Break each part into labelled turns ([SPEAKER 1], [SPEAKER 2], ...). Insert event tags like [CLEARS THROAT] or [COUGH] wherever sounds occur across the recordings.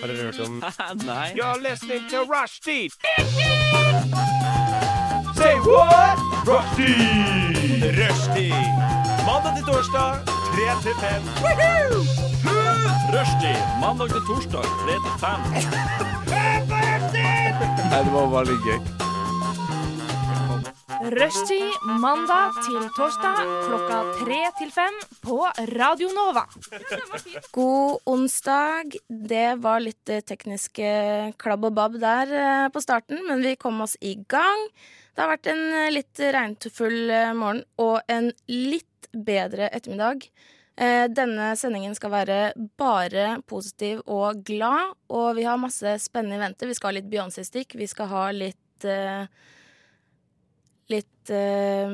[SPEAKER 1] Har dere hørt om
[SPEAKER 2] Nei.
[SPEAKER 3] You're listening to Rushdie. Say what? Rushdie. Rushdie. Mandag til torsdag, 3 til 5.
[SPEAKER 2] Rushdie mandag til torsdag 3 til 5.
[SPEAKER 4] Rushtid mandag til torsdag klokka tre til fem på Radio Nova.
[SPEAKER 5] God onsdag. Det var litt eh, tekniske klabb og babb der eh, på starten, men vi kom oss i gang. Det har vært en eh, litt regnfull eh, morgen og en litt bedre ettermiddag. Eh, Denne sendingen skal være bare positiv og glad, og vi har masse spennende i vente. Vi skal ha litt Beyoncé-stikk, vi skal ha litt eh, Litt eh,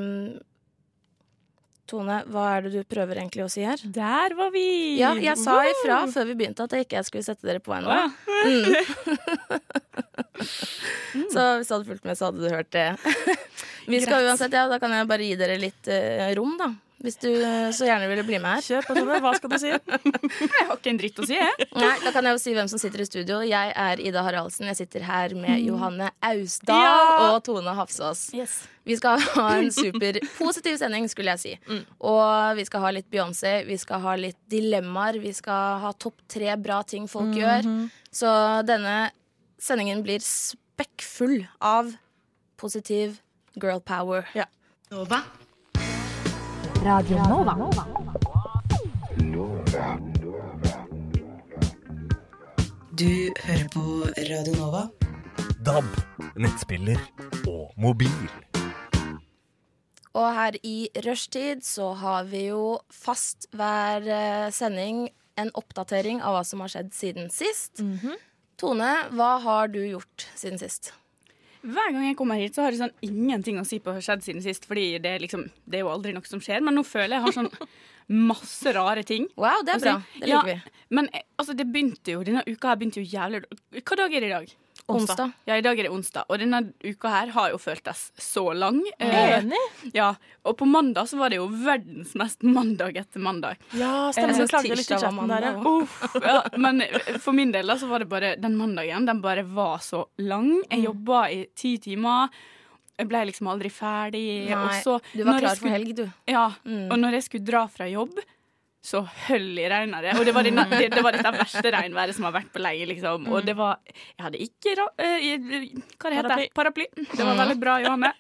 [SPEAKER 5] Tone, hva er det du prøver egentlig å si her?
[SPEAKER 4] Der var vi!
[SPEAKER 5] Ja, jeg sa ifra før vi begynte at jeg ikke skulle sette dere på veien.
[SPEAKER 4] Å, ja.
[SPEAKER 5] Mm. Så hvis du hadde fulgt med, så hadde du hørt det. [LAUGHS] Vi skal
[SPEAKER 4] Greit.
[SPEAKER 5] uansett, ja, da kan jeg bare gi dere litt eh, rom, da. Hvis du eh, så gjerne ville bli med her.
[SPEAKER 6] Kjør på, Tone. Hva skal
[SPEAKER 5] [LAUGHS]
[SPEAKER 6] du si?
[SPEAKER 4] Jeg har ikke en dritt å si, jeg.
[SPEAKER 5] Nei, da kan jeg jo si hvem som sitter i studio. Jeg er Ida Haraldsen. Jeg sitter her med Johanne Austdal
[SPEAKER 4] Ja.
[SPEAKER 5] og Tone Hafsås. Vi skal [LAUGHS] ha en superpositiv sending, skulle jeg si. Og vi skal ha litt Beyoncé, vi skal ha litt dilemmaer, vi skal ha topp tre bra ting folk gjør. Så denne sendingen blir spekkfull av positiv girl power.
[SPEAKER 7] Du hører på Radio Nova.
[SPEAKER 8] DAB, nettspiller og mobil.
[SPEAKER 5] Og her i rushtid så har vi jo fast hver eh, sending en oppdatering av hva som har skjedd siden sist. Tone, hva har du gjort siden sist?
[SPEAKER 4] Hver gang jeg kommer hit, så har jeg sånn ingenting å si på hva som har skjedd siden sist. Fordi det er, liksom, det er jo aldri noe som skjer. Men nå føler jeg jeg har sånn masse rare ting.
[SPEAKER 5] Wow, det er
[SPEAKER 4] å si.
[SPEAKER 5] bra. Det
[SPEAKER 4] Altså, Ja,
[SPEAKER 5] liker vi.
[SPEAKER 4] Men eh, altså, det begynte jo, denne uka her begynte jo jævlig Hva dag er det i dag?
[SPEAKER 5] Onsdag.
[SPEAKER 4] Ja, i dag er det onsdag. Og denne uka her har jo føltes så lang. Eh,
[SPEAKER 6] Enig?
[SPEAKER 4] ja. Og på mandag så var det jo verdens mest mandag etter mandag.
[SPEAKER 6] Ja, stemmer.
[SPEAKER 5] Eh,
[SPEAKER 6] Jeg klagde litt i
[SPEAKER 5] tirsdag var
[SPEAKER 6] chatten der, ja.
[SPEAKER 5] mandag
[SPEAKER 4] Uff, [LAUGHS] ja, men eh, for min del da, så var det bare den mandagen. Den bare var så lang. Jeg
[SPEAKER 5] Mm.
[SPEAKER 4] jobba i ti timer. Jeg ble liksom aldri ferdig. og
[SPEAKER 5] Nei,
[SPEAKER 4] så,
[SPEAKER 5] du var
[SPEAKER 4] når jeg
[SPEAKER 5] klar for
[SPEAKER 4] skulle-
[SPEAKER 5] helg, du.
[SPEAKER 4] Ja,
[SPEAKER 5] Mm.
[SPEAKER 4] og når jeg skulle dra fra jobb, så høll i regnet det. Og det var, denne, det, det var dette verste regnværet som har vært på lenge, liksom.
[SPEAKER 5] Mm.
[SPEAKER 4] Og det var Jeg hadde ikke ra, eh, i- Hva det heter det? Paraply. Det
[SPEAKER 5] Mm.
[SPEAKER 4] var veldig bra, Johanne.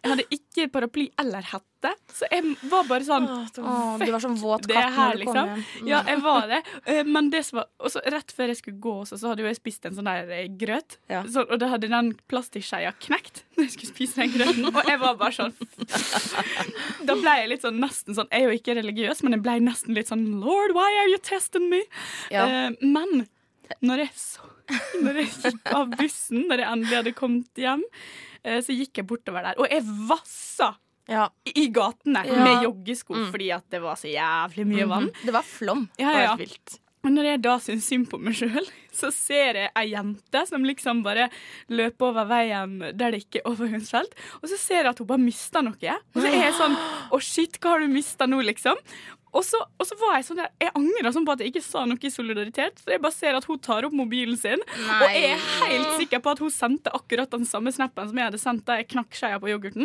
[SPEAKER 4] Jeg hadde ikke paraply eller hette, så jeg var bare sånn
[SPEAKER 5] Åh, du var som våt
[SPEAKER 4] det
[SPEAKER 5] katt
[SPEAKER 4] her,
[SPEAKER 5] når du kom
[SPEAKER 4] liksom.
[SPEAKER 5] hjem.
[SPEAKER 4] Ja, jeg var
[SPEAKER 5] [LAUGHS]
[SPEAKER 4] det. Eh, Men det som var og så rett før jeg skulle gå også, så hadde jo jeg spist en sånn der eh, grøt.
[SPEAKER 5] Ja.
[SPEAKER 4] Så, og da hadde den plastikkskjea knekt [LAUGHS] når jeg skulle spise den
[SPEAKER 5] [LAUGHS]
[SPEAKER 4] grøten. Og jeg var bare sånn [LAUGHS] Da ble jeg litt sånn nesten sånn Jeg er jo ikke religiøs, men jeg ble nesten litt sånn Lord, why are you testing me?
[SPEAKER 5] Ja.
[SPEAKER 4] Eh, men når jeg så [LAUGHS] når jeg gikk av bussen, når jeg endelig hadde kommet hjem, eh, så gikk jeg bortover der. Og jeg vassa
[SPEAKER 6] Ja.
[SPEAKER 4] i gatene
[SPEAKER 5] Ja.
[SPEAKER 4] med joggesko fordi at det var så jævlig mye vann.
[SPEAKER 5] Mhm. Det var flom.
[SPEAKER 4] Mm. Mhm. Ja,
[SPEAKER 6] Det var
[SPEAKER 4] ja.
[SPEAKER 6] helt vilt.
[SPEAKER 4] Og når jeg da syns synd på meg sjøl, [LAUGHS] så ser jeg ei jente som liksom bare løper over veien der det ikke er overgangsfelt, og så ser jeg at hun bare mista noe. Og så er jeg sånn Å, shit, hva har du mista nå, liksom? Og så, og så var Jeg sånn der, jeg angra sånn på at jeg ikke sa noe i solidaritet, for jeg bare ser at hun tar opp mobilen sin. Og
[SPEAKER 5] Nei.
[SPEAKER 4] jeg er helt sikker på at hun sendte akkurat den samme snappen som jeg hadde sendt da jeg knakk skeia på yoghurten,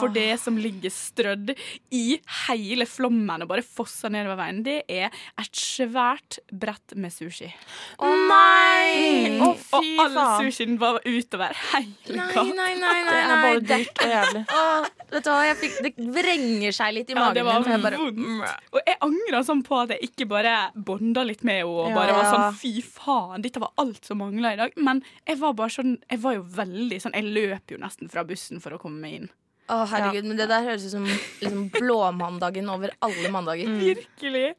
[SPEAKER 4] for det som ligger strødd i hele flommen og bare fosser nedover veien, det er et svært brett med sushi.
[SPEAKER 5] Å
[SPEAKER 4] Mm.
[SPEAKER 5] nei!
[SPEAKER 6] Å,
[SPEAKER 4] Og
[SPEAKER 6] fy
[SPEAKER 4] all
[SPEAKER 6] faen.
[SPEAKER 4] sushien var utover hele
[SPEAKER 5] Nei,
[SPEAKER 4] gata.
[SPEAKER 5] nei, nei,
[SPEAKER 6] Det
[SPEAKER 5] nei,
[SPEAKER 6] er
[SPEAKER 5] nei.
[SPEAKER 6] både
[SPEAKER 5] Det,
[SPEAKER 6] dyrt og jævlig.
[SPEAKER 5] Åh, vet du hva, jeg fikk, det vrenger seg litt i
[SPEAKER 4] Ja,
[SPEAKER 5] magen
[SPEAKER 4] det var
[SPEAKER 5] min. for jeg bare-
[SPEAKER 4] vondt. Og jeg angra sånn på at jeg ikke bare bonda litt med henne og
[SPEAKER 6] Ja.
[SPEAKER 4] bare var sånn fy faen, dette var alt som mangla i dag. Men jeg var bare sånn, jeg var jo veldig sånn, jeg løp jo nesten fra bussen for å komme meg inn.
[SPEAKER 5] Å, herregud, men det der høres ut som liksom, blåmandagen over alle mandager.
[SPEAKER 4] Mm. Virkelig.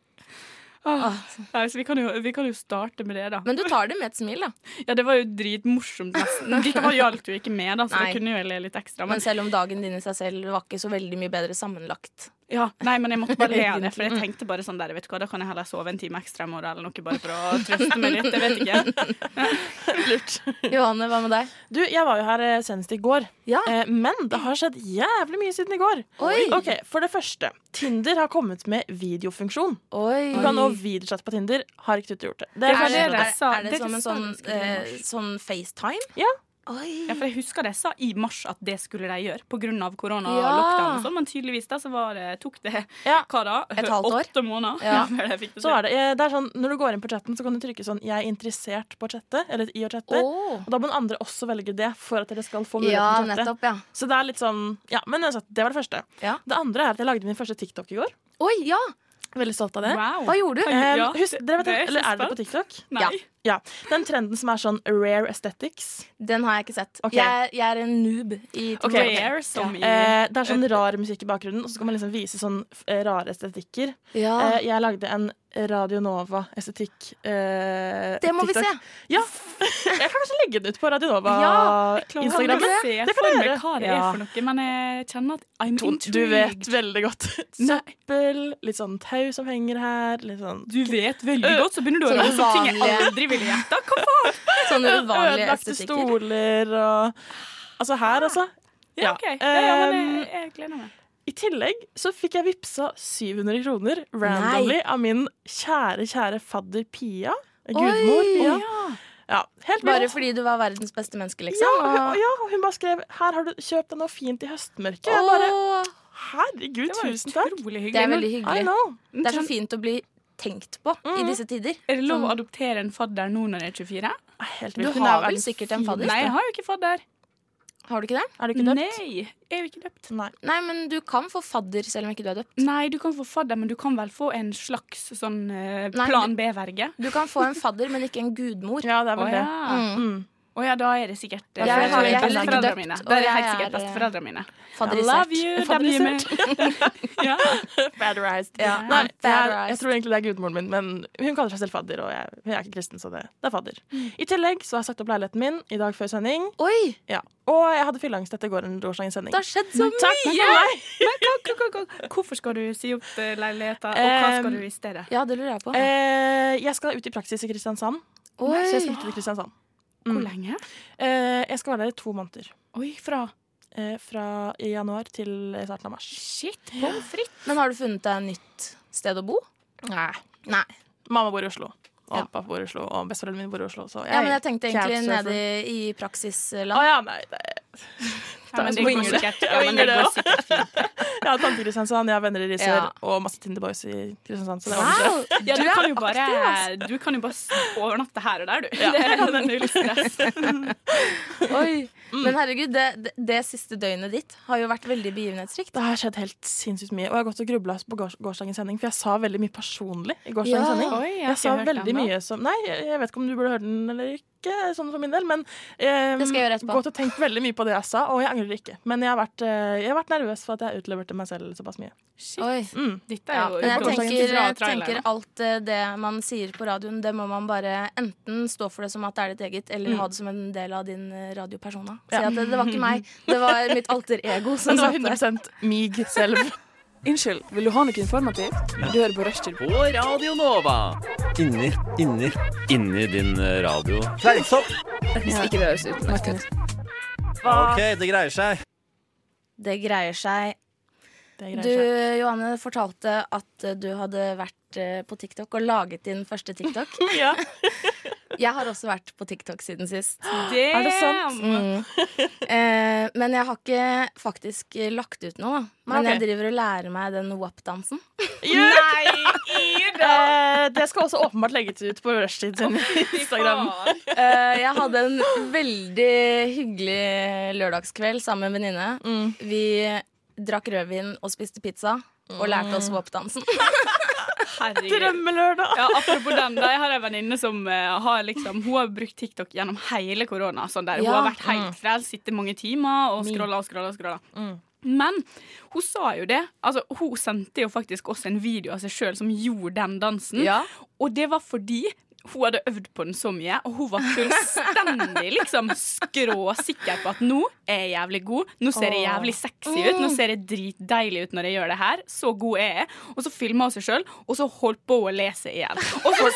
[SPEAKER 4] Åh, nei, så vi, kan jo, vi kan jo starte med det, da.
[SPEAKER 5] Ah. Men du tar det med et smil, da.
[SPEAKER 4] Ja, Det var jo dritmorsomt, nesten. Dette var hjalp jo ikke med, da, så
[SPEAKER 5] Nei.
[SPEAKER 4] det kunne jo jeg le litt ekstra.
[SPEAKER 5] Men
[SPEAKER 4] Men,
[SPEAKER 5] selv om dagen din i seg selv var ikke så veldig mye bedre sammenlagt.
[SPEAKER 4] Ja, nei, men jeg
[SPEAKER 5] [LAUGHS]
[SPEAKER 4] måtte bare le av det, for jeg tenkte bare sånn der, vet du hva, da kan jeg heller sove en time ekstra i morgen eller noe, bare for å trøste meg litt, jeg vet ikke.
[SPEAKER 1] Lurt.
[SPEAKER 5] Johanne, hva med deg?
[SPEAKER 1] [LAUGHS] Du, jeg var jo her eh, senest i går,
[SPEAKER 5] Ja.
[SPEAKER 1] eh, men det har skjedd jævlig mye siden i går.
[SPEAKER 5] Ah. Oi.
[SPEAKER 1] Ok, For det første, Tinder har kommet med videofunksjon.
[SPEAKER 5] Oi.
[SPEAKER 1] Du kan nå videochatte på Tinder. Har ikke Tutte gjort det? Det
[SPEAKER 5] Er
[SPEAKER 4] Ja,
[SPEAKER 1] er
[SPEAKER 4] for
[SPEAKER 5] det,
[SPEAKER 1] første-
[SPEAKER 4] det
[SPEAKER 5] er,
[SPEAKER 4] sa-
[SPEAKER 5] er det
[SPEAKER 4] det
[SPEAKER 5] som en
[SPEAKER 4] sa
[SPEAKER 5] sånn,
[SPEAKER 4] den skulle bli
[SPEAKER 5] eh,
[SPEAKER 4] mars.
[SPEAKER 5] sånn FaceTime?
[SPEAKER 1] Ja.
[SPEAKER 5] Oi.
[SPEAKER 4] Ja, for jeg husker det jeg sa i mars at det skulle de gjøre, på grunn av korona og
[SPEAKER 5] Ja.
[SPEAKER 4] lockdown og sånn, men tydeligvis da så var det, tok det,
[SPEAKER 1] Ja.
[SPEAKER 4] hva da?
[SPEAKER 5] Et halvt år?
[SPEAKER 4] Åtte måneder.
[SPEAKER 5] Ja.
[SPEAKER 4] [LAUGHS] før jeg fikk det
[SPEAKER 1] Så er det, eh, det er sånn, Når du går inn på chatten, så kan du trykke sånn 'jeg er interessert på å chatte', eller 'i å chatte'.
[SPEAKER 5] Åh.
[SPEAKER 1] Og da må den andre også velge det for at dere skal
[SPEAKER 5] Ja,
[SPEAKER 1] få muligheten til å chatte.
[SPEAKER 5] nettopp, ja.
[SPEAKER 1] Så det er litt sånn, ja, men uansett, det var det første.
[SPEAKER 5] Ja.
[SPEAKER 1] Det andre er at jeg lagde min første TikTok i går.
[SPEAKER 5] Oi, ja!
[SPEAKER 1] Veldig stolt av det.
[SPEAKER 4] Wow.
[SPEAKER 5] Hva gjorde du?
[SPEAKER 1] Eh,
[SPEAKER 4] Ja,
[SPEAKER 1] husk, dere vet,
[SPEAKER 4] det er
[SPEAKER 1] eller
[SPEAKER 4] så
[SPEAKER 1] er dere på TikTok?
[SPEAKER 4] Nei.
[SPEAKER 1] Ja. Den trenden som er sånn rare aesthetics.
[SPEAKER 5] Den har jeg ikke sett.
[SPEAKER 1] Ok.
[SPEAKER 5] Jeg, er- jeg er en noob i
[SPEAKER 1] Ok.
[SPEAKER 4] Rare som i
[SPEAKER 1] Eh, det er sånn rar musikk i bakgrunnen, og så skal man liksom vise sånn eh, rare estetikker.
[SPEAKER 5] Ja.
[SPEAKER 4] Ah.
[SPEAKER 1] Eh, jeg lagde en Radio Nova-estetikk. Eh,
[SPEAKER 5] Det må vi
[SPEAKER 1] TikTok.
[SPEAKER 5] se!
[SPEAKER 1] Ja. [LAUGHS] Jeg kan kanskje legge den ut på Radio Nova
[SPEAKER 5] Ja,
[SPEAKER 4] Klarer
[SPEAKER 1] Instagram.
[SPEAKER 4] ikke å se
[SPEAKER 1] Det kan
[SPEAKER 4] for
[SPEAKER 1] jeg
[SPEAKER 4] meg
[SPEAKER 1] gjøre.
[SPEAKER 4] hva det
[SPEAKER 1] Ja.
[SPEAKER 4] er for noe, men jeg kjenner at I'm intrigued.
[SPEAKER 1] Du vet veldig godt.
[SPEAKER 4] [LAUGHS] Nei.
[SPEAKER 1] Søppel, litt sånn tau som henger her. Litt sånn
[SPEAKER 4] Du vet veldig godt, så begynner du å
[SPEAKER 5] Sånne
[SPEAKER 4] rase ting jeg
[SPEAKER 5] vanlige-
[SPEAKER 4] aldri ville gjette. Hva faen?
[SPEAKER 5] [LAUGHS] Sånne uvanlige
[SPEAKER 1] ødelagte
[SPEAKER 5] estetikker.
[SPEAKER 1] stoler og Altså her, altså.
[SPEAKER 4] Ah. Ja,
[SPEAKER 1] Ja.
[SPEAKER 4] ok. Ja, ja, men
[SPEAKER 1] Ehm,
[SPEAKER 4] jeg, jeg gleder meg.
[SPEAKER 1] I tillegg så fikk jeg vippsa 700 kroner randomly av min kjære, kjære fadder Pia. Gudmor.
[SPEAKER 5] Oi.
[SPEAKER 1] Pia. Ja, helt
[SPEAKER 5] Bare
[SPEAKER 1] vilt.
[SPEAKER 5] fordi du var verdens beste menneske,
[SPEAKER 1] ja,
[SPEAKER 5] liksom?
[SPEAKER 1] hun,
[SPEAKER 5] Og-
[SPEAKER 1] ja, og hun bare skrev 'Her har du kjøpt deg noe fint i høstmørket'. Jeg bare
[SPEAKER 5] Åh,
[SPEAKER 1] Herregud,
[SPEAKER 4] Det var
[SPEAKER 1] tusen takk.
[SPEAKER 4] utrolig hyggelig.
[SPEAKER 5] det er veldig
[SPEAKER 1] I
[SPEAKER 5] hyggelig.
[SPEAKER 1] know.
[SPEAKER 5] Det er så Mm. fint å bli tenkt på i disse tider.
[SPEAKER 4] Er det lov å adoptere en fadder nå når jeg er 24?
[SPEAKER 1] Ah, Helt
[SPEAKER 5] Du
[SPEAKER 1] vilt. Hun er
[SPEAKER 5] har vel
[SPEAKER 1] verdens
[SPEAKER 5] sikkert en fadder?
[SPEAKER 4] Nei, jeg har jo ikke fadder.
[SPEAKER 5] Har du ikke det?
[SPEAKER 1] Er du ikke døpt?
[SPEAKER 4] Nei, jeg er jo ikke døpt.
[SPEAKER 1] Nei.
[SPEAKER 5] Nei, men du kan få fadder selv om ikke du er døpt.
[SPEAKER 4] Nei, du kan få fadder, men du kan vel få en slags sånn eh,
[SPEAKER 5] Nei,
[SPEAKER 4] plan B-verge?
[SPEAKER 5] Du kan få en fadder, men ikke en gudmor.
[SPEAKER 1] Ja, det
[SPEAKER 4] Å
[SPEAKER 1] er vel
[SPEAKER 4] ja.
[SPEAKER 1] det.
[SPEAKER 5] Mm.
[SPEAKER 4] Å ja, da er det sikkert eh,
[SPEAKER 5] Jeg har-
[SPEAKER 4] besteforeldrene
[SPEAKER 5] jeg er heller ikke døpt,
[SPEAKER 4] mine.
[SPEAKER 5] og
[SPEAKER 4] Da er det
[SPEAKER 5] jeg
[SPEAKER 4] helt sikkert
[SPEAKER 5] er, eh,
[SPEAKER 4] besteforeldrene mine.
[SPEAKER 5] Fadderisert.
[SPEAKER 4] Love you, dem gir meg. Ja.
[SPEAKER 1] Fadderized.
[SPEAKER 5] Ja,
[SPEAKER 1] Nei, jeg,
[SPEAKER 5] fadderized.
[SPEAKER 1] jeg tror egentlig det er gudmoren min, men hun kaller seg selv fadder, og jeg, hun er ikke kristen, så det, det er fadder.
[SPEAKER 4] Mm.
[SPEAKER 1] I tillegg så har jeg sagt opp leiligheten min i dag før sending,
[SPEAKER 5] Oi,
[SPEAKER 1] ja. og jeg hadde fylleangst etter gården gårsdagens sending.
[SPEAKER 5] det har skjedd så mye!
[SPEAKER 1] Takk for meg!
[SPEAKER 4] Hva- hva- hva- Hvorfor skal du si opp eh, leiligheten, og hva skal du i stedet?
[SPEAKER 5] Ja, det lurer jeg på.
[SPEAKER 1] Eh, jeg skal ut i praksis i Kristiansand,
[SPEAKER 5] Oi.
[SPEAKER 1] så jeg skal flytte til Kristiansand.
[SPEAKER 4] Hvor lenge?
[SPEAKER 1] Eh, jeg skal være der i to måneder,
[SPEAKER 4] Oi, fra
[SPEAKER 1] eh, fra i januar til starten av mars.
[SPEAKER 4] Shit, pommes frites.
[SPEAKER 5] Men har du funnet deg nytt sted å bo?
[SPEAKER 1] Nei.
[SPEAKER 5] Nei.
[SPEAKER 1] Mamma bor i Oslo, og
[SPEAKER 5] Ja.
[SPEAKER 1] pappa bor i Oslo, og besteforeldrene mine bor i Oslo, så jeg...
[SPEAKER 5] Ja, men jeg tenkte egentlig
[SPEAKER 1] couchsurfer.
[SPEAKER 5] nede i
[SPEAKER 1] Å
[SPEAKER 5] praksisland.
[SPEAKER 1] ja, nei, det...
[SPEAKER 4] Ja, men det
[SPEAKER 1] Winger
[SPEAKER 4] går
[SPEAKER 1] det.
[SPEAKER 4] sikkert. Ja, men det
[SPEAKER 1] Winger det
[SPEAKER 4] går
[SPEAKER 1] også.
[SPEAKER 4] sikkert fint.
[SPEAKER 1] Jeg har tante i Kristiansand, jeg har venner i Risør
[SPEAKER 5] Ja.
[SPEAKER 1] og masse Tinderboys i Kristiansand. Så det var
[SPEAKER 5] Wow!
[SPEAKER 4] Ja, du, kan jo bare,
[SPEAKER 5] aktiv, altså.
[SPEAKER 4] du kan jo bare s- overnatte her og der, du. [LAUGHS] Det er null stress.
[SPEAKER 5] Oi. Men herregud, det, det, det siste døgnet ditt har jo vært veldig begivenhetsrikt.
[SPEAKER 1] Det har skjedd helt sinnssykt mye. Og jeg har gått og grubla på gårs- gårsdagens sending, for jeg sa veldig mye personlig i gårsdagens
[SPEAKER 5] Ja.
[SPEAKER 1] sending.
[SPEAKER 4] Oi, jeg har
[SPEAKER 1] jeg
[SPEAKER 4] ikke
[SPEAKER 1] sa
[SPEAKER 4] hørt
[SPEAKER 1] veldig
[SPEAKER 4] den da.
[SPEAKER 1] mye som Nei, jeg jeg vet ikke om du burde høre den eller ikke, sånn for min del, men eh,
[SPEAKER 5] Det skal jeg gjøre etterpå.
[SPEAKER 1] gått og tenkt veldig mye på det jeg sa, og jeg angrer ikke. Men jeg har vært, eh, jeg har vært nervøs for at jeg utleverte meg selv såpass mye.
[SPEAKER 4] Shit,
[SPEAKER 5] Oi.
[SPEAKER 1] Mm.
[SPEAKER 4] dette
[SPEAKER 5] Ja,
[SPEAKER 4] er jo
[SPEAKER 5] men jeg
[SPEAKER 4] utgangspunktet
[SPEAKER 5] tenker,
[SPEAKER 4] fra
[SPEAKER 5] jeg tenker
[SPEAKER 4] traileren.
[SPEAKER 5] alt eh, det man sier på radioen, det må man bare enten stå for det som at det er ditt eget, eller ha det som en del av din eh, radiopersona. Si at det, det var ikke meg, det var mitt alter ego som
[SPEAKER 1] Men det var
[SPEAKER 5] satt der.
[SPEAKER 1] 100 mig selv.
[SPEAKER 6] Unnskyld, vil du ha noe informativt? Du hører på Rushtid.
[SPEAKER 2] På Radio Nova.
[SPEAKER 8] Inni, inni,
[SPEAKER 2] Inni din eh, radio.
[SPEAKER 8] fleisopp.
[SPEAKER 6] Hvis ikke det høres ut. Martin.
[SPEAKER 8] Ok, det greier seg.
[SPEAKER 5] Det greier seg.
[SPEAKER 1] Det greier
[SPEAKER 5] Du,
[SPEAKER 1] seg.
[SPEAKER 5] Johanne, fortalte at eh, du hadde vært eh, på TikTok og laget din første TikTok.
[SPEAKER 1] Ja.
[SPEAKER 5] Jeg har også vært på TikTok siden sist.
[SPEAKER 4] Damn!
[SPEAKER 1] Er det sant?
[SPEAKER 5] Mm. Eh, men jeg har ikke faktisk eh, lagt ut noe. da. Men
[SPEAKER 1] Ok.
[SPEAKER 5] jeg driver og lærer meg den WAP-dansen.
[SPEAKER 4] Nei, Ida!
[SPEAKER 1] Eh, det skal også åpenbart legges ut på Rushtid sin Instagram.
[SPEAKER 4] Faen.
[SPEAKER 5] Eh, jeg hadde en veldig hyggelig lørdagskveld sammen med en venninne.
[SPEAKER 1] Mm.
[SPEAKER 5] Vi drakk rødvin og spiste pizza. Og lærte oss WAP-dansen.
[SPEAKER 4] Herregud.
[SPEAKER 1] Drømmelørdag.
[SPEAKER 4] Ja, apropos den, da, jeg har en venninne som eh, har liksom Hun har brukt TikTok gjennom hele korona. Sånn der. Hun
[SPEAKER 5] Ja.
[SPEAKER 4] har vært helt frelst, sittet mange timer og scrolla og scrolla. Og scrolla. Men hun sa jo det. Altså,
[SPEAKER 5] [LAUGHS]
[SPEAKER 4] hun sendte jo faktisk oss en video av seg sjøl som gjorde den dansen. Og det var fordi hun hadde øvd på den så mye, og hun var fullstendig liksom, skråsikker på at nå er jeg jævlig god, nå ser jeg jævlig sexy ut, nå ser jeg dritdeilig ut når jeg gjør det her. Så god er jeg. Og så filma hun seg sjøl, og så holdt på å lese igjen. Og så,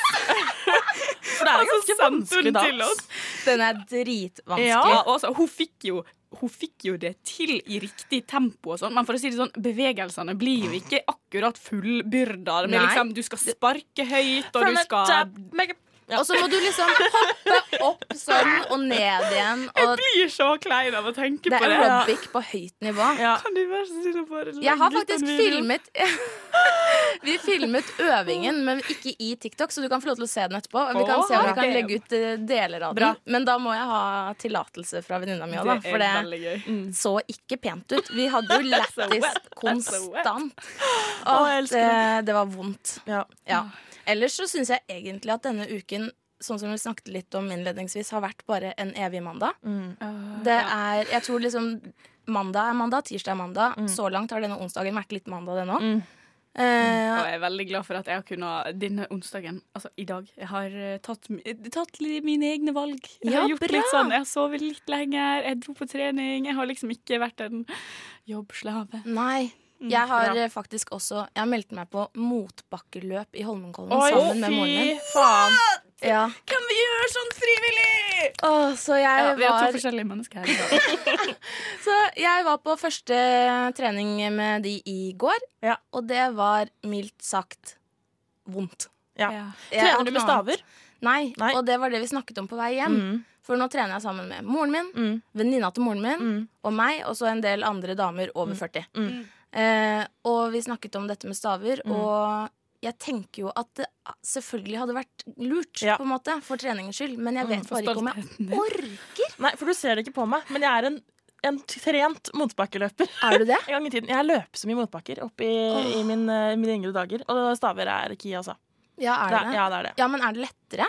[SPEAKER 1] For det er en
[SPEAKER 4] og så
[SPEAKER 1] ganske
[SPEAKER 4] sendte
[SPEAKER 1] vanskelig
[SPEAKER 4] hun Altså til
[SPEAKER 1] dans.
[SPEAKER 4] oss.
[SPEAKER 5] Den er dritvanskelig.
[SPEAKER 4] Ja, altså, hun fikk jo hun fikk jo det til i riktig tempo, og sånn men for å si det sånn, bevegelsene blir jo ikke akkurat fullbyrda. Det blir
[SPEAKER 5] Nei.
[SPEAKER 4] Liksom, du skal sparke høyt, og du
[SPEAKER 1] Fremme,
[SPEAKER 4] skal
[SPEAKER 1] tap, make up.
[SPEAKER 5] Og så må du liksom hoppe opp sånn og ned igjen. Og
[SPEAKER 4] blir så klein av å tenke
[SPEAKER 5] det
[SPEAKER 4] på
[SPEAKER 5] er
[SPEAKER 4] det.
[SPEAKER 5] aerobic på høyt nivå.
[SPEAKER 1] Ja.
[SPEAKER 4] Kan du være så snill å bare legge
[SPEAKER 5] Jeg har
[SPEAKER 4] ut
[SPEAKER 5] faktisk
[SPEAKER 4] en video?
[SPEAKER 5] filmet Vi filmet [LAUGHS] øvingen, men ikke i TikTok, så du kan få lov til å se den etterpå. Og vi kan
[SPEAKER 4] Åh,
[SPEAKER 5] se om vi kan
[SPEAKER 4] damn.
[SPEAKER 5] legge ut eh, deler av
[SPEAKER 4] Bra.
[SPEAKER 5] den. Men da må jeg ha tillatelse fra venninna mi òg, da.
[SPEAKER 4] Det
[SPEAKER 5] For
[SPEAKER 4] er
[SPEAKER 5] det
[SPEAKER 4] veldig Mm. gøy.
[SPEAKER 5] så ikke pent ut. Vi
[SPEAKER 4] [LAUGHS]
[SPEAKER 5] hadde jo lættis
[SPEAKER 4] so wet.
[SPEAKER 5] konstant.
[SPEAKER 1] Å,
[SPEAKER 5] Og
[SPEAKER 1] jeg elsker
[SPEAKER 5] det, det var vondt.
[SPEAKER 1] Ja.
[SPEAKER 5] Ja. Ellers så syns jeg egentlig at denne uken, sånn som vi snakket litt om innledningsvis, har vært bare en evig mandag. Det er, jeg tror liksom Mandag er mandag, tirsdag er mandag. Så langt har denne onsdagen vært litt mandag, den òg.
[SPEAKER 1] Mm.
[SPEAKER 4] Og jeg er veldig glad for at jeg har kunnet denne onsdagen, altså i dag, jeg har eh, tatt, mi- tatt li- mine egne valg. Jeg
[SPEAKER 5] Ja,
[SPEAKER 4] har gjort
[SPEAKER 5] bra!
[SPEAKER 4] litt sånn, jeg har sovet litt lenger, jeg dro på trening, jeg har liksom ikke vært en jobbslave.
[SPEAKER 5] Nei. Jeg har
[SPEAKER 1] ja.
[SPEAKER 5] eh, faktisk også Jeg har meldt meg på motbakkeløp i Holmenkollen
[SPEAKER 1] Oi,
[SPEAKER 5] sammen med moren min.
[SPEAKER 1] fy faen.
[SPEAKER 5] Ja.
[SPEAKER 4] Kan vi gjøre sånn frivillig?
[SPEAKER 5] Åh, så, jeg
[SPEAKER 4] Ja, vi har to
[SPEAKER 5] var,
[SPEAKER 4] forskjellige mennesker her.
[SPEAKER 5] så jeg var på første trening med de i går,
[SPEAKER 1] Ja.
[SPEAKER 5] og det var mildt sagt vondt.
[SPEAKER 1] Ja.
[SPEAKER 4] Ja.
[SPEAKER 5] Jeg
[SPEAKER 1] Trener
[SPEAKER 5] orker
[SPEAKER 1] du
[SPEAKER 5] noe
[SPEAKER 1] med staver?
[SPEAKER 5] annet. Nei,
[SPEAKER 1] Nei.
[SPEAKER 5] og det var det vi snakket om på vei hjem.
[SPEAKER 1] Mm.
[SPEAKER 5] For nå trener jeg sammen med moren min,
[SPEAKER 1] Mm.
[SPEAKER 5] venninna til moren min
[SPEAKER 1] Mm.
[SPEAKER 5] og meg, og så en del andre damer over 40.
[SPEAKER 1] Mm.
[SPEAKER 5] Eh, og vi snakket om dette med staver,
[SPEAKER 1] Mm.
[SPEAKER 5] og jeg tenker jo at det selvfølgelig hadde vært lurt,
[SPEAKER 1] Ja. Mm.
[SPEAKER 5] på en måte, for treningens skyld, men jeg vet
[SPEAKER 4] For
[SPEAKER 5] bare ikke om jeg
[SPEAKER 4] stoltheten din.
[SPEAKER 5] orker.
[SPEAKER 1] Nei, for du ser det ikke på meg, men jeg er en, en trent motbakkeløper.
[SPEAKER 5] Er du det?
[SPEAKER 1] En gang i tiden. Jeg løp så mye motbakker opp i, i min, eh, mine yngre dager, og staver er key, altså.
[SPEAKER 5] Ja, er det det?
[SPEAKER 1] Ja, det er det.
[SPEAKER 5] Ja, men er det lettere?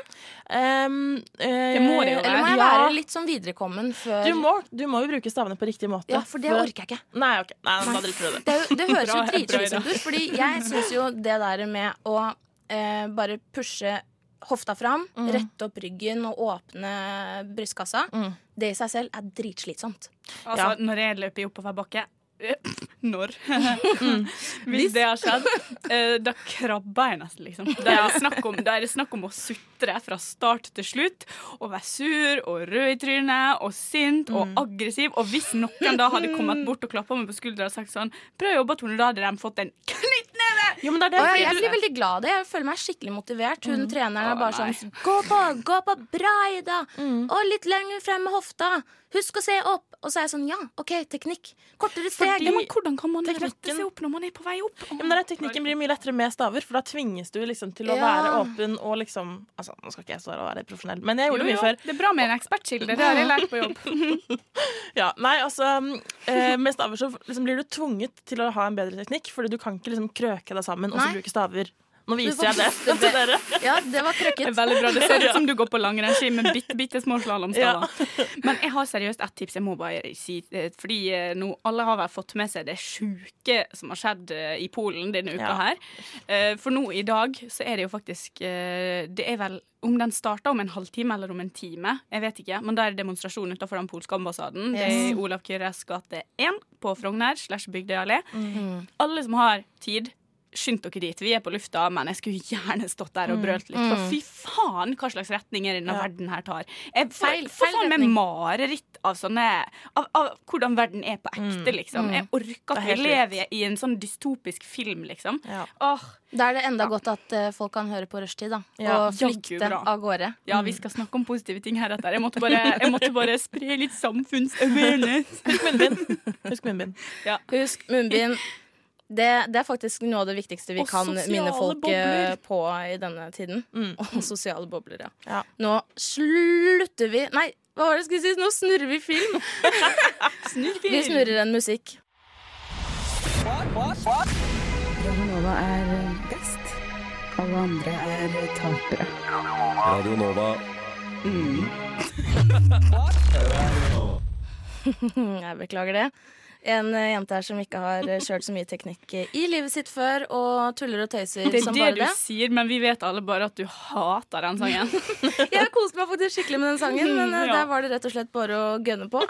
[SPEAKER 1] Ehm, eh,
[SPEAKER 4] Det må det jo
[SPEAKER 5] Eller må jeg
[SPEAKER 1] ja.
[SPEAKER 5] være litt sånn viderekommen før
[SPEAKER 1] Du må, du må jo bruke stavene på riktig måte.
[SPEAKER 5] Ja, for det
[SPEAKER 1] For-
[SPEAKER 5] orker jeg ikke.
[SPEAKER 1] Nei, ok. Nei, da driter vi i det.
[SPEAKER 5] Det, er jo- det høres jo
[SPEAKER 4] Bra, bra,
[SPEAKER 5] dritslitsomt
[SPEAKER 4] bra.
[SPEAKER 5] ut, fordi jeg syns jo det der med å eh, bare pushe hofta fram, rette opp ryggen og åpne brystkassa,
[SPEAKER 1] Mm.
[SPEAKER 5] det i seg selv er dritslitsomt.
[SPEAKER 4] Altså,
[SPEAKER 1] Ja.
[SPEAKER 4] når jeg løper i oppoverbakke eh, Når?
[SPEAKER 1] Mm.
[SPEAKER 4] [LAUGHS] Hvis det har skjedd, eh, da krabber jeg nesten, liksom. Da er, det snakk om, da er det snakk om å sutre fra start til slutt. Og være sur og rød i trynet og sint
[SPEAKER 1] Mm.
[SPEAKER 4] og aggressiv. Og hvis noen da hadde kommet bort og klappa meg på skuldra og sagt sånn Bra jobba, Tone. Da hadde de fått en knyttneve!
[SPEAKER 1] Jo, men det er Mm. det.
[SPEAKER 5] Og jeg,
[SPEAKER 1] fordi
[SPEAKER 5] jeg
[SPEAKER 1] du-
[SPEAKER 5] blir veldig glad av det. Jeg føler meg skikkelig motivert. Hun treneren er
[SPEAKER 4] Å,
[SPEAKER 5] bare
[SPEAKER 4] nei.
[SPEAKER 5] sånn Gå på, gå på, bra, Ida!
[SPEAKER 1] Mm.
[SPEAKER 5] Og litt lenger frem med hofta. Husk å se opp. Og så er jeg sånn, ja, OK, teknikk. Kortere steg.
[SPEAKER 4] ja, men hvordan kan man rette
[SPEAKER 1] teknikken-
[SPEAKER 4] seg opp når man er på vei opp?
[SPEAKER 1] Ja, men det er, teknikken blir mye lettere med staver, for da tvinges du liksom til å
[SPEAKER 5] Ja.
[SPEAKER 1] være åpen og liksom Altså, nå skal ikke jeg stå her og være profesjonell, men jeg gjorde det mye før.
[SPEAKER 4] Det er bra med en ekspertkilde. Det har jeg lært på jobb.
[SPEAKER 1] Ja, nei, altså eh, Med staver så liksom blir du tvunget til å ha en bedre teknikk, fordi du kan ikke liksom krøke deg sammen og så
[SPEAKER 5] Nei.
[SPEAKER 1] bruke staver. Nå
[SPEAKER 5] Du
[SPEAKER 1] viser jeg det
[SPEAKER 5] får-
[SPEAKER 1] [LAUGHS] til dere.
[SPEAKER 5] Ja, det var
[SPEAKER 1] [LAUGHS]
[SPEAKER 4] Det er
[SPEAKER 5] krøkket.
[SPEAKER 4] veldig bra. Det ser ut som du går på langrennsski med bitte, bitte små slalåmstaver. Men jeg har seriøst ett tips. Jeg må bare si eh, Fordi eh, nå alle har vel fått med seg det sjuke som har skjedd eh, i Polen denne uka
[SPEAKER 1] Ja.
[SPEAKER 4] her. Eh, For nå i dag så er det jo faktisk eh, Det er vel om den starter om en halvtime eller om en time, jeg vet ikke. Men da er det demonstrasjon utenfor den polske ambassaden. Det er i Olav Kyres gate 1 på Frogner slash Bygdøy allé. Alle som har tid, skynd dere dit. Vi er på lufta, men jeg skulle gjerne stått der
[SPEAKER 5] Mm,
[SPEAKER 4] og brølt litt. For fy faen hva slags retninger denne verden her tar. Jeg får
[SPEAKER 5] Feil-
[SPEAKER 4] får
[SPEAKER 5] feil
[SPEAKER 4] faen meg
[SPEAKER 5] retning.
[SPEAKER 4] mareritt av sånne av, av hvordan verden er på ekte,
[SPEAKER 5] Mm,
[SPEAKER 4] liksom. Jeg orker at
[SPEAKER 1] Det er
[SPEAKER 4] vi
[SPEAKER 1] helt
[SPEAKER 4] lever i en sånn dystopisk film, liksom.
[SPEAKER 1] Ja.
[SPEAKER 4] Åh,
[SPEAKER 5] Da er det enda godt at eh, folk kan høre på rushtid, da.
[SPEAKER 1] Ja,
[SPEAKER 5] Og
[SPEAKER 4] jaggu
[SPEAKER 5] flykte
[SPEAKER 4] bra.
[SPEAKER 5] av gårde.
[SPEAKER 4] ja, vi skal snakke om positive ting heretter. Jeg måtte bare,
[SPEAKER 5] [LAUGHS]
[SPEAKER 4] jeg måtte bare spre litt samfunns-awareness.
[SPEAKER 1] Husk munnbind. Husk munnbind.
[SPEAKER 5] Husk munnbind. Det, det er faktisk noe av det viktigste vi
[SPEAKER 1] Og
[SPEAKER 5] kan
[SPEAKER 1] sosiale
[SPEAKER 5] minne folk eh,
[SPEAKER 1] bobler.
[SPEAKER 5] på i denne tiden.
[SPEAKER 1] Mm.
[SPEAKER 5] Og sosiale bobler, ja.
[SPEAKER 1] Ja.
[SPEAKER 5] Nå slutter vi Nei, hva var det jeg skulle si? Nå snurrer vi film. Vi snurrer en musikk.
[SPEAKER 7] Radionova er best. Alle andre er tapere.
[SPEAKER 3] Radio Nova.
[SPEAKER 5] Hm, Jeg beklager det. en eh, jente her som ikke har eh, kjørt så mye teknikk eh, i livet sitt før, og tuller og tøyser
[SPEAKER 4] Det er
[SPEAKER 5] som Liksom
[SPEAKER 4] det
[SPEAKER 5] bare
[SPEAKER 4] du
[SPEAKER 5] det.
[SPEAKER 4] sier, men vi vet alle bare at du hater den sangen.
[SPEAKER 5] [LAUGHS] Jeg koste meg faktisk skikkelig med den sangen, men eh,
[SPEAKER 4] [LAUGHS] Ja.
[SPEAKER 5] der var det rett og slett bare å gønne
[SPEAKER 4] [LAUGHS]
[SPEAKER 5] på.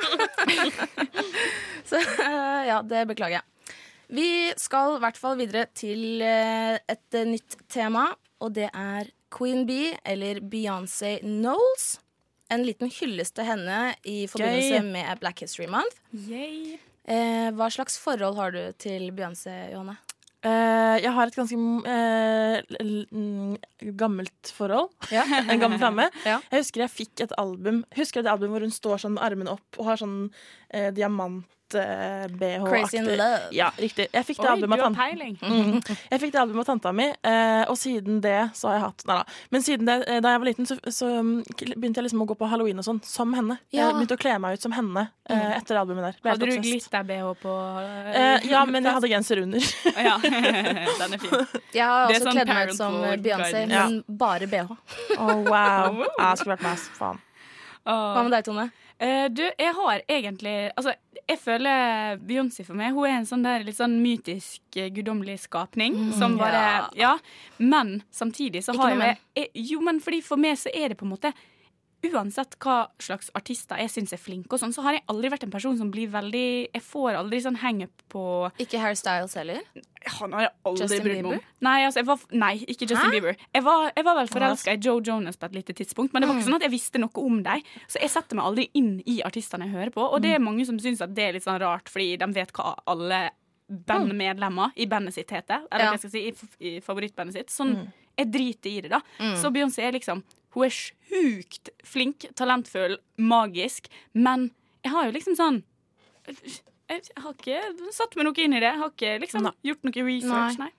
[SPEAKER 5] så eh, ja, det beklager jeg. Vi skal i hvert fall videre til eh, et eh, nytt tema, og det er Queen B, eller Beyoncé Knowles. En liten hyllest til henne i forbindelse med Black History Month.
[SPEAKER 4] Yay.
[SPEAKER 5] Eh, hva slags forhold har du til Beyoncé, Johanne?
[SPEAKER 1] Eh, jeg har et ganske eh, l- mm, gammelt forhold. En gammel flamme.
[SPEAKER 5] [LAUGHS] Ja.
[SPEAKER 1] Jeg husker jeg fikk et album Husker jeg det albumet hvor hun står sånn med armene opp og har sånn eh, diamant-BH-aktig
[SPEAKER 5] Crazy in love.
[SPEAKER 1] Ja, riktig. Jeg fikk det
[SPEAKER 4] Oi, du
[SPEAKER 1] albumet av
[SPEAKER 4] har
[SPEAKER 1] tante.
[SPEAKER 4] peiling.
[SPEAKER 1] Mm. Jeg fikk det albumet av tanta mi, eh, og siden det så har jeg hatt Nei da. Men siden det, eh, da jeg var liten, så, så mm, k- begynte jeg liksom å gå på halloween og sånn som henne.
[SPEAKER 5] Ja.
[SPEAKER 1] Jeg begynte å kle meg ut som henne eh, etter det albumet der. Ble helt
[SPEAKER 4] Hadde du
[SPEAKER 1] obsessed.
[SPEAKER 4] glitter-BH på?
[SPEAKER 1] Eh, ja, men jeg hadde genser under.
[SPEAKER 4] [LAUGHS] Ja, den er fin.
[SPEAKER 5] Jeg har
[SPEAKER 4] Det er
[SPEAKER 5] også
[SPEAKER 4] sånn
[SPEAKER 5] kledd meg ut som eh,
[SPEAKER 4] parental
[SPEAKER 5] Beyoncé,
[SPEAKER 4] guidance.
[SPEAKER 5] men bare bh.
[SPEAKER 1] Oh, wow. [LAUGHS] Ja, skulle vært meg, ass. faen.
[SPEAKER 5] [LAUGHS]
[SPEAKER 1] [LAUGHS]
[SPEAKER 5] Hva med deg, Tone?
[SPEAKER 4] Eh, du, jeg har egentlig Altså, jeg føler Beyoncé for meg Hun er en sånn der litt sånn mytisk, eh, guddommelig skapning som bare Ja. Men samtidig
[SPEAKER 5] Mm,
[SPEAKER 4] så
[SPEAKER 5] Ikke noe
[SPEAKER 4] har jo
[SPEAKER 5] men.
[SPEAKER 4] jeg, jeg Jo, men fordi for meg så er det på en måte Uansett hva slags artister jeg syns er flinke, og sånn, så har jeg aldri vært en person som blir veldig Jeg får aldri sånn hangup på
[SPEAKER 5] Ikke Harry Styles heller.
[SPEAKER 4] Han har jeg aldri
[SPEAKER 5] Justin
[SPEAKER 4] brydd meg om.
[SPEAKER 5] Bieber?
[SPEAKER 4] Nei, altså, jeg var, f- nei, ikke Justin Bieber. Jeg var, jeg var vel forelska i Joe Jonas på et lite tidspunkt, men det var ikke sånn at jeg visste noe om dem. Så jeg setter meg aldri inn i artistene jeg hører på. Og det er mange som syns at det er litt sånn rart, fordi de vet hva alle bandmedlemmer i bandet sitt heter. Eller
[SPEAKER 5] Ja.
[SPEAKER 4] hva jeg skal si, i, f- i favorittbandet sitt. Sånn, jeg driter i det, da. Så Beyoncé er liksom Hun er sjukt flink, talentfull, magisk, men jeg har jo liksom sånn jeg har ikke satt meg noe inn i det. Jeg har ikke liksom, gjort noe research, nei.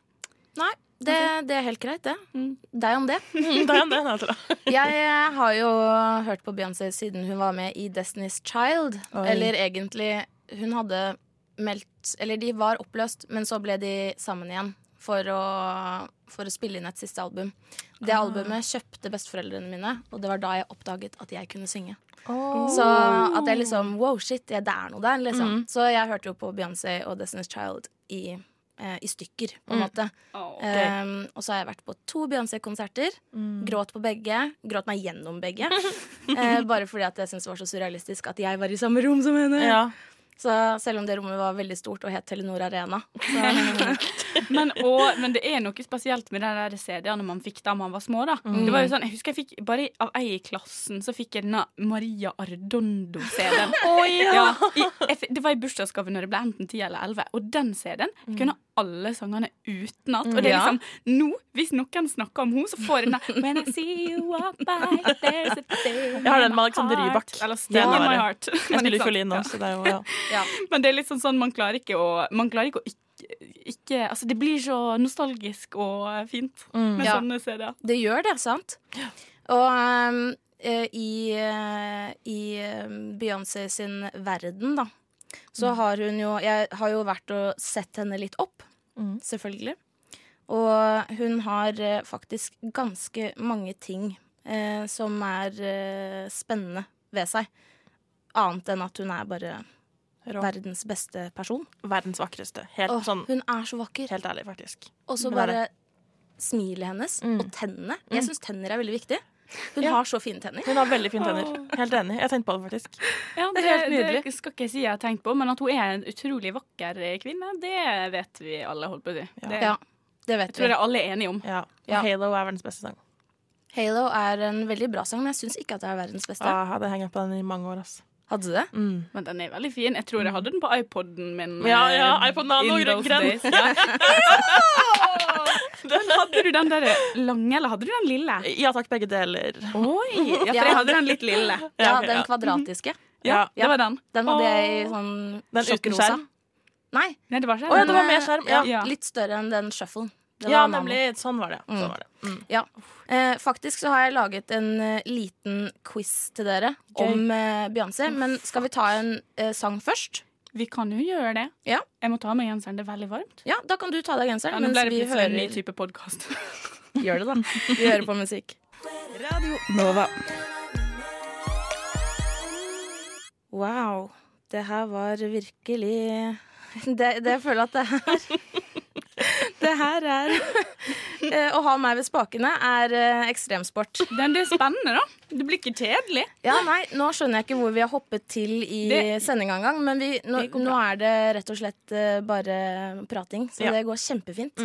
[SPEAKER 5] Nei, det, det er helt greit, det. Deg om det.
[SPEAKER 1] Mm, det er en- det er en, altså.
[SPEAKER 5] Jeg eh, har jo hørt på Beyoncé siden hun var med i Destiny's Child.
[SPEAKER 1] Oi.
[SPEAKER 5] Eller egentlig Hun hadde meldt Eller de var oppløst, men så ble de sammen igjen for å, for å spille inn et siste album. Det albumet kjøpte besteforeldrene mine, og det var da jeg oppdaget at jeg kunne synge.
[SPEAKER 1] Oh.
[SPEAKER 5] Så at jeg liksom Wow, shit, ja, det er noe der, liksom. Så jeg hørte jo på Beyoncé og Destiny's Child i, eh, i stykker, på en måte. Um, og så har jeg vært på to Beyoncé-konserter.
[SPEAKER 1] Mm.
[SPEAKER 5] Gråt på begge. Gråt meg gjennom begge. eh, bare fordi at jeg syntes det var så surrealistisk at jeg var i samme rom som henne.
[SPEAKER 1] Ja.
[SPEAKER 5] Så selv om det rommet var veldig stort og het Telenor Arena.
[SPEAKER 4] [LAUGHS] Men, og, men det er noe spesielt med de der CD-ene man fikk da man var små. da
[SPEAKER 1] Mm.
[SPEAKER 4] Det var jo sånn, Jeg husker jeg fikk bare av ei i klassen så fikk jeg denne Maria
[SPEAKER 1] [LAUGHS]
[SPEAKER 4] Ardondo-CD-en. ja. I- jeg fikk- det var i bursdagsgave når jeg ble enten 10 eller 11, og den CD-en
[SPEAKER 1] Mm.
[SPEAKER 4] jeg kunne alle sangene utenat. Og det er
[SPEAKER 5] Ja.
[SPEAKER 4] liksom nå, hvis noen snakker om henne, så får jeg den der When I see you walk by, there's a
[SPEAKER 1] [LAUGHS]
[SPEAKER 4] thing
[SPEAKER 1] Jeg har den
[SPEAKER 4] in
[SPEAKER 1] med
[SPEAKER 4] my
[SPEAKER 1] Alexander
[SPEAKER 4] heart.
[SPEAKER 1] Rybak.
[SPEAKER 4] Eller
[SPEAKER 1] Det
[SPEAKER 4] Sting
[SPEAKER 1] er
[SPEAKER 4] in my
[SPEAKER 1] bare-
[SPEAKER 4] heart. [LAUGHS]
[SPEAKER 1] Jeg
[SPEAKER 4] Men
[SPEAKER 1] spiller
[SPEAKER 4] ikke sant?
[SPEAKER 1] fiolin nå, så det er jo ja.
[SPEAKER 4] Men det er litt sånn, sånn man klarer ikke å Man klarer ikke å ikke, ikke Altså, det blir så nostalgisk og fint med
[SPEAKER 5] Ja.
[SPEAKER 4] sånne CD-er.
[SPEAKER 5] Det gjør det, sant? Og um, eh, i, eh, i um, Beyoncé sin verden, da,
[SPEAKER 1] Mm.
[SPEAKER 5] så har hun jo Jeg har jo vært og sett henne litt opp,
[SPEAKER 1] Mm.
[SPEAKER 5] selvfølgelig. Og hun har eh, faktisk ganske mange ting eh, som er eh, spennende ved seg. Annet enn at hun er bare
[SPEAKER 1] Rå.
[SPEAKER 5] verdens beste person.
[SPEAKER 1] Verdens vakreste. Helt
[SPEAKER 5] Åh,
[SPEAKER 1] sånn
[SPEAKER 5] hun er så vakker.
[SPEAKER 1] Helt ærlig, faktisk.
[SPEAKER 5] Og så
[SPEAKER 1] Det var
[SPEAKER 5] bare smilet hennes og tennene. Jeg syns tenner er veldig viktig. Hun har så fine tenner.
[SPEAKER 1] Hun har veldig fine tenner. Helt enig. Jeg tenkte på det, faktisk.
[SPEAKER 4] Ja,
[SPEAKER 1] Det er helt nydelig.
[SPEAKER 4] Det skal ikke jeg si jeg har tenkt på, men at hun er en utrolig vakker eh, kvinne, det vet vi alle, holdt på å si. Det
[SPEAKER 5] Ja, det vet
[SPEAKER 4] tror
[SPEAKER 5] vi.
[SPEAKER 4] jeg alle er enige om.
[SPEAKER 1] Ja. Og
[SPEAKER 5] Ja.
[SPEAKER 1] Halo er verdens beste sang.
[SPEAKER 5] Halo er en veldig bra sang, men jeg syns ikke at det er verdens beste.
[SPEAKER 1] Ah, jeg hadde hengt på den i mange år, ass.
[SPEAKER 5] Hadde du det?
[SPEAKER 4] Men den er veldig fin. Jeg tror jeg hadde den på iPoden min.
[SPEAKER 1] Ja,
[SPEAKER 4] eh,
[SPEAKER 1] ja, iPod Nano,
[SPEAKER 4] in those
[SPEAKER 1] grønn.
[SPEAKER 4] days. Ja. Men [LAUGHS] hadde du den der lange, eller hadde du den lille?
[SPEAKER 1] Ja takk, begge deler.
[SPEAKER 4] Oi, ja, for jeg hadde den litt lille.
[SPEAKER 5] Ja,
[SPEAKER 1] ok,
[SPEAKER 5] den
[SPEAKER 1] ja.
[SPEAKER 5] kvadratiske.
[SPEAKER 4] Ja,
[SPEAKER 1] Ja.
[SPEAKER 4] det var den.
[SPEAKER 5] Den hadde jeg i sånn
[SPEAKER 1] Den uten
[SPEAKER 5] sjokkrosa.
[SPEAKER 1] skjerm?
[SPEAKER 5] Nei.
[SPEAKER 4] Nei, det var ikke
[SPEAKER 1] Å ja,
[SPEAKER 4] den.
[SPEAKER 1] det var med skjerm. Ja,
[SPEAKER 4] Ja.
[SPEAKER 5] Litt større enn den shufflen. Den
[SPEAKER 1] ja
[SPEAKER 5] var nano.
[SPEAKER 1] nemlig. Sånn var det. ja. Sånn var det. Mm.
[SPEAKER 5] Ja. Eh, faktisk så har jeg laget en eh, liten quiz til dere om eh, Beyoncé, men skal vi ta en eh, sang først?
[SPEAKER 4] Vi kan jo gjøre det.
[SPEAKER 5] Ja.
[SPEAKER 4] Jeg må ta av meg genseren. Det er veldig varmt.
[SPEAKER 5] Ja, da kan du ta deg
[SPEAKER 4] Ja,
[SPEAKER 5] genseren
[SPEAKER 4] nå
[SPEAKER 5] mens
[SPEAKER 4] ble det
[SPEAKER 5] vi
[SPEAKER 4] plutselig en ny
[SPEAKER 5] hører
[SPEAKER 4] type podkast.
[SPEAKER 5] Gjør det, [LAUGHS] da. Vi hører på musikk.
[SPEAKER 7] Nova.
[SPEAKER 5] Wow. Det her var virkelig Det, det jeg føler at det her [LAUGHS] Det her er Eh, Å ha meg ved spakene er eh, ekstremsport.
[SPEAKER 4] [LAUGHS] Den, det er spennende, da. Det blir ikke kjedelig.
[SPEAKER 5] Ja, nei, nå skjønner jeg ikke hvor vi har hoppet til i
[SPEAKER 4] Det-
[SPEAKER 5] sendinga engang, men vi, nå,
[SPEAKER 4] Det går bra.
[SPEAKER 5] nå er det rett og slett eh, bare prating, så
[SPEAKER 1] Ja.
[SPEAKER 5] det går kjempefint.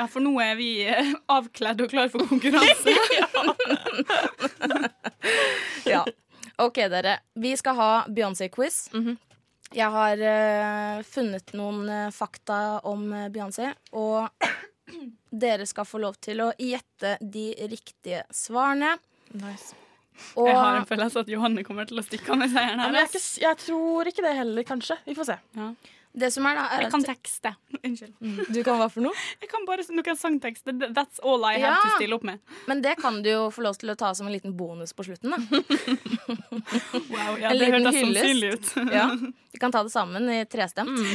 [SPEAKER 4] Ja, for nå er vi eh, avkledd og klar for [LAUGHS] konkurranse.
[SPEAKER 5] Ja. OK, dere. Vi skal ha Beyoncé-quiz.
[SPEAKER 4] Mhm.
[SPEAKER 5] Jeg har eh, funnet noen eh, fakta om eh, Beyoncé, og [CLEARS THROAT] dere skal få lov til å gjette de riktige svarene.
[SPEAKER 1] Nice.
[SPEAKER 5] Og
[SPEAKER 4] Jeg har en følelse at Johanne kommer til å stikke av med seieren
[SPEAKER 1] Ja,
[SPEAKER 4] her.
[SPEAKER 1] men jeg, er
[SPEAKER 4] ass.
[SPEAKER 1] ikke, s- jeg tror ikke det heller, kanskje. Vi får se.
[SPEAKER 5] det som er, da, er Mm.
[SPEAKER 4] Jeg kan tekste. Unnskyld.
[SPEAKER 5] Du kan hva for noe?
[SPEAKER 4] Jeg kan bare noen sangtekster. Th- That's all I
[SPEAKER 5] Ja.
[SPEAKER 4] have to stille opp med.
[SPEAKER 5] Men det kan du jo få lov til å ta som en liten bonus på slutten, da.
[SPEAKER 4] [LAUGHS] Wow, ja,
[SPEAKER 5] En
[SPEAKER 4] det
[SPEAKER 5] liten
[SPEAKER 4] hørtes
[SPEAKER 5] hyllest.
[SPEAKER 4] sannsynlig ut.
[SPEAKER 5] Ja, Vi kan ta det sammen i trestemt.
[SPEAKER 4] Mm.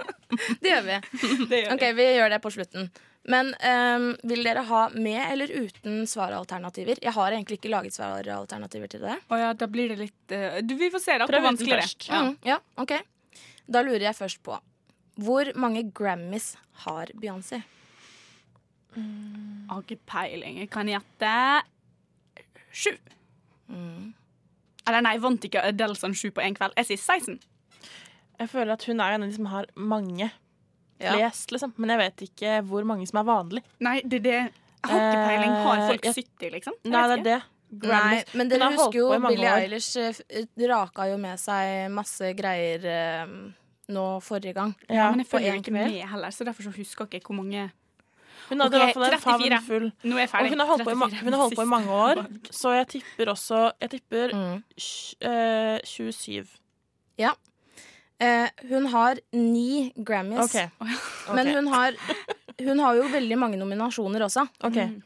[SPEAKER 5] [LAUGHS] det gjør vi.
[SPEAKER 4] [LAUGHS] Det gjør
[SPEAKER 5] Ok, Vi gjør det på slutten. Men ehm, vil dere ha med eller uten svaralternativer? Jeg har egentlig ikke laget svaralternativer til det.
[SPEAKER 4] Å ja, da blir det litt eh, du, Vi får se. da, hvor
[SPEAKER 1] Prøv uten
[SPEAKER 4] vanskelig det er.
[SPEAKER 1] først.
[SPEAKER 4] Ja.
[SPEAKER 5] Mm, ja, ok Da lurer jeg først på hvor mange Grammys har Beyoncé?
[SPEAKER 4] Har ikke peiling. Jeg kan gjette sju.
[SPEAKER 5] Mm.
[SPEAKER 4] Eller nei, vant ikke Adele sånn sju på én kveld? Jeg sier 16.
[SPEAKER 1] Jeg føler at hun er en av de som har mange
[SPEAKER 5] Ja.
[SPEAKER 1] flest, liksom. Men jeg vet ikke hvor mange som er vanlig.
[SPEAKER 4] Nei, det er det. Jeg har ikke peiling. Har folk
[SPEAKER 1] Eh, jeg-
[SPEAKER 4] 70, liksom? Jeg
[SPEAKER 1] Nei, det
[SPEAKER 4] vet
[SPEAKER 1] er
[SPEAKER 4] ikke.
[SPEAKER 1] det.
[SPEAKER 5] Nei, men
[SPEAKER 1] Hun
[SPEAKER 5] dere
[SPEAKER 1] har holdt
[SPEAKER 5] husker jo
[SPEAKER 1] på i mange
[SPEAKER 5] Billie
[SPEAKER 1] år.
[SPEAKER 5] Eilish eh, f- raka jo med seg masse greier eh, nå forrige gang.
[SPEAKER 1] Ja.
[SPEAKER 4] Men jeg
[SPEAKER 5] på
[SPEAKER 4] følger
[SPEAKER 5] én
[SPEAKER 4] jo ikke
[SPEAKER 5] kveld.
[SPEAKER 4] med heller, så derfor så husker jeg ikke hvor mange
[SPEAKER 1] Hun hadde
[SPEAKER 4] Ok,
[SPEAKER 1] i hvert fall en
[SPEAKER 4] 34.
[SPEAKER 1] favn full.
[SPEAKER 4] Nå er jeg
[SPEAKER 1] Og
[SPEAKER 4] ferdig.
[SPEAKER 1] hun har holdt på i, ma
[SPEAKER 4] 34
[SPEAKER 1] hun har holdt på i
[SPEAKER 4] siste
[SPEAKER 1] mange år,
[SPEAKER 4] valg.
[SPEAKER 1] så jeg tipper også Jeg tipper
[SPEAKER 5] Mm.
[SPEAKER 1] sj- eh, 27.
[SPEAKER 5] Eh, hun har ni Grammys.
[SPEAKER 1] OK.
[SPEAKER 5] Men hun har, hun har jo veldig mange nominasjoner også.
[SPEAKER 1] ok
[SPEAKER 4] Mm.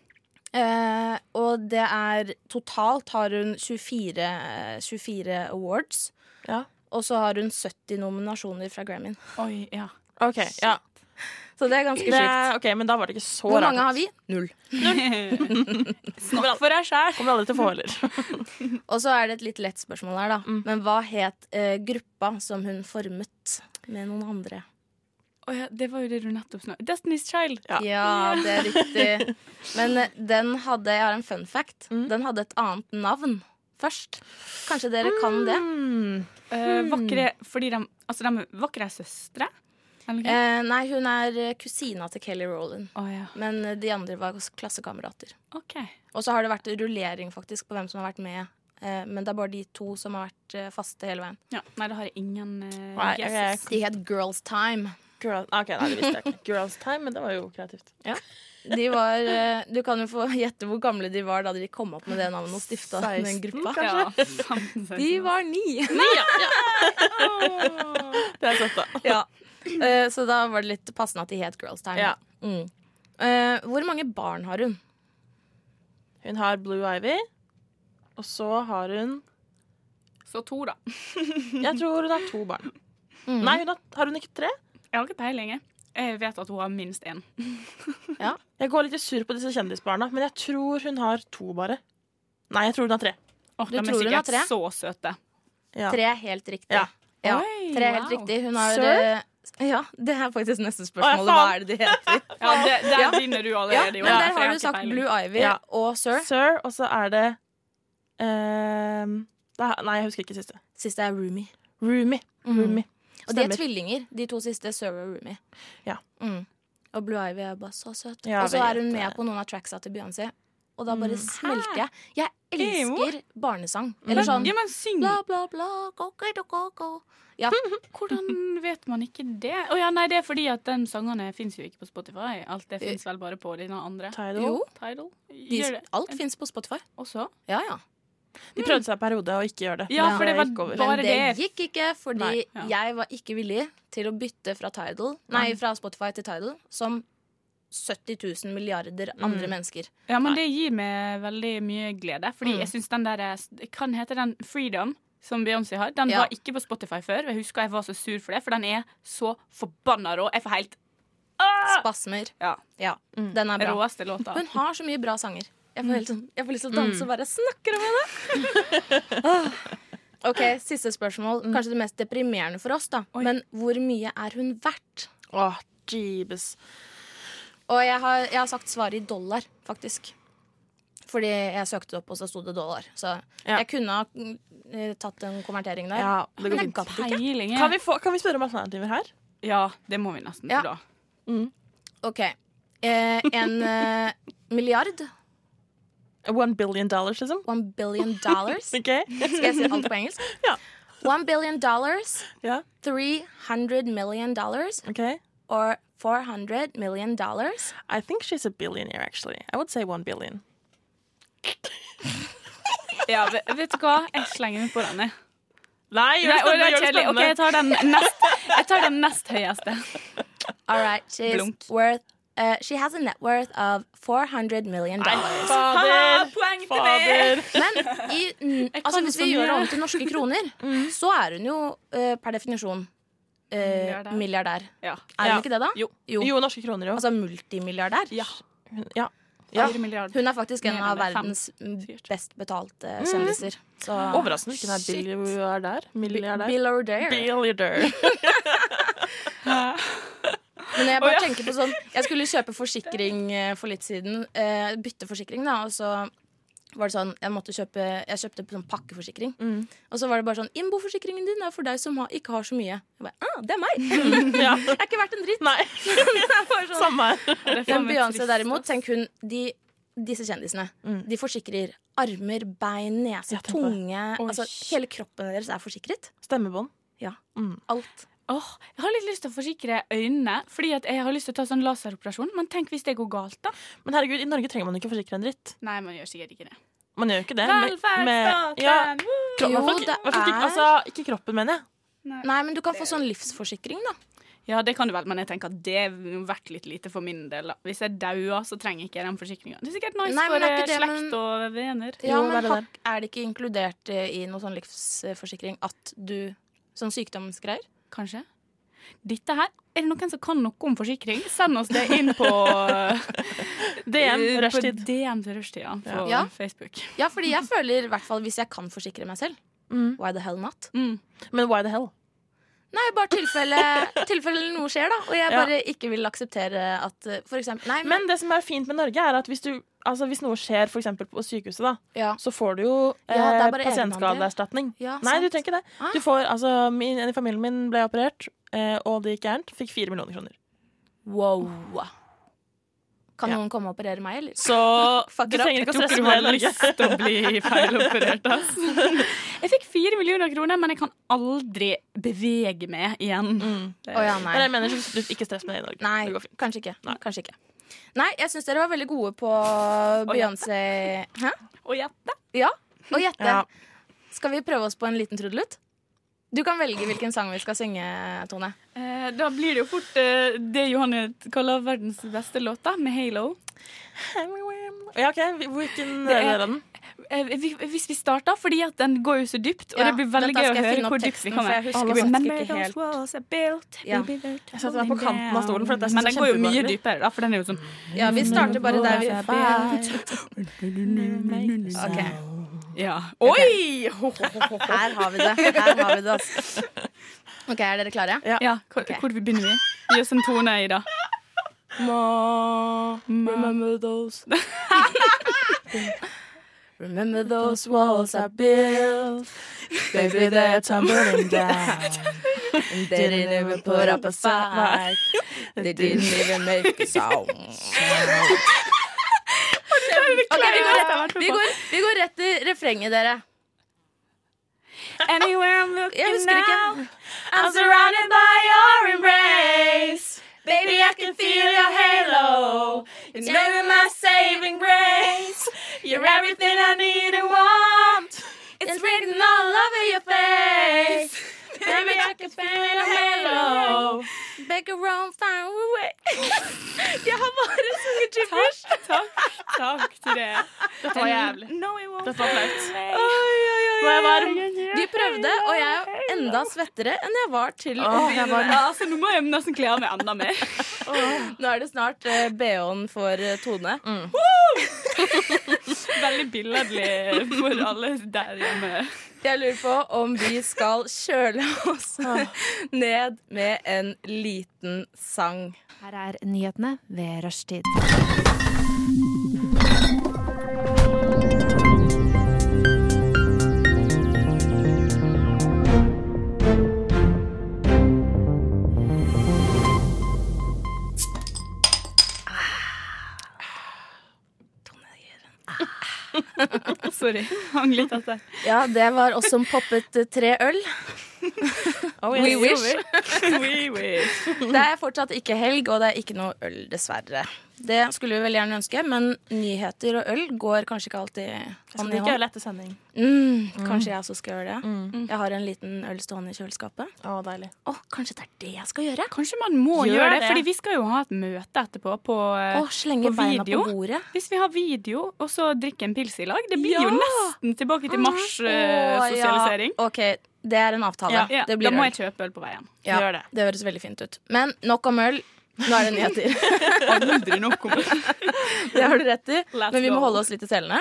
[SPEAKER 5] Eh, og det er Totalt har hun 24, eh, 24 awards.
[SPEAKER 1] Ja.
[SPEAKER 5] Og så har hun 70 nominasjoner fra Grammyen.
[SPEAKER 4] Oi, ja.
[SPEAKER 1] OK. Ja.
[SPEAKER 5] Så det er ganske
[SPEAKER 1] Det,
[SPEAKER 5] sjukt.
[SPEAKER 1] ok, men da var det ikke så
[SPEAKER 5] Hvor
[SPEAKER 1] rart.
[SPEAKER 5] mange har vi? Null.
[SPEAKER 1] Kommer aldri,
[SPEAKER 4] For deg sjæl.
[SPEAKER 1] kommer aldri til å få heller. [LAUGHS]
[SPEAKER 5] Og så er det et litt lett spørsmål her, da.
[SPEAKER 1] Mm.
[SPEAKER 5] Men hva het eh, gruppa som hun formet med noen andre?
[SPEAKER 4] [LAUGHS] Å ja, det var jo det du nettopp snakket Destiny's Child.
[SPEAKER 1] Ja.
[SPEAKER 5] Ja, det er riktig. Men eh, den hadde Jeg har en fun fact.
[SPEAKER 1] Mm.
[SPEAKER 5] Den hadde et annet navn først. Kanskje dere kan det?
[SPEAKER 1] Mm.
[SPEAKER 4] Eh, vakre Fordi de Altså, de er vakre søstre? Eller
[SPEAKER 1] Mm.
[SPEAKER 4] noe?
[SPEAKER 5] Eh, nei, hun er eh, kusina til Kelly Rowland.
[SPEAKER 4] Å ja.
[SPEAKER 5] Men eh, de andre var også klassekamerater.
[SPEAKER 4] OK.
[SPEAKER 5] Og så har det vært rullering faktisk på hvem som har vært med. Eh, men det er bare de to som har vært eh, faste hele veien.
[SPEAKER 4] Ja. Nei, det har jeg ingen eh,
[SPEAKER 1] Nei, jeg-
[SPEAKER 4] guesses.
[SPEAKER 5] De het Girls Time.
[SPEAKER 1] Girl, ah, ok, nei, det visste jeg ikke. Girls time, men det var jo kreativt.
[SPEAKER 5] De var, eh, du kan jo få [LAUGHS] gjette hvor gamle de var da de kom opp med det navnet og stifta den
[SPEAKER 1] 16,
[SPEAKER 5] gruppa.
[SPEAKER 4] Ja, 15, 16.
[SPEAKER 5] De var
[SPEAKER 1] [LAUGHS]
[SPEAKER 5] ni!
[SPEAKER 1] Det er søtt, [LAUGHS] da.
[SPEAKER 5] ja. [LAUGHS] Eh, så da var det litt passende at de het Girls Time.
[SPEAKER 1] Ja.
[SPEAKER 5] Mm. Eh, hvor mange barn har hun?
[SPEAKER 1] Hun har Blue Ivy, og så har hun
[SPEAKER 4] Så to, da.
[SPEAKER 1] Jeg tror hun har to barn.
[SPEAKER 5] Mm.
[SPEAKER 1] Nei, hun har, har hun ikke tre?
[SPEAKER 4] Jeg har ikke peiling. jeg. Jeg vet at hun har minst én.
[SPEAKER 1] Jeg går litt i surr på disse kjendisbarna, men jeg tror hun har to, bare. Nei, jeg tror hun har tre.
[SPEAKER 4] Åh,
[SPEAKER 5] Du
[SPEAKER 4] de er
[SPEAKER 5] tror hun har
[SPEAKER 4] sikkert
[SPEAKER 5] tre?
[SPEAKER 4] så søte.
[SPEAKER 1] Ja.
[SPEAKER 5] Tre er helt riktig.
[SPEAKER 1] Ja.
[SPEAKER 5] Ja,
[SPEAKER 4] Oi,
[SPEAKER 5] Tre er helt
[SPEAKER 4] wow.
[SPEAKER 5] riktig. Hun har
[SPEAKER 1] Sir?
[SPEAKER 5] eh, Ja, det er faktisk neste
[SPEAKER 1] Å,
[SPEAKER 5] spørsmål.
[SPEAKER 1] ja,
[SPEAKER 5] Hva
[SPEAKER 1] faen.
[SPEAKER 5] er det de heter?
[SPEAKER 4] Ja, det, der vinner du
[SPEAKER 5] Ja,
[SPEAKER 4] allerede,
[SPEAKER 5] men der
[SPEAKER 4] Johan, for jeg
[SPEAKER 5] har du
[SPEAKER 4] ikke
[SPEAKER 5] sagt
[SPEAKER 4] peiling.
[SPEAKER 5] Blue Ivy
[SPEAKER 1] Ja.
[SPEAKER 5] og Sir.
[SPEAKER 1] Sir, og så er det ehm, det er- Nei, jeg husker ikke siste.
[SPEAKER 5] Siste er Roomy.
[SPEAKER 1] Roomie. Roomie.
[SPEAKER 5] Mhm. Og de er
[SPEAKER 1] Stemmer.
[SPEAKER 5] tvillinger, de to siste. Sir og Roomy.
[SPEAKER 1] Ja.
[SPEAKER 5] Mm. Og Blue Ivy er bare så søt.
[SPEAKER 1] Ja,
[SPEAKER 5] og så
[SPEAKER 1] jeg
[SPEAKER 5] er
[SPEAKER 1] vet
[SPEAKER 5] hun med
[SPEAKER 1] det. eh,
[SPEAKER 5] på noen av tracksa til Beyoncé. Og da bare smelter jeg. Jeg elsker barnesang. Eller
[SPEAKER 4] Men-
[SPEAKER 5] sånn
[SPEAKER 4] Ja, men syng!
[SPEAKER 5] bla, bla, bla, go, go, go, go. Ja.
[SPEAKER 4] Hvordan vet man ikke det? Å ja, nei, det er fordi at den sangene fins jo ikke på Spotify. Alt det fins vel bare på dine andre.
[SPEAKER 1] Tidal.
[SPEAKER 5] Eh, Jo,
[SPEAKER 4] Tidal?
[SPEAKER 5] de,
[SPEAKER 4] Gjør det
[SPEAKER 5] alt fins på Spotify.
[SPEAKER 4] også?
[SPEAKER 5] Ja, ja.
[SPEAKER 1] De prøvde seg en periode å ikke gjøre Mm. det.
[SPEAKER 4] Ja,
[SPEAKER 1] men
[SPEAKER 4] for det var
[SPEAKER 1] gikk over.
[SPEAKER 4] bare-
[SPEAKER 5] Men det
[SPEAKER 4] det-
[SPEAKER 5] gikk ikke, fordi
[SPEAKER 4] Nei, ja.
[SPEAKER 5] jeg var ikke villig til å bytte fra, Tidal, nei, fra Spotify til Tidal, som 70 000 milliarder andre mennesker.
[SPEAKER 4] Ja, men det gir meg veldig mye glede. Fordi jeg syns den der eh, Kan hete den Freedom som Beyoncé har. Den
[SPEAKER 5] Ja.
[SPEAKER 4] var ikke på Spotify før. og Jeg husker jeg var så sur for det, for den er så forbanna rå. Jeg får helt
[SPEAKER 5] [LAUGHS] Spasmer.
[SPEAKER 4] ja,
[SPEAKER 5] Ja, den er bra.
[SPEAKER 4] råeste låta.
[SPEAKER 5] Mm. Hun har så mye Mm. [LAUGHS] bra sanger. Jeg får, helt, sånn- jeg får lyst til å danse og bare snakker om henne! Åh. Ok, Siste spørsmål. Kanskje det mest deprimerende for oss, da. Men hvor mye er hun verdt?
[SPEAKER 1] Åh, jeebus.
[SPEAKER 5] Og jeg har, jeg har sagt svaret i dollar, faktisk. Fordi jeg søkte det opp, og så sto det dollar. Så
[SPEAKER 1] Ja.
[SPEAKER 5] jeg kunne ha mm, eh, tatt en konvertering der.
[SPEAKER 1] Ja, det går
[SPEAKER 5] Men jeg
[SPEAKER 1] fint.
[SPEAKER 5] gadd ikke.
[SPEAKER 4] Peiling
[SPEAKER 1] Kan vi, få, kan vi spørre om alternativer her?
[SPEAKER 4] Ja, det må vi nesten
[SPEAKER 5] Ja.
[SPEAKER 4] til, da.
[SPEAKER 5] Ok. Eh, en eh, milliard.
[SPEAKER 1] One billion dollars, liksom?
[SPEAKER 5] One billion [LAUGHS] dollars.
[SPEAKER 1] OK?
[SPEAKER 5] Skal jeg si alt på engelsk?
[SPEAKER 1] [LAUGHS] Ja.
[SPEAKER 5] One billion dollars,
[SPEAKER 1] Ja,
[SPEAKER 5] 300 million dollars,
[SPEAKER 1] ok
[SPEAKER 5] or 400 million dollars.
[SPEAKER 1] I think she's a billionaire, actually. I would say one billion.
[SPEAKER 4] Ja, ve- vet du hva? Jeg slenger meg på den, jeg.
[SPEAKER 1] Nei,
[SPEAKER 4] Nei, å, det er kjedelig. OK, jeg tar den nest, jeg tar den nest høyeste.
[SPEAKER 5] All right, she's
[SPEAKER 4] Blunk.
[SPEAKER 5] worth. Uh, she has a net worth of 400 million dollars.
[SPEAKER 1] Fader!
[SPEAKER 4] Poeng til
[SPEAKER 1] Fader!
[SPEAKER 5] Men
[SPEAKER 4] [LAUGHS]
[SPEAKER 5] i, n- altså,
[SPEAKER 4] kan
[SPEAKER 5] hvis
[SPEAKER 4] så
[SPEAKER 5] vi gjør
[SPEAKER 4] mye.
[SPEAKER 5] det om til norske
[SPEAKER 4] [LAUGHS]
[SPEAKER 5] kroner,
[SPEAKER 4] Mm.
[SPEAKER 5] så er hun jo eh, per definisjon eh,
[SPEAKER 4] Milliardær.
[SPEAKER 5] milliardær.
[SPEAKER 4] Ja.
[SPEAKER 5] Er
[SPEAKER 1] Ja.
[SPEAKER 5] hun ikke det, da?
[SPEAKER 4] Jo.
[SPEAKER 1] Jo, norske kroner, jo.
[SPEAKER 5] Altså multimilliardær.
[SPEAKER 4] Ja.
[SPEAKER 1] Ja. Ja.
[SPEAKER 4] Fire milliarder.
[SPEAKER 5] Hun er faktisk en
[SPEAKER 4] Mer
[SPEAKER 5] av
[SPEAKER 4] enn fem,
[SPEAKER 5] verdens
[SPEAKER 4] sikkert.
[SPEAKER 5] best betalte
[SPEAKER 4] Mm.
[SPEAKER 5] kjendiser. Så
[SPEAKER 1] Ah, Overraskende ikke den
[SPEAKER 5] Shit.
[SPEAKER 1] billiardær. Milliardær.
[SPEAKER 5] Billardair.
[SPEAKER 1] Billiardær.
[SPEAKER 5] Men jeg bare tenker på sånn Jeg skulle kjøpe forsikring eh, for litt siden. eh, bytte forsikring, da. Og så var det sånn Jeg, måtte kjøpe, jeg kjøpte sånn pakkeforsikring.
[SPEAKER 1] Mm.
[SPEAKER 5] Og så var det bare sånn Innboforsikringen din er for deg som har, ikke har så mye. Jeg bare, ah, det er meg!
[SPEAKER 1] [LAUGHS] [LAUGHS] Ja.
[SPEAKER 5] Jeg er ikke verdt en
[SPEAKER 1] [LAUGHS]
[SPEAKER 5] dritt.
[SPEAKER 1] Nei, samme her.
[SPEAKER 4] Det er faen
[SPEAKER 5] Men
[SPEAKER 4] meg
[SPEAKER 5] Beyoncé
[SPEAKER 4] trist,
[SPEAKER 5] derimot,
[SPEAKER 4] ass.
[SPEAKER 5] tenk hun de, Disse kjendisene.
[SPEAKER 1] Mm.
[SPEAKER 5] De forsikrer armer, bein, nese,
[SPEAKER 1] Ja, tenk på det.
[SPEAKER 5] tunge Altså hele kroppen deres er forsikret.
[SPEAKER 1] Stemmebånd.
[SPEAKER 5] Alt.
[SPEAKER 4] Åh, Jeg har litt lyst til å forsikre øynene, Fordi at jeg har lyst til å ta sånn laseroperasjon. Men tenk hvis det går galt, da.
[SPEAKER 1] Men herregud, i Norge trenger man ikke forsikre en dritt.
[SPEAKER 4] Nei, man gjør sikkert ikke det.
[SPEAKER 1] Man gjør jo ikke det. med- med- ja,
[SPEAKER 4] Velferdsstaten! Woo!
[SPEAKER 5] Jo,
[SPEAKER 1] kro- i hvert fall ikke-
[SPEAKER 5] det
[SPEAKER 1] i hvert fall ikke-
[SPEAKER 5] er-
[SPEAKER 1] Altså, ikke kroppen, mener jeg.
[SPEAKER 5] Nei, men du kan få sånn livsforsikring, da.
[SPEAKER 4] Ja, det kan du vel, men jeg tenker at det er verdt litt lite for min del. Da. Hvis jeg dauer, så trenger jeg ikke den forsikringa. Det er sikkert nice
[SPEAKER 5] Nei, men er
[SPEAKER 4] for
[SPEAKER 5] ikke
[SPEAKER 4] eh,
[SPEAKER 5] det,
[SPEAKER 4] slekt
[SPEAKER 5] men-
[SPEAKER 4] og venner.
[SPEAKER 5] Ja,
[SPEAKER 1] Jo, det
[SPEAKER 5] men
[SPEAKER 1] er det
[SPEAKER 5] har- er det ikke inkludert eh, i noe sånn livsforsikring at du Sånn sykdomsgreier?
[SPEAKER 4] Kanskje. Dette her Er det noen som kan noe om forsikring? Send oss det inn
[SPEAKER 1] [LAUGHS]
[SPEAKER 4] på
[SPEAKER 1] DM,
[SPEAKER 4] eh,
[SPEAKER 1] rushtid.
[SPEAKER 4] På DM til rushtid, ja. På
[SPEAKER 5] Ja.
[SPEAKER 4] Facebook.
[SPEAKER 5] Ja, fordi jeg føler i hvert fall hvis jeg kan forsikre meg selv. Why the hell not?
[SPEAKER 4] Mm.
[SPEAKER 1] Men why the hell?
[SPEAKER 5] Nei, bare
[SPEAKER 1] [LAUGHS]
[SPEAKER 5] tilfelle, tilfelle noe skjer, da. Og jeg
[SPEAKER 1] Ja.
[SPEAKER 5] bare ikke vil akseptere at eh, for eksempel Nei, men,
[SPEAKER 1] Men det som er fint med Norge, er at hvis, du, altså, hvis noe skjer for eksempel på sykehuset, da,
[SPEAKER 5] ja.
[SPEAKER 1] så får du jo eh,
[SPEAKER 5] Ja, det er bare
[SPEAKER 1] pasientskadeerstatning.
[SPEAKER 5] Ja,
[SPEAKER 1] Nei, du
[SPEAKER 5] sant.
[SPEAKER 1] trenger ikke det.
[SPEAKER 5] Ah.
[SPEAKER 1] Du får, altså, min, en i familien min ble operert, eh, og det gikk gærent. Fikk fire millioner kroner.
[SPEAKER 5] Wow. Kan
[SPEAKER 1] Ja.
[SPEAKER 5] noen komme og operere meg, eller?
[SPEAKER 1] Så
[SPEAKER 5] [LAUGHS]
[SPEAKER 1] du trenger ikke å stresse med det, Norge.
[SPEAKER 4] lyst til å bli feiloperert,
[SPEAKER 1] [LAUGHS]
[SPEAKER 4] ass. Jeg fikk fire millioner kroner, men jeg kan aldri bevege meg igjen.
[SPEAKER 5] Å ja,
[SPEAKER 1] Men
[SPEAKER 5] nei.
[SPEAKER 1] Mm. jeg mener, så du ikke stress med det i Norge.
[SPEAKER 5] Nei,
[SPEAKER 1] Det går fint.
[SPEAKER 5] kanskje ikke.
[SPEAKER 1] Nei.
[SPEAKER 5] Kanskje ikke. Nei, jeg syns dere var veldig gode på Beyoncé Hæ?
[SPEAKER 4] Og gjette.
[SPEAKER 5] Ja, og gjette.
[SPEAKER 1] Ja.
[SPEAKER 5] Skal vi prøve oss på en liten trudelutt? Du kan velge hvilken sang vi skal synge, Tone.
[SPEAKER 4] Eh, da blir det jo fort eh, det Johanne kaller verdens beste låta, med Halo.
[SPEAKER 5] [LAUGHS]
[SPEAKER 1] Ja, ok. Hvilken
[SPEAKER 4] Det er-
[SPEAKER 1] del er den?
[SPEAKER 4] Eh, vi- hvis vi starter, fordi at den går jo så dypt, og
[SPEAKER 5] Ja,
[SPEAKER 4] det blir veldig
[SPEAKER 5] vent, da
[SPEAKER 4] gøy å
[SPEAKER 5] skal jeg finne
[SPEAKER 4] høre
[SPEAKER 5] opp
[SPEAKER 4] hvor dypt vi
[SPEAKER 5] teksten,
[SPEAKER 4] kan
[SPEAKER 5] for jeg
[SPEAKER 4] være.
[SPEAKER 5] husker faktisk
[SPEAKER 4] Remember
[SPEAKER 5] ikke
[SPEAKER 4] those
[SPEAKER 5] helt.
[SPEAKER 4] walls I built,
[SPEAKER 5] Ja.
[SPEAKER 4] maybe they're
[SPEAKER 1] Jeg setter meg på
[SPEAKER 4] tumbling
[SPEAKER 1] kanten av stolen, for at jeg synes
[SPEAKER 4] Men
[SPEAKER 1] det
[SPEAKER 4] den
[SPEAKER 1] er
[SPEAKER 4] går jo mye
[SPEAKER 1] kjempeubehagelig.
[SPEAKER 4] dypere, da, for den er jo sånn
[SPEAKER 5] Ja, vi starter bare der vi Ok,
[SPEAKER 4] Ja. Oi! Ho, ho, ho, ho.
[SPEAKER 5] her har vi det. Her har vi det, altså. Ok, er dere klare?
[SPEAKER 4] Ja, hvor, hvor begynner vi? Gi oss en tone, Ida.
[SPEAKER 1] Remember those
[SPEAKER 5] Remember those
[SPEAKER 1] walls I built Baby, they're
[SPEAKER 5] [LAUGHS]
[SPEAKER 1] tumbling down
[SPEAKER 5] They didn't even put up a fight. They didn't even make
[SPEAKER 9] [LAUGHS]
[SPEAKER 5] a sound. Ok, vi går, rett, vi, går, vi går rett til refrenget, dere.
[SPEAKER 4] Anywhere I'm looking
[SPEAKER 5] Jeg husker
[SPEAKER 4] now
[SPEAKER 5] ikke.
[SPEAKER 4] I'm surrounded by your embrace Baby, I can feel your halo It's maybe my saving grace You're everything I need and want It's written all over your face
[SPEAKER 5] [LAUGHS]
[SPEAKER 4] Baby, I can feel your halo
[SPEAKER 5] Back around, far away.
[SPEAKER 4] [LAUGHS] Jeg har bare sunget gibberish Takk, takk, takk
[SPEAKER 1] [LAUGHS]
[SPEAKER 4] til det Dette
[SPEAKER 1] var jævlig.
[SPEAKER 4] No, it won't
[SPEAKER 1] Dette var flaut.
[SPEAKER 4] fade away.
[SPEAKER 1] Nå er jeg varm
[SPEAKER 5] Vi prøvde, og jeg er enda svettere enn jeg var til å
[SPEAKER 1] Åh, jeg er varm
[SPEAKER 4] Ja, altså, nå må jeg nesten kle av
[SPEAKER 1] [LAUGHS]
[SPEAKER 4] meg enda mer Mm.
[SPEAKER 5] Nå er det snart eh, BH-en for eh, Tone.
[SPEAKER 4] Veldig billedlig for alle der hjemme.
[SPEAKER 5] Jeg lurer på om vi skal kjøle oss [LAUGHS] ned med en liten sang.
[SPEAKER 10] Her er nyhetene ved rushtid.
[SPEAKER 4] Sorry. Hang litt etter.
[SPEAKER 5] Ja, det var oss som poppet eh, tre øl. We wish.
[SPEAKER 4] We [LAUGHS] wish.
[SPEAKER 5] [LAUGHS] Det er fortsatt ikke helg, og det er ikke noe øl, dessverre. Det skulle vi veldig gjerne ønske, men nyheter og øl går kanskje ikke alltid
[SPEAKER 4] Sånn,
[SPEAKER 5] hånd i
[SPEAKER 1] Ikke
[SPEAKER 5] hånd.
[SPEAKER 1] lette sending.
[SPEAKER 5] Mm, kanskje jeg også skal gjøre det.
[SPEAKER 4] Mm.
[SPEAKER 5] Jeg har en liten øl stående i kjøleskapet.
[SPEAKER 1] Mm. Å, deilig.
[SPEAKER 5] Å, kanskje det er det jeg skal gjøre?
[SPEAKER 4] Kanskje man må
[SPEAKER 1] Gjør
[SPEAKER 4] gjøre det,
[SPEAKER 1] det.
[SPEAKER 4] fordi vi skal jo ha et møte etterpå på eh,
[SPEAKER 5] Å, slenge
[SPEAKER 4] på
[SPEAKER 5] beina
[SPEAKER 4] video?
[SPEAKER 5] på bordet.
[SPEAKER 4] Hvis vi har video, og så drikke en pils i lag. Det blir
[SPEAKER 5] Ja!
[SPEAKER 4] jo nesten tilbake
[SPEAKER 5] Å,
[SPEAKER 4] til
[SPEAKER 5] ja.
[SPEAKER 4] mars-sosialisering.
[SPEAKER 5] OK, det er en avtale.
[SPEAKER 4] eh, ja.
[SPEAKER 5] Det
[SPEAKER 4] da
[SPEAKER 5] blir
[SPEAKER 4] må
[SPEAKER 5] øl.
[SPEAKER 4] jeg kjøpe øl på veien.
[SPEAKER 5] Ja,
[SPEAKER 1] Gjør det.
[SPEAKER 5] høres veldig fint ut. Men nok om øl. Nå er det nyheter.
[SPEAKER 4] [LAUGHS] Aldri nok om det.
[SPEAKER 5] Det har du rett i.
[SPEAKER 1] [LAUGHS]
[SPEAKER 4] Let's
[SPEAKER 5] Men vi må
[SPEAKER 4] go.
[SPEAKER 5] holde oss litt i selene.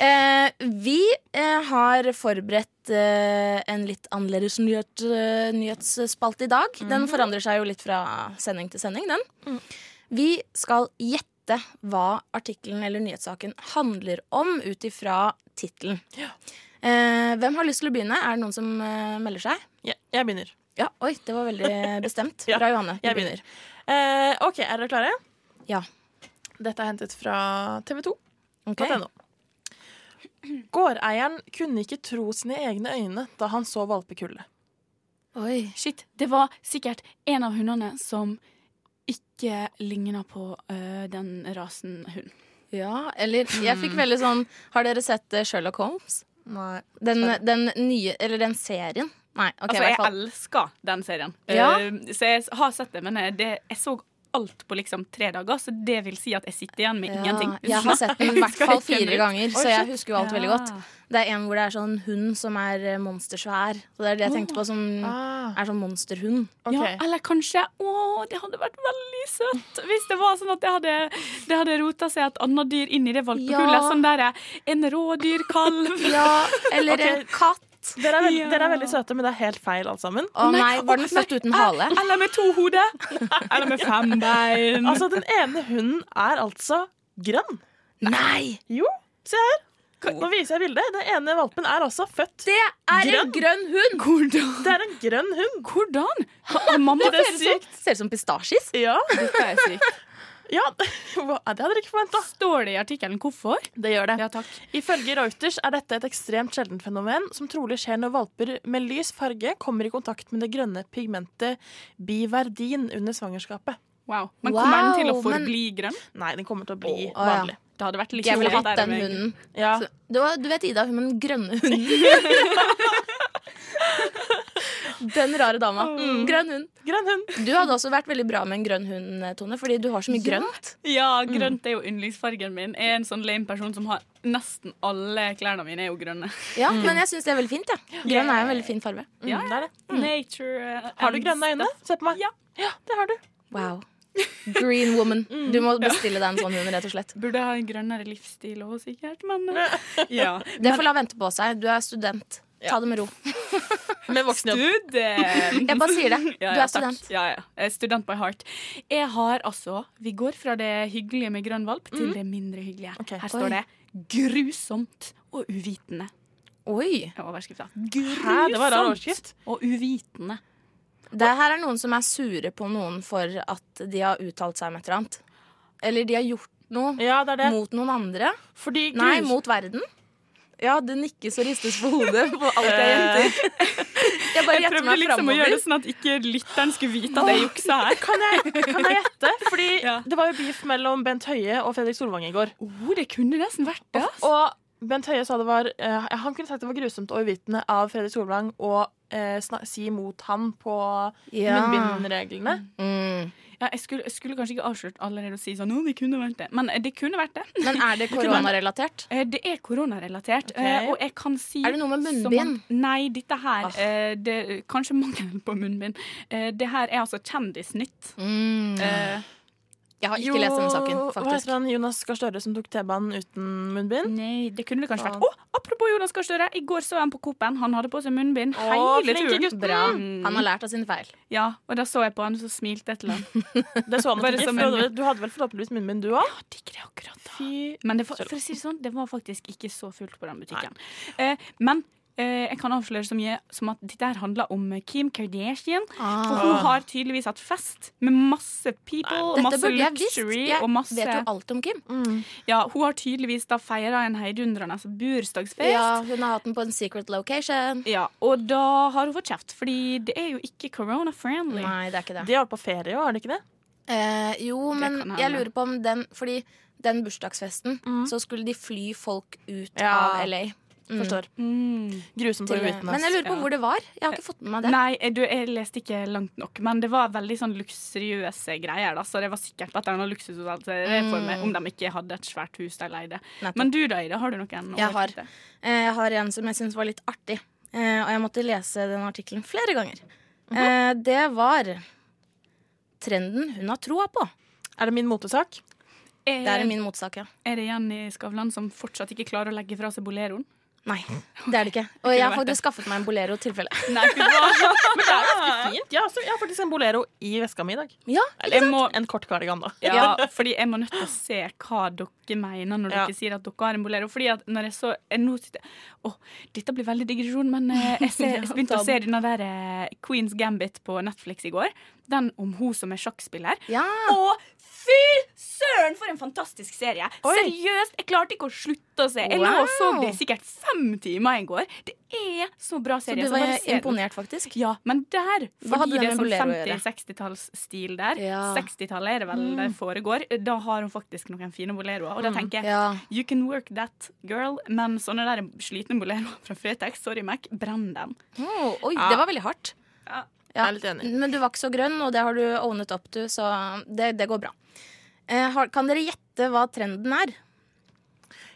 [SPEAKER 5] Eh, vi eh, har forberedt eh, en litt annerledes nyhet, eh, nyhetsspalte i dag.
[SPEAKER 1] Mhm.
[SPEAKER 5] Den forandrer seg jo litt fra sending til sending, den.
[SPEAKER 1] Mm.
[SPEAKER 5] Vi skal gjette hva artikkelen eller nyhetssaken handler om ut ifra tittelen. Eh, hvem har lyst til å begynne? Er det noen som eh, melder seg?
[SPEAKER 1] Ja, jeg begynner.
[SPEAKER 5] Ja, Oi, det var
[SPEAKER 1] [LAUGHS]
[SPEAKER 5] veldig bestemt.
[SPEAKER 1] Ja,
[SPEAKER 5] Bra, Johanne. Du
[SPEAKER 1] jeg begynner. Eh, OK, er dere klare?
[SPEAKER 5] Ja.
[SPEAKER 1] Dette er hentet fra TV 2.
[SPEAKER 5] Ok.
[SPEAKER 1] .no. Gårdeieren kunne ikke tro sine egne øyne da han så valpekullet.
[SPEAKER 5] Oi.
[SPEAKER 4] Shit, det var sikkert en av hundene som ikke ligner på øh, den rasen hund.
[SPEAKER 5] Ja, eller jeg fikk veldig sånn Har dere sett eh, Sherlock Holmes?
[SPEAKER 1] Nei.
[SPEAKER 5] Den, den nye, eller den serien? Nei, ok, i
[SPEAKER 4] Altså, jeg
[SPEAKER 5] hvert fall.
[SPEAKER 4] elsker den serien.
[SPEAKER 5] Ja.
[SPEAKER 4] Øh, så jeg har sett det, men øh, det, jeg så alt på liksom tre dager, så det vil si at jeg sitter igjen med ingenting.
[SPEAKER 5] Ja, jeg har sett den i hvert
[SPEAKER 4] [LAUGHS] Skal
[SPEAKER 5] fall
[SPEAKER 4] ikke kjenne
[SPEAKER 5] fire
[SPEAKER 4] ut.
[SPEAKER 5] ganger, så
[SPEAKER 4] Oi,
[SPEAKER 5] jeg
[SPEAKER 4] shit.
[SPEAKER 5] husker jo alt veldig godt. Det er en hvor det er sånn hund som er eh, monstersvær. Så det er det jeg tenkte på som
[SPEAKER 1] Ah,
[SPEAKER 5] er sånn monsterhund.
[SPEAKER 1] ok.
[SPEAKER 4] Ja, eller kanskje Å, det hadde vært veldig søtt hvis det var sånn at det hadde, det hadde rota seg et annet dyr inn i det valpekullet.
[SPEAKER 5] Ja.
[SPEAKER 4] Sånn derre en rådyrkalv.
[SPEAKER 5] Ja, eller
[SPEAKER 1] Ok.
[SPEAKER 5] en katt.
[SPEAKER 1] Dere, er veldig, [LAUGHS]
[SPEAKER 4] Ja.
[SPEAKER 1] dere er veldig søte, men det er helt feil alt sammen.
[SPEAKER 5] [LAUGHS] Å nei, var den født uten hale?
[SPEAKER 4] Eller med to hoder. [LAUGHS] Eller med fem bein.
[SPEAKER 1] Altså, den ene hunden er altså grønn.
[SPEAKER 5] Nei!
[SPEAKER 1] Jo, se her. Nå viser jeg bildet. Den ene valpen er altså født.
[SPEAKER 5] Det er en grønn hund!
[SPEAKER 4] hvordan?
[SPEAKER 1] Det er en grønn hund.
[SPEAKER 4] Hvordan? Hva- Mamma sånn?
[SPEAKER 1] Det er
[SPEAKER 4] ser
[SPEAKER 1] sykt.
[SPEAKER 5] Ser ut som pistasjis.
[SPEAKER 1] Ja,
[SPEAKER 4] Dette er sykt.
[SPEAKER 1] ja. [LAUGHS] Hva- Det hadde dere ikke forventa.
[SPEAKER 4] Står det i artikkelen hvorfor?
[SPEAKER 1] Det gjør det.
[SPEAKER 4] Ja takk.
[SPEAKER 1] Ifølge Reuters er dette et ekstremt sjeldent fenomen, som trolig skjer når valper med lys farge kommer i kontakt med det grønne pigmentet biverdin under svangerskapet.
[SPEAKER 4] Wow. Men
[SPEAKER 5] Wow,
[SPEAKER 4] kommer den til å
[SPEAKER 5] men-
[SPEAKER 4] forbli grønn?
[SPEAKER 1] Nei, den kommer til å bli
[SPEAKER 5] Å, ja.
[SPEAKER 1] vanlig.
[SPEAKER 4] Det hadde vært litt
[SPEAKER 5] Jeg ville
[SPEAKER 4] kjedelig
[SPEAKER 5] hatt
[SPEAKER 4] der
[SPEAKER 5] den
[SPEAKER 4] med-
[SPEAKER 5] hunden.
[SPEAKER 1] Ja.
[SPEAKER 5] Så, du, du vet Ida, hun med den grønne hunden. [LAUGHS] den rare dama. Mm. Grønn hund.
[SPEAKER 1] Grønn hund.
[SPEAKER 5] Du hadde også vært veldig bra med en grønn hund, eh, Tone, fordi du har så mye grønt.
[SPEAKER 4] Ja,
[SPEAKER 5] Mm.
[SPEAKER 4] grønt er jo yndlingsfargen min. Jeg er en sånn lame person som har nesten alle klærne mine er jo grønne.
[SPEAKER 5] Ja, Men jeg syns det er veldig fint. Mm. Ja. Grønn er jo en veldig fin farge.
[SPEAKER 4] Ja,
[SPEAKER 1] Mm, Det er det.
[SPEAKER 4] Nature uh,
[SPEAKER 1] Har du
[SPEAKER 4] and
[SPEAKER 1] grønne øyne?
[SPEAKER 4] stuff.
[SPEAKER 1] Se på meg.
[SPEAKER 4] Ja.
[SPEAKER 1] Ja, det har du.
[SPEAKER 5] Wow. Mm. Green woman. Du må bestille deg en sånn hund, rett og slett.
[SPEAKER 4] Burde ha en grønnere livsstil òg, sikkert, men uh,
[SPEAKER 1] [LAUGHS]
[SPEAKER 4] ja.
[SPEAKER 5] Det får la vente på seg. Du er student. Ta det med ro.
[SPEAKER 1] Med voksenjobb.
[SPEAKER 4] Student!
[SPEAKER 5] Jeg bare sier
[SPEAKER 1] [LAUGHS]
[SPEAKER 5] det. Du
[SPEAKER 4] Ja,
[SPEAKER 5] er
[SPEAKER 4] ja, takk.
[SPEAKER 5] student.
[SPEAKER 4] Ja, ja. Jeg er student by heart. Jeg har altså Vi går fra det hyggelige med grønn valp til det mindre hyggelige.
[SPEAKER 1] Mm. Ok.
[SPEAKER 4] Her står
[SPEAKER 5] Oi.
[SPEAKER 4] det 'grusomt og uvitende'
[SPEAKER 5] Oi.
[SPEAKER 4] er overskriften.
[SPEAKER 1] Hæ, det var rar overskrift.
[SPEAKER 4] Og uvitende.
[SPEAKER 5] Det her er noen som er sure på noen for at de har uttalt seg om et eller annet. Eller de har gjort noe
[SPEAKER 1] Ja, det er det.
[SPEAKER 5] mot noen andre.
[SPEAKER 1] Fordi
[SPEAKER 5] Nei,
[SPEAKER 1] grus-
[SPEAKER 5] mot verden. Ja, det nikkes og ristes på hodet på alt jeg jenter. [LAUGHS] Jeg bare
[SPEAKER 4] Jeg
[SPEAKER 5] gjetter
[SPEAKER 4] prøvde
[SPEAKER 5] meg
[SPEAKER 4] liksom å gjøre det
[SPEAKER 5] framover.
[SPEAKER 4] sånn at ikke lytteren skulle vite at jeg juksa her.
[SPEAKER 1] Kan jeg, [LAUGHS] kan jeg gjette? Fordi
[SPEAKER 4] Ja.
[SPEAKER 1] det var jo beef mellom Bent Høie og Fredrik Solvang i går.
[SPEAKER 4] Oh, det kunne nesten vært det. altså. ass.
[SPEAKER 1] Og Bent Høie sa det var eh, Han kunne sagt det var grusomt og uvitende av Fredrik Solvang å eh, sna- si mot han på munnbindreglene.
[SPEAKER 5] Mm.
[SPEAKER 4] Ja, jeg, skulle, jeg skulle kanskje ikke avslørt allerede å si sånn, «Å, det kunne vært det. Men eh, det kunne vært det.
[SPEAKER 5] Men er det koronarelatert?
[SPEAKER 4] Eh, Det er koronarelatert,
[SPEAKER 1] Ok.
[SPEAKER 4] eh, og jeg kan si
[SPEAKER 5] Er det noe med
[SPEAKER 4] som
[SPEAKER 5] munnbind?
[SPEAKER 4] man- Nei, dette her
[SPEAKER 5] Ah.
[SPEAKER 4] eh, det, Kanskje mangelen på munnbind. Eh, Det her er altså kjendisnytt.
[SPEAKER 5] Mm.
[SPEAKER 4] Eh,
[SPEAKER 5] Jeg har ikke lest denne saken,
[SPEAKER 1] Hva heter
[SPEAKER 5] faktisk.
[SPEAKER 1] han Jonas Gahr Støre som tok T-banen uten
[SPEAKER 5] Mm.
[SPEAKER 1] munnbind?
[SPEAKER 4] Nei, det kunne det kanskje
[SPEAKER 5] Ah.
[SPEAKER 1] Faen.
[SPEAKER 4] vært. Å, apropos Jonas Gahr Støre. I går så jeg ham på Coop-en. Han hadde på seg munnbind
[SPEAKER 1] Å,
[SPEAKER 4] hele
[SPEAKER 1] flinke
[SPEAKER 4] turen.
[SPEAKER 1] gutten.
[SPEAKER 5] Bra.
[SPEAKER 4] Mm.
[SPEAKER 5] Han har lært av sine feil.
[SPEAKER 4] Ja, og da så jeg på han, så smilte jeg til
[SPEAKER 5] [LAUGHS]
[SPEAKER 4] han.
[SPEAKER 1] Det så han
[SPEAKER 4] Bare
[SPEAKER 1] nok ikke,
[SPEAKER 4] som
[SPEAKER 1] for
[SPEAKER 4] en-
[SPEAKER 1] du- du hadde vel forhåpentligvis munnbind, du òg?
[SPEAKER 4] Digger det akkurat da.
[SPEAKER 1] Fy
[SPEAKER 4] Men det var, for å si det sånn, det var faktisk ikke så fullt på den butikken. Eh, men eh, jeg kan avsløre så mye som at dette her handler om Kim Kardashian.
[SPEAKER 5] Ah.
[SPEAKER 4] For hun har tydeligvis hatt fest med masse people,
[SPEAKER 5] Dette
[SPEAKER 4] masse
[SPEAKER 5] burde jeg visst.
[SPEAKER 4] luxury
[SPEAKER 5] Jeg
[SPEAKER 4] og masse
[SPEAKER 5] vet jo alt om Kim.
[SPEAKER 4] Ja, hun har tydeligvis da feira en heidundrende altså bursdagsfest.
[SPEAKER 5] Ja, hun har hatt den på en secret location.
[SPEAKER 4] Ja, og da har hun fått kjeft, fordi det er jo ikke corona-friendly.
[SPEAKER 5] Nei, det er ikke det.
[SPEAKER 1] De har vært på ferie òg, har de ikke det?
[SPEAKER 5] Eh, jo, men
[SPEAKER 4] kan
[SPEAKER 5] jeg
[SPEAKER 4] hende.
[SPEAKER 5] lurer på om den Fordi den bursdagsfesten, så skulle de fly folk ut
[SPEAKER 1] Ja.
[SPEAKER 5] av LA. Mm.
[SPEAKER 1] Forstår.
[SPEAKER 4] Mm.
[SPEAKER 1] Grusomt for
[SPEAKER 5] Til, eh,
[SPEAKER 1] Whitness.
[SPEAKER 5] men jeg lurer på
[SPEAKER 4] ja.
[SPEAKER 5] hvor det var. Jeg har ikke fått med meg det.
[SPEAKER 4] Nei, eh, du, jeg leste ikke langt nok, men det var veldig sånn luksuriøse greier. Da, så det var sikkert at det var noe luksushotell til det for meg, om de ikke hadde et svært hus de
[SPEAKER 5] Mm.
[SPEAKER 4] leide.
[SPEAKER 5] Nettopp.
[SPEAKER 4] Men du da, Ida, har du noen?
[SPEAKER 5] Jeg har.
[SPEAKER 4] overskrifter?
[SPEAKER 5] Eh, Jeg har en som jeg syns var litt artig, eh, og jeg måtte lese den artikkelen flere ganger. Eh, Det var trenden hun har troa på.
[SPEAKER 1] Er det min motesak?
[SPEAKER 4] Er,
[SPEAKER 5] Det er min motsak, ja.
[SPEAKER 4] er det Jenny Skavlan som fortsatt ikke klarer å legge fra seg
[SPEAKER 5] [LAUGHS]
[SPEAKER 4] boleroen?
[SPEAKER 5] Nei, det er det ikke. Og jeg har
[SPEAKER 4] vært
[SPEAKER 5] faktisk skaffet meg en bolero tilfelle.
[SPEAKER 4] Nei, fy faen.
[SPEAKER 1] Men det er ganske fint. Ja, så jeg har faktisk en bolero i veska mi i dag.
[SPEAKER 5] [LAUGHS] Ja,
[SPEAKER 1] Eller
[SPEAKER 4] sant?
[SPEAKER 1] må- en kort kardigan, da.
[SPEAKER 4] Ja, fordi jeg må nødt til å se hva dere mener når
[SPEAKER 1] Ja.
[SPEAKER 4] dere sier at dere har en bolero. Fordi at når jeg så jeg nå sitter, Åh, Dette blir veldig digresjon, men eh, jeg,
[SPEAKER 5] [LAUGHS]
[SPEAKER 4] ser, jeg begynte å se denne der eh, Queen's Gambit på Netflix i går. Den om hun som er sjakkspiller.
[SPEAKER 5] ja.
[SPEAKER 4] Og fy søren, for en fantastisk serie! Seriøst, jeg klarte ikke å slutte å se. Jeg lå og så
[SPEAKER 5] Wow.
[SPEAKER 4] det i sikkert fem timer i går. Det er så bra
[SPEAKER 5] Så
[SPEAKER 4] serie.
[SPEAKER 5] du
[SPEAKER 4] så bare
[SPEAKER 5] var
[SPEAKER 4] se den.
[SPEAKER 5] imponert, faktisk?
[SPEAKER 4] Ja, men der,
[SPEAKER 5] Hva hadde
[SPEAKER 4] fordi
[SPEAKER 5] det
[SPEAKER 4] det er
[SPEAKER 5] med
[SPEAKER 4] sånn
[SPEAKER 5] bolero å gjøre?
[SPEAKER 4] 50-60-tallsstil der
[SPEAKER 5] Ja. Mm.
[SPEAKER 4] 60-tallet er det vel det foregår. Da har hun faktisk noen fine boleroer. Og da tenker jeg
[SPEAKER 5] Ja.
[SPEAKER 4] You can work that, girl. Men sånne der slitne boleroer fra Fretex, sorry Mac, brenn den.
[SPEAKER 5] Oh, oi, det var veldig hardt.
[SPEAKER 4] Ja.
[SPEAKER 5] Ja.
[SPEAKER 1] Jeg er litt enig.
[SPEAKER 5] Men du var ikke så grønn, og det har du ownet opp til, så det, det går bra. Eh, har, kan dere gjette hva trenden er?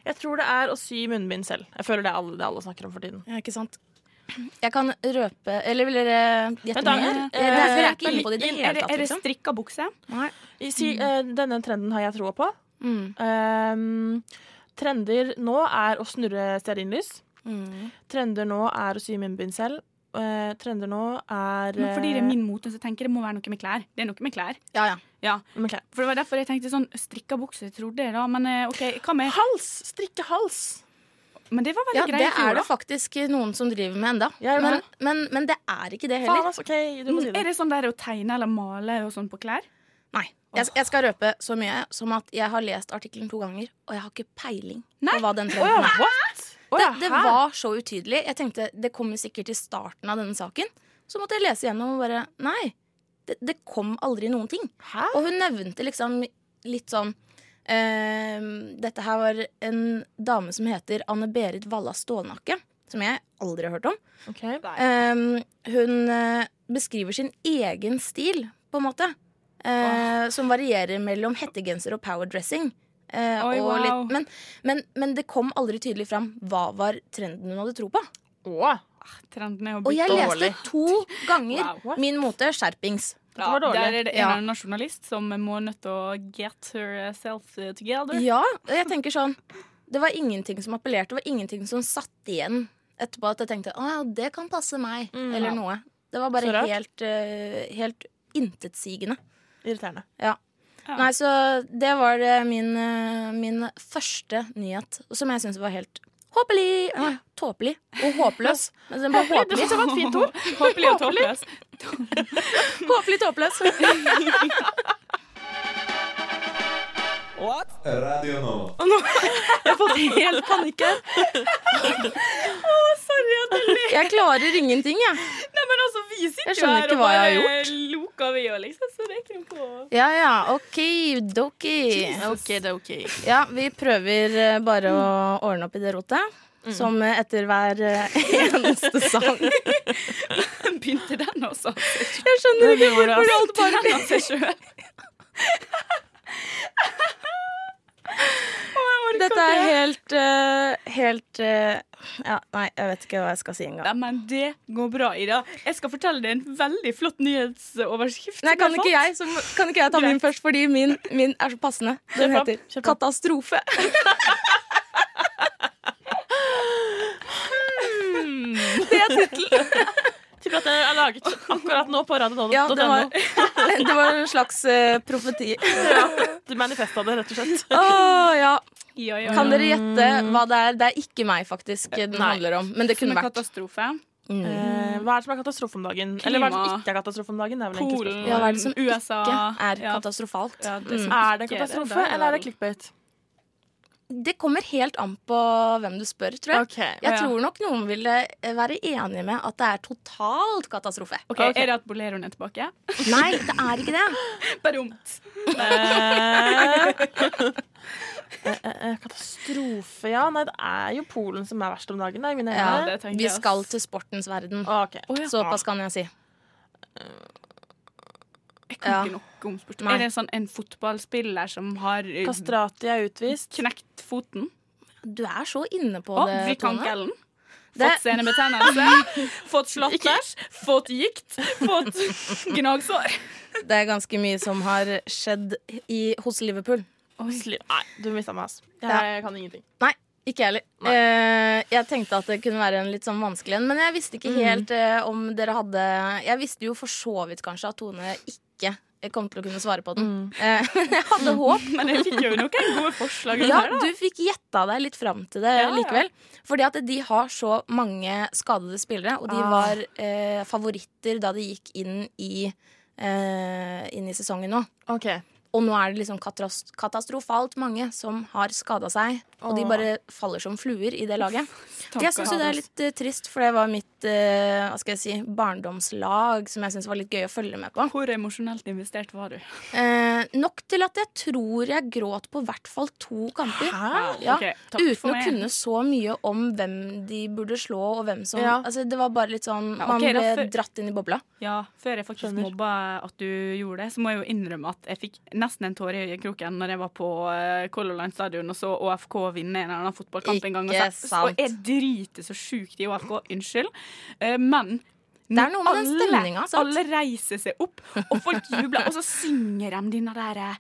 [SPEAKER 1] Jeg tror det er å sy munnbind selv. Jeg føler det er alle, det alle snakker om for tiden.
[SPEAKER 5] Ja, ikke sant? Jeg kan røpe Eller vil dere gjette
[SPEAKER 1] Vent da,
[SPEAKER 5] mer?
[SPEAKER 1] eh,
[SPEAKER 5] Dere er dere er ikke inne på det i det
[SPEAKER 4] Er
[SPEAKER 5] hele
[SPEAKER 4] det,
[SPEAKER 5] tatt.
[SPEAKER 4] er det
[SPEAKER 5] Liksom.
[SPEAKER 4] strikka bukse?
[SPEAKER 5] Nei.
[SPEAKER 1] I-
[SPEAKER 4] Mm.
[SPEAKER 1] Si, eh, denne trenden har jeg troa på.
[SPEAKER 5] Mm.
[SPEAKER 1] Ehm, trender nå er å snurre stearinlys.
[SPEAKER 5] Mm.
[SPEAKER 1] Trender nå er å sy munnbind selv. Eh, trender nå er eh,
[SPEAKER 4] Men fordi det er min mote, så tenker jeg det må være noe med klær. Det er noe med klær.
[SPEAKER 5] Ja, ja.
[SPEAKER 4] Ja,
[SPEAKER 1] eh, ok.
[SPEAKER 4] for det var derfor jeg tenkte sånn strikka bukse, trodde jeg da. Men eh, OK, hva med
[SPEAKER 1] Hals! Strikke hals.
[SPEAKER 4] Men det var veldig
[SPEAKER 5] ja
[SPEAKER 4] greit.
[SPEAKER 5] det er det faktisk noen som driver med enda.
[SPEAKER 1] Ja, jo,
[SPEAKER 5] men,
[SPEAKER 1] det.
[SPEAKER 5] men, men det er ikke det
[SPEAKER 1] Faen,
[SPEAKER 5] heller.
[SPEAKER 1] altså. OK, du må si
[SPEAKER 4] Er
[SPEAKER 1] det.
[SPEAKER 4] det sånn der å tegne eller male og sånn på klær?
[SPEAKER 5] Nei. Jeg, jeg skal røpe så mye som at jeg har lest artikkelen to ganger, og jeg har ikke peiling
[SPEAKER 4] Nei.
[SPEAKER 5] på hva den
[SPEAKER 1] Å ja,
[SPEAKER 5] trenden er.
[SPEAKER 1] what? Å
[SPEAKER 5] Det,
[SPEAKER 1] ja,
[SPEAKER 5] det
[SPEAKER 1] hæ?
[SPEAKER 5] var så utydelig. Jeg tenkte Det kommer sikkert i starten av denne saken. Så måtte jeg lese gjennom og bare Nei, det, det kom aldri noen ting.
[SPEAKER 1] Hæ?
[SPEAKER 5] Og hun nevnte liksom litt sånn eh, Dette her var en dame som heter Anne-Berit Valla Stålnakke. Som jeg aldri har hørt om.
[SPEAKER 1] Ok.
[SPEAKER 5] Eh, hun eh, beskriver sin egen stil, på en måte. eh, Som varierer mellom hettegenser og powerdressing. eh,
[SPEAKER 4] Oi,
[SPEAKER 5] og
[SPEAKER 4] wow.
[SPEAKER 5] men, men, men det kom aldri tydelig fram hva var trenden hun hadde tro på.
[SPEAKER 1] Å,
[SPEAKER 4] Trenden er å
[SPEAKER 5] Og
[SPEAKER 4] bytte
[SPEAKER 5] jeg leste
[SPEAKER 4] [LAUGHS]
[SPEAKER 1] Dårlig.
[SPEAKER 5] to ganger
[SPEAKER 4] Wow.
[SPEAKER 5] min mote skjerpings.
[SPEAKER 1] dette var dårlig.
[SPEAKER 4] Der er det en
[SPEAKER 5] Ja.
[SPEAKER 4] eller annen journalist som må nødt til å get herself eh, together.
[SPEAKER 5] Ja, og jeg tenker sånn Det var ingenting som appellerte, det var ingenting som satt igjen etterpå at jeg tenkte å ja, det kan passe meg,
[SPEAKER 1] Mm.
[SPEAKER 5] eller
[SPEAKER 1] Ja.
[SPEAKER 5] noe. Det var
[SPEAKER 1] Så
[SPEAKER 5] bare
[SPEAKER 1] rart.
[SPEAKER 5] helt, eh, helt intetsigende.
[SPEAKER 1] Irriterende.
[SPEAKER 4] Ja.
[SPEAKER 5] Nei, så det var det min, eh, min første nyhet, som jeg syns var helt håpelig. Nei, tåpelig og håpløs. Men den var
[SPEAKER 1] Det
[SPEAKER 5] håpelig,
[SPEAKER 1] synes jeg var et fint
[SPEAKER 4] [LAUGHS]
[SPEAKER 1] ord.
[SPEAKER 4] Håpelig og tåpeløs.
[SPEAKER 5] [LAUGHS] håpelig tåpløs.
[SPEAKER 3] Radio Nova.
[SPEAKER 1] Jeg har fått helt panikk her.
[SPEAKER 5] Jeg klarer ingenting, jeg.
[SPEAKER 4] Nei, men altså, vi sitter
[SPEAKER 5] Jeg skjønner ikke hva jeg har
[SPEAKER 4] loker vi og liksom, så det er ikke noe
[SPEAKER 5] Ja ja, OK, doki.
[SPEAKER 1] Ok, det er ok.
[SPEAKER 5] Ja, vi prøver eh, bare å ordne opp i det rotet. Som eh, etter hver eh, [LAUGHS] eneste sang.
[SPEAKER 4] Begynte den også?
[SPEAKER 5] Jeg skjønner ikke hvorfor det alt
[SPEAKER 4] Bare den av seg sjøl. Å, jeg må
[SPEAKER 5] Dette er helt eh, Helt eh, Ja, nei, jeg vet ikke hva jeg skal si engang.
[SPEAKER 4] Nei, men det går bra, Ida. Jeg skal fortelle deg en veldig flott nyhetsoverskrift.
[SPEAKER 5] Nei,
[SPEAKER 4] som
[SPEAKER 5] kan
[SPEAKER 4] jeg
[SPEAKER 5] ikke
[SPEAKER 4] fant.
[SPEAKER 5] jeg, så må- kan ikke jeg ta min
[SPEAKER 4] Greit.
[SPEAKER 5] først, fordi min, min er så passende. Den
[SPEAKER 4] Kjør på,
[SPEAKER 5] heter
[SPEAKER 4] kjør på.
[SPEAKER 5] Katastrofe.
[SPEAKER 4] [LAUGHS]
[SPEAKER 5] Det er tittelen.
[SPEAKER 1] Tipper at det er laget akkurat nå på radio.no.
[SPEAKER 5] Ja, det var, [LAUGHS] det var en slags eh, profeti.
[SPEAKER 1] Du manifesta det, rett og slett.
[SPEAKER 5] [LAUGHS] Å ja.
[SPEAKER 4] Ja, ja, ja.
[SPEAKER 5] Kan dere gjette hva det er? Det er ikke meg, faktisk, den
[SPEAKER 1] Nei.
[SPEAKER 5] handler om. Men det
[SPEAKER 4] Mm. Som
[SPEAKER 5] kunne
[SPEAKER 4] en
[SPEAKER 5] vært.
[SPEAKER 4] katastrofe.
[SPEAKER 5] Mm.
[SPEAKER 1] Eh, hva er det som er katastrofe om dagen? Eller hva er det som
[SPEAKER 4] Klima.
[SPEAKER 1] ikke er katastrofe om dagen? Det er vel egentlig
[SPEAKER 4] Polen,
[SPEAKER 5] Ja, hva er det som
[SPEAKER 4] USA
[SPEAKER 5] Ikke er Mm.
[SPEAKER 4] ja,
[SPEAKER 5] katastrofalt.
[SPEAKER 4] ja, det som
[SPEAKER 1] spørsmålet. Er det en
[SPEAKER 4] Mm. ikke
[SPEAKER 1] katastrofe,
[SPEAKER 4] der,
[SPEAKER 1] eller er det
[SPEAKER 4] vel.
[SPEAKER 1] clickbait?
[SPEAKER 5] Det kommer helt an på hvem du spør, tror jeg.
[SPEAKER 1] Ok.
[SPEAKER 5] Jeg
[SPEAKER 4] Ja.
[SPEAKER 5] tror nok noen ville eh, være enige med at det er totalt katastrofe.
[SPEAKER 4] Ok, Er det at boleroen er tilbake?
[SPEAKER 5] Nei, det er ikke det.
[SPEAKER 4] Baromt.
[SPEAKER 1] [LAUGHS] Eh, eh, eh, Katastrofe, ja. Nei, det er jo Polen som er verst om dagen. Da, i mine
[SPEAKER 5] Ja,
[SPEAKER 1] øyne.
[SPEAKER 4] det tenker
[SPEAKER 5] Vi
[SPEAKER 4] jeg, ass.
[SPEAKER 5] skal til sportens verden.
[SPEAKER 1] Ok.
[SPEAKER 5] Såpass kan jeg si.
[SPEAKER 4] Jeg kan
[SPEAKER 5] Ja.
[SPEAKER 4] ikke noe om sport.
[SPEAKER 5] Nei.
[SPEAKER 4] Er det sånn en fotballspiller som har eh,
[SPEAKER 1] Kastrati er utvist.
[SPEAKER 4] knekt foten?
[SPEAKER 5] Du er så inne på
[SPEAKER 4] Og
[SPEAKER 5] det,
[SPEAKER 4] vrikk
[SPEAKER 5] Tone.
[SPEAKER 4] ankelen?
[SPEAKER 5] Det- [LAUGHS]
[SPEAKER 4] Fått senebetennelse? fått slatters? Fått gikt? Fått [LAUGHS] gnagsår?
[SPEAKER 5] Det er ganske mye som har skjedd i, hos Liverpool.
[SPEAKER 1] Sli- Nei, du mista meg, ass. Jeg
[SPEAKER 5] Ja.
[SPEAKER 1] kan ingenting.
[SPEAKER 5] Nei, ikke jeg heller. Eh, jeg tenkte at det kunne være en litt sånn vanskelig en, men jeg visste ikke helt eh, om dere hadde Jeg visste jo for så vidt kanskje at Tone ikke kom til å kunne svare på den. Eh, [LAUGHS] Men jeg hadde håp.
[SPEAKER 4] Men jeg fikk jo noen gode forslag.
[SPEAKER 5] Ja,
[SPEAKER 4] her, da.
[SPEAKER 5] du fikk gjetta deg litt fram til det
[SPEAKER 4] Ja, ja.
[SPEAKER 5] likevel. Fordi at de har så mange skadede spillere, og de
[SPEAKER 1] Ah.
[SPEAKER 5] var eh, favoritter da de gikk inn i, eh, inn i sesongen nå.
[SPEAKER 1] Ok,
[SPEAKER 5] Og nå er det liksom katras- katastrofalt mange som har skada seg. Og de
[SPEAKER 1] Åh.
[SPEAKER 5] bare faller som fluer i det laget. Jeg syns jo det er
[SPEAKER 1] Stakkars.
[SPEAKER 5] litt eh, trist, for det var mitt eh, hva skal jeg si, barndomslag som jeg syns var litt gøy å følge med på.
[SPEAKER 4] Hvor emosjonelt investert var du?
[SPEAKER 5] Eh, nok til at jeg tror jeg gråt på hvert fall to kamper. Ja,
[SPEAKER 4] Ok, takk for
[SPEAKER 5] uten å
[SPEAKER 4] meg.
[SPEAKER 5] kunne så mye om hvem de burde slå, og hvem som
[SPEAKER 1] Ja.
[SPEAKER 5] altså, Det var bare litt sånn
[SPEAKER 4] Ja, ok,
[SPEAKER 5] Man
[SPEAKER 4] da
[SPEAKER 5] ble
[SPEAKER 4] før-
[SPEAKER 5] dratt inn i bobla.
[SPEAKER 4] Ja, Før jeg faktisk
[SPEAKER 1] Skjønner.
[SPEAKER 4] mobba at du gjorde det, så må jeg jo innrømme at jeg fikk nesten en tåre i øyekroken når jeg var på eh, Color Line Stadion og så ÅFK vinne en eller annen fotballkamp en gang. Og,
[SPEAKER 5] Ikke
[SPEAKER 4] så-
[SPEAKER 5] sant.
[SPEAKER 4] og jeg driter så sjukt i ÅFK, unnskyld. Eh, men
[SPEAKER 5] Det er noe med den stemninga, sant?
[SPEAKER 4] Alle reiser seg opp, og folk jubler, og så synger de denne derre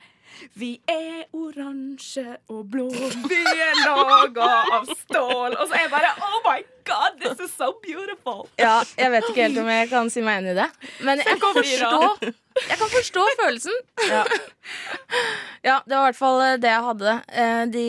[SPEAKER 4] vi er oransje og blå, vi er laga av stål. Og så er jeg bare Oh my God, this is so beautiful!
[SPEAKER 5] Ja, jeg vet ikke helt om jeg kan si meg enig i det. Men jeg kan forstå, jeg kan forstå følelsen. [LAUGHS] Ja. det var i hvert fall det jeg hadde. Eh, De,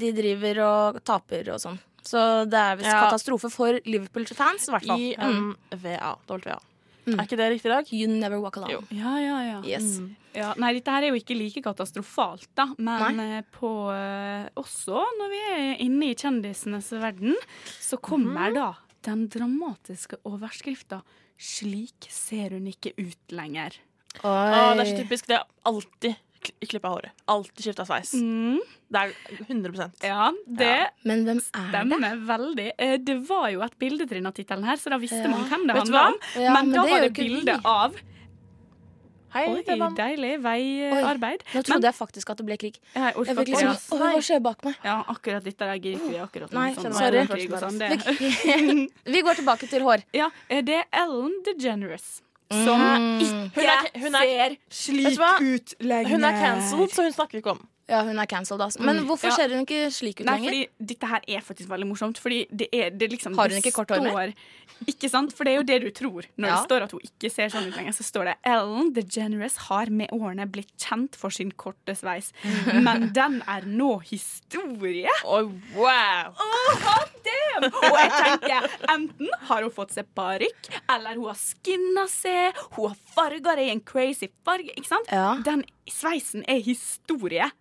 [SPEAKER 5] de driver og taper og sånn. Så det er visst
[SPEAKER 1] Ja.
[SPEAKER 5] katastrofe for Liverpool-fans, i hvert fall. Mm.
[SPEAKER 1] IMVA. WA. Er ikke det riktig i dag?
[SPEAKER 5] You never walk alone.
[SPEAKER 1] Jo.
[SPEAKER 4] Ja, ja, ja. Mm.
[SPEAKER 5] Yes.
[SPEAKER 4] Ja, nei, dette her er jo ikke like katastrofalt, da. Men eh, på eh, også når vi er inne i kjendisenes verden, så
[SPEAKER 5] Mhm.
[SPEAKER 4] kommer da den dramatiske overskrifta 'Slik ser hun ikke ut lenger'.
[SPEAKER 1] Å, det er så typisk. Det er alltid kli- klippe håret. Alltid skifta sveis.
[SPEAKER 5] Mm.
[SPEAKER 1] Det er 100
[SPEAKER 4] Mm. Ja, det
[SPEAKER 5] Men hvem er det?
[SPEAKER 4] stemmer veldig. Eh, det var jo et bildetrinn av tittelen her, så da visste
[SPEAKER 5] Ja.
[SPEAKER 4] man hvem det
[SPEAKER 1] Vet du
[SPEAKER 4] handla om.
[SPEAKER 5] hva? Ja,
[SPEAKER 4] men,
[SPEAKER 5] men
[SPEAKER 4] da
[SPEAKER 5] det
[SPEAKER 4] var
[SPEAKER 5] gjør
[SPEAKER 4] det
[SPEAKER 5] jo ikke
[SPEAKER 4] bilde
[SPEAKER 5] vi.
[SPEAKER 4] av
[SPEAKER 1] Hei,
[SPEAKER 4] Oi,
[SPEAKER 1] Devan.
[SPEAKER 4] deilig veiarbeid.
[SPEAKER 5] Nå trodde jeg faktisk at det ble krig.
[SPEAKER 4] Jeg orker
[SPEAKER 5] Jeg fikk
[SPEAKER 4] ikke
[SPEAKER 5] liksom Å,
[SPEAKER 4] det.
[SPEAKER 5] hva skjer bak meg?
[SPEAKER 4] Ja, akkurat dette der gidder ikke vi akkurat nå.
[SPEAKER 5] Nei,
[SPEAKER 4] Sånn
[SPEAKER 5] sorry.
[SPEAKER 4] krig og Sånn, det.
[SPEAKER 5] [LAUGHS] Vi går tilbake til hår.
[SPEAKER 4] Ja, eh, det er Ellen DeGeneres
[SPEAKER 5] Mm.
[SPEAKER 4] som
[SPEAKER 1] Hun er, hun er,
[SPEAKER 4] slik
[SPEAKER 1] hva?
[SPEAKER 4] ut lenger.
[SPEAKER 1] hun er cancelled, så hun snakker vi ikke om.
[SPEAKER 5] Ja, hun er cancelled, altså. Men hvorfor
[SPEAKER 4] Ja.
[SPEAKER 5] ser hun ikke slik ut
[SPEAKER 4] Nei,
[SPEAKER 5] lenger?
[SPEAKER 4] fordi dette her er faktisk veldig morsomt. Fordi det er, det er liksom,
[SPEAKER 5] Har hun
[SPEAKER 4] det
[SPEAKER 5] ikke kort hår mer?
[SPEAKER 4] står- Ikke sant? For det er jo det du tror. Når
[SPEAKER 5] Ja.
[SPEAKER 4] det står at hun ikke ser sånn ut lenger, så står det Ellen DeGeneres har med årene blitt kjent for sin korte sveis, men den er nå historie.
[SPEAKER 1] wow!
[SPEAKER 4] Oh, hot damn! Og jeg tenker, enten har hun fått seg parykk, eller hun har skinna seg, hun har farga det i en crazy farge. Ikke sant?
[SPEAKER 5] Ja.
[SPEAKER 4] Den sveisen er historie.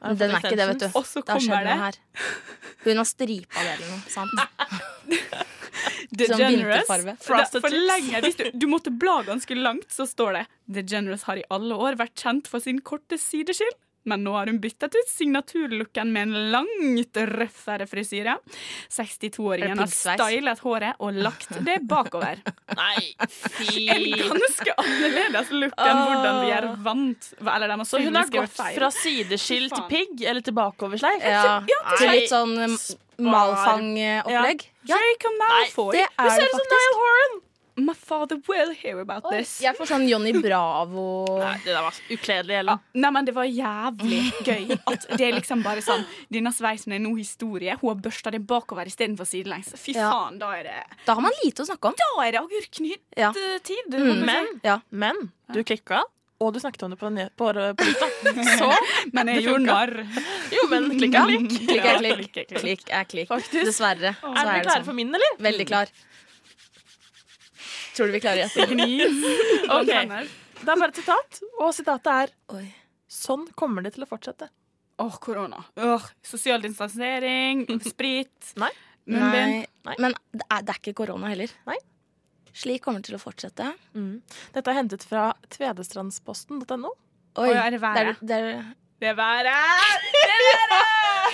[SPEAKER 5] Den er ikke det, vet du.
[SPEAKER 4] Og så
[SPEAKER 5] Da skjer
[SPEAKER 4] kommer
[SPEAKER 5] det
[SPEAKER 4] det
[SPEAKER 5] her. Hun har stripa det eller noe. sant?
[SPEAKER 4] The
[SPEAKER 5] Sånn
[SPEAKER 4] Generous.
[SPEAKER 5] vinterfarve.
[SPEAKER 4] Det- For lenge, hvis du, du måtte bla ganske langt, så står det The Generous har i alle år vært kjent for sin korte sideskill. men nå har hun byttet ut signaturlooken med en langt røffere frisyre. 62-åringen har
[SPEAKER 5] piggsveis?
[SPEAKER 4] stylet håret og lagt det bakover.
[SPEAKER 1] Nei, fy
[SPEAKER 4] En
[SPEAKER 1] [LAUGHS]
[SPEAKER 4] ganske annerledes look enn hvordan vi er vant Eller den har
[SPEAKER 1] Ah. Så hun har
[SPEAKER 4] tydeligvis
[SPEAKER 1] gått
[SPEAKER 4] skrevet feil.
[SPEAKER 1] fra sideskill
[SPEAKER 4] Fy
[SPEAKER 1] til
[SPEAKER 4] faen.
[SPEAKER 1] pigg, eller til bakoversleif?
[SPEAKER 5] Ja, til
[SPEAKER 1] Nei.
[SPEAKER 5] litt sånn um, malfang-opplegg.
[SPEAKER 4] Jacob Malfoy.
[SPEAKER 5] det er det
[SPEAKER 4] Niall Horan! My father will hear about this.
[SPEAKER 5] Jeg får sånn Johnny Bravo
[SPEAKER 1] Nei, det der var ukledelig,
[SPEAKER 4] Ja,
[SPEAKER 1] Ellen.
[SPEAKER 4] nei, men det var jævlig gøy. At det er liksom bare sånn Denne sveisen er nå historie. Hun har børsta det bakover istedenfor sidelengs. Fy
[SPEAKER 5] Ja.
[SPEAKER 4] faen, da er det
[SPEAKER 5] Da har man lite å snakke om.
[SPEAKER 4] Da er det agurknytt-tid.
[SPEAKER 5] Ja.
[SPEAKER 1] eh,
[SPEAKER 5] Mm.
[SPEAKER 1] Men,
[SPEAKER 5] Ja.
[SPEAKER 1] men du klikka, og du snakket om det på, den- på, på Mm. lufta. Så
[SPEAKER 4] Men jeg
[SPEAKER 1] Det
[SPEAKER 4] gjorde
[SPEAKER 1] funka.
[SPEAKER 4] narr.
[SPEAKER 1] [LAUGHS] jo, men klikk er klikk.
[SPEAKER 5] [LAUGHS] Klikk er
[SPEAKER 1] Ja,
[SPEAKER 5] klikk. Klikk er klikk.
[SPEAKER 1] Faktisk.
[SPEAKER 5] Dessverre. Så sånn.
[SPEAKER 1] Er sånn. dere klare for min, eller?
[SPEAKER 5] Veldig klar. Tror du vi klarer gjette?
[SPEAKER 1] [LAUGHS] Ok, Det er bare et sitat, og sitatet er
[SPEAKER 5] [LAUGHS] Oi.
[SPEAKER 1] Sånn kommer det til å fortsette.
[SPEAKER 4] Åh, korona. Åh, Sosial distansering, sprit,
[SPEAKER 1] Nei.
[SPEAKER 4] munnbind.
[SPEAKER 5] Nei.
[SPEAKER 1] Nei.
[SPEAKER 5] Men det er, det er ikke korona heller.
[SPEAKER 1] Nei.
[SPEAKER 5] Slik kommer det til å fortsette.
[SPEAKER 1] Dette er hentet fra tvedestrandsposten.no.
[SPEAKER 5] Oi,
[SPEAKER 4] Oi, er det været?
[SPEAKER 5] Det er, det er,
[SPEAKER 4] Det været!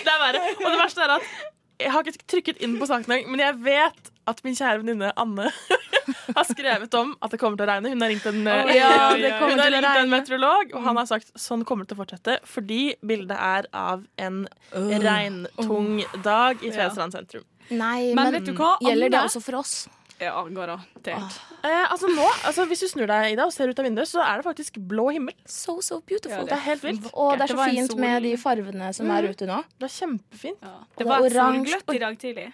[SPEAKER 1] Det er verre. Og det verste er at jeg har ikke trykket inn på saken engang, men jeg vet at min kjære venninne Anne [LAUGHS] har skrevet om at det kommer til å regne. Hun har ringt en,
[SPEAKER 4] Å,
[SPEAKER 5] ja, det kommer
[SPEAKER 1] [LAUGHS] hun har
[SPEAKER 5] til å
[SPEAKER 1] ringt en
[SPEAKER 5] regne.
[SPEAKER 1] meteorolog, og han har sagt sånn kommer det til å fortsette, fordi bildet er av en regntung dag i Tvedestrand sentrum.
[SPEAKER 5] nei,
[SPEAKER 4] Men
[SPEAKER 5] men,
[SPEAKER 4] vet du hva,
[SPEAKER 5] gjelder det
[SPEAKER 4] Anne?
[SPEAKER 5] også for oss?
[SPEAKER 4] Ja, garantert.
[SPEAKER 1] Eh, altså nå, altså Hvis du snur deg Ida, og ser ut av vinduet, så er det faktisk blå himmel.
[SPEAKER 5] So, so beautiful.
[SPEAKER 4] Ja,
[SPEAKER 1] Det er helt vilt.
[SPEAKER 5] Og det er
[SPEAKER 4] Det
[SPEAKER 5] så
[SPEAKER 4] var en
[SPEAKER 5] fint
[SPEAKER 4] sol.
[SPEAKER 5] med de farvene som er ute nå.
[SPEAKER 1] Det er kjempefint.
[SPEAKER 4] Ja.
[SPEAKER 5] det
[SPEAKER 4] Det
[SPEAKER 5] er
[SPEAKER 4] var et
[SPEAKER 5] oransje.
[SPEAKER 4] solgløtt i dag tidlig.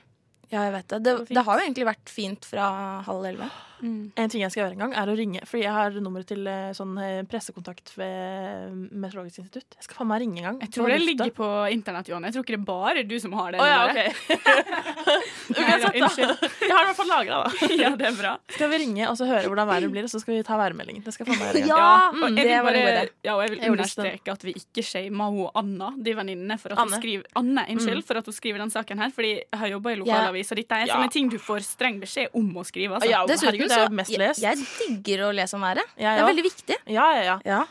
[SPEAKER 5] Ja, jeg vet det. Det,
[SPEAKER 4] var fint.
[SPEAKER 5] det har jo egentlig vært fint fra halv elleve.
[SPEAKER 1] En ting jeg skal gjøre en gang, er å ringe. Fordi jeg har nummeret til eh, sånn eh, pressekontakt ved mm, Meteorologisk institutt. Jeg skal faen meg ringe en gang.
[SPEAKER 4] Jeg tror det ligger på internett, Johan. Jeg tror ikke det er bare du som har det.
[SPEAKER 1] Å ja,
[SPEAKER 4] [LAUGHS] nummeret.
[SPEAKER 1] OK.
[SPEAKER 4] Nei, da, unnskyld.
[SPEAKER 1] Jeg har det i hvert fall lagra, da.
[SPEAKER 4] [LAUGHS] Ja, det er bra.
[SPEAKER 1] Skal vi ringe og så høre hvordan været blir, og så skal vi ta værmeldingen. Det skal jeg faen
[SPEAKER 5] [LAUGHS]
[SPEAKER 1] meg gjøre.
[SPEAKER 5] Ja,
[SPEAKER 1] igjen.
[SPEAKER 4] og jeg
[SPEAKER 5] det
[SPEAKER 4] vil
[SPEAKER 5] var en god
[SPEAKER 4] bare-
[SPEAKER 5] idé.
[SPEAKER 4] Ja, og jeg vil
[SPEAKER 1] Jeg gjorde det
[SPEAKER 4] understreke at vi ikke shamer hun Anna, de venninnene, for at
[SPEAKER 1] Anne.
[SPEAKER 4] hun skriver Anne, unnskyld, for at hun skriver den saken her. Fordi jeg har jobba i lokalavis, og dette er
[SPEAKER 1] Ja.
[SPEAKER 4] sånne ting du får streng beskjed om å skrive. Altså.
[SPEAKER 1] Ja, jo,
[SPEAKER 5] Dessuten
[SPEAKER 1] herregud, det er jo
[SPEAKER 5] så
[SPEAKER 1] mest
[SPEAKER 5] jeg,
[SPEAKER 1] lest. Ja,
[SPEAKER 5] jeg digger å lese om været. Det
[SPEAKER 1] Ja,
[SPEAKER 5] er
[SPEAKER 1] ja.
[SPEAKER 5] veldig viktig.
[SPEAKER 1] ja, ja.
[SPEAKER 5] Ja.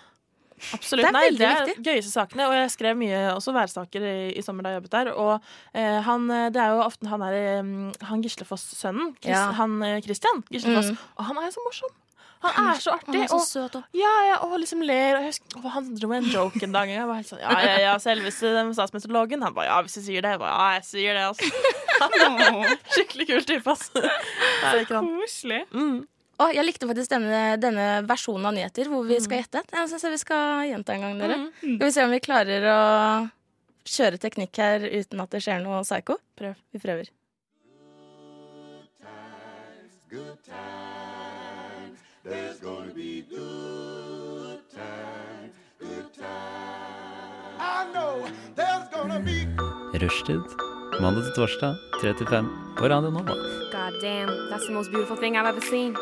[SPEAKER 1] Absolutt.
[SPEAKER 5] Det er
[SPEAKER 1] Nei,
[SPEAKER 5] veldig
[SPEAKER 1] det er
[SPEAKER 5] viktig.
[SPEAKER 1] gøyeste sakene. Og jeg skrev mye også værsaker i, i sommer da jeg jobbet der. Og eh, han, eh, det er jo ofte han er eh, han Gislefoss-sønnen. Chris,
[SPEAKER 5] Ja.
[SPEAKER 1] Han eh, Christian Gislefoss.
[SPEAKER 5] Mm.
[SPEAKER 1] Og han er jo så morsom. Han er så
[SPEAKER 5] Han
[SPEAKER 1] artig.
[SPEAKER 5] er så
[SPEAKER 1] og
[SPEAKER 5] søt og
[SPEAKER 1] ja, ja, og liksom ler. Og jeg husker, å, han dro en joke en dag. og Jeg var helt sånn, ja, ja, ja, Selveste den statsmeteorologen. Han bare ja, hvis du sier det. Jeg bare, ja, jeg sier det, altså. [LAUGHS] Han er
[SPEAKER 4] Åh,
[SPEAKER 1] en Skikkelig kul type, ass. Nei, ikke sant.
[SPEAKER 4] Koselig.
[SPEAKER 1] Mm.
[SPEAKER 5] Å, jeg likte faktisk denne, denne versjonen av nyheter hvor vi skal gjette. Jeg synes vi skal gjenta en gang, dere. Skal vi se om vi klarer å kjøre teknikk her uten at det skjer noe psycho? Prøv. Vi prøver.
[SPEAKER 2] Rushtid. Mandag til torsdag, 3 til 5 på Radio Nova.
[SPEAKER 11] God damn, that's the most beautiful thing I've ever seen.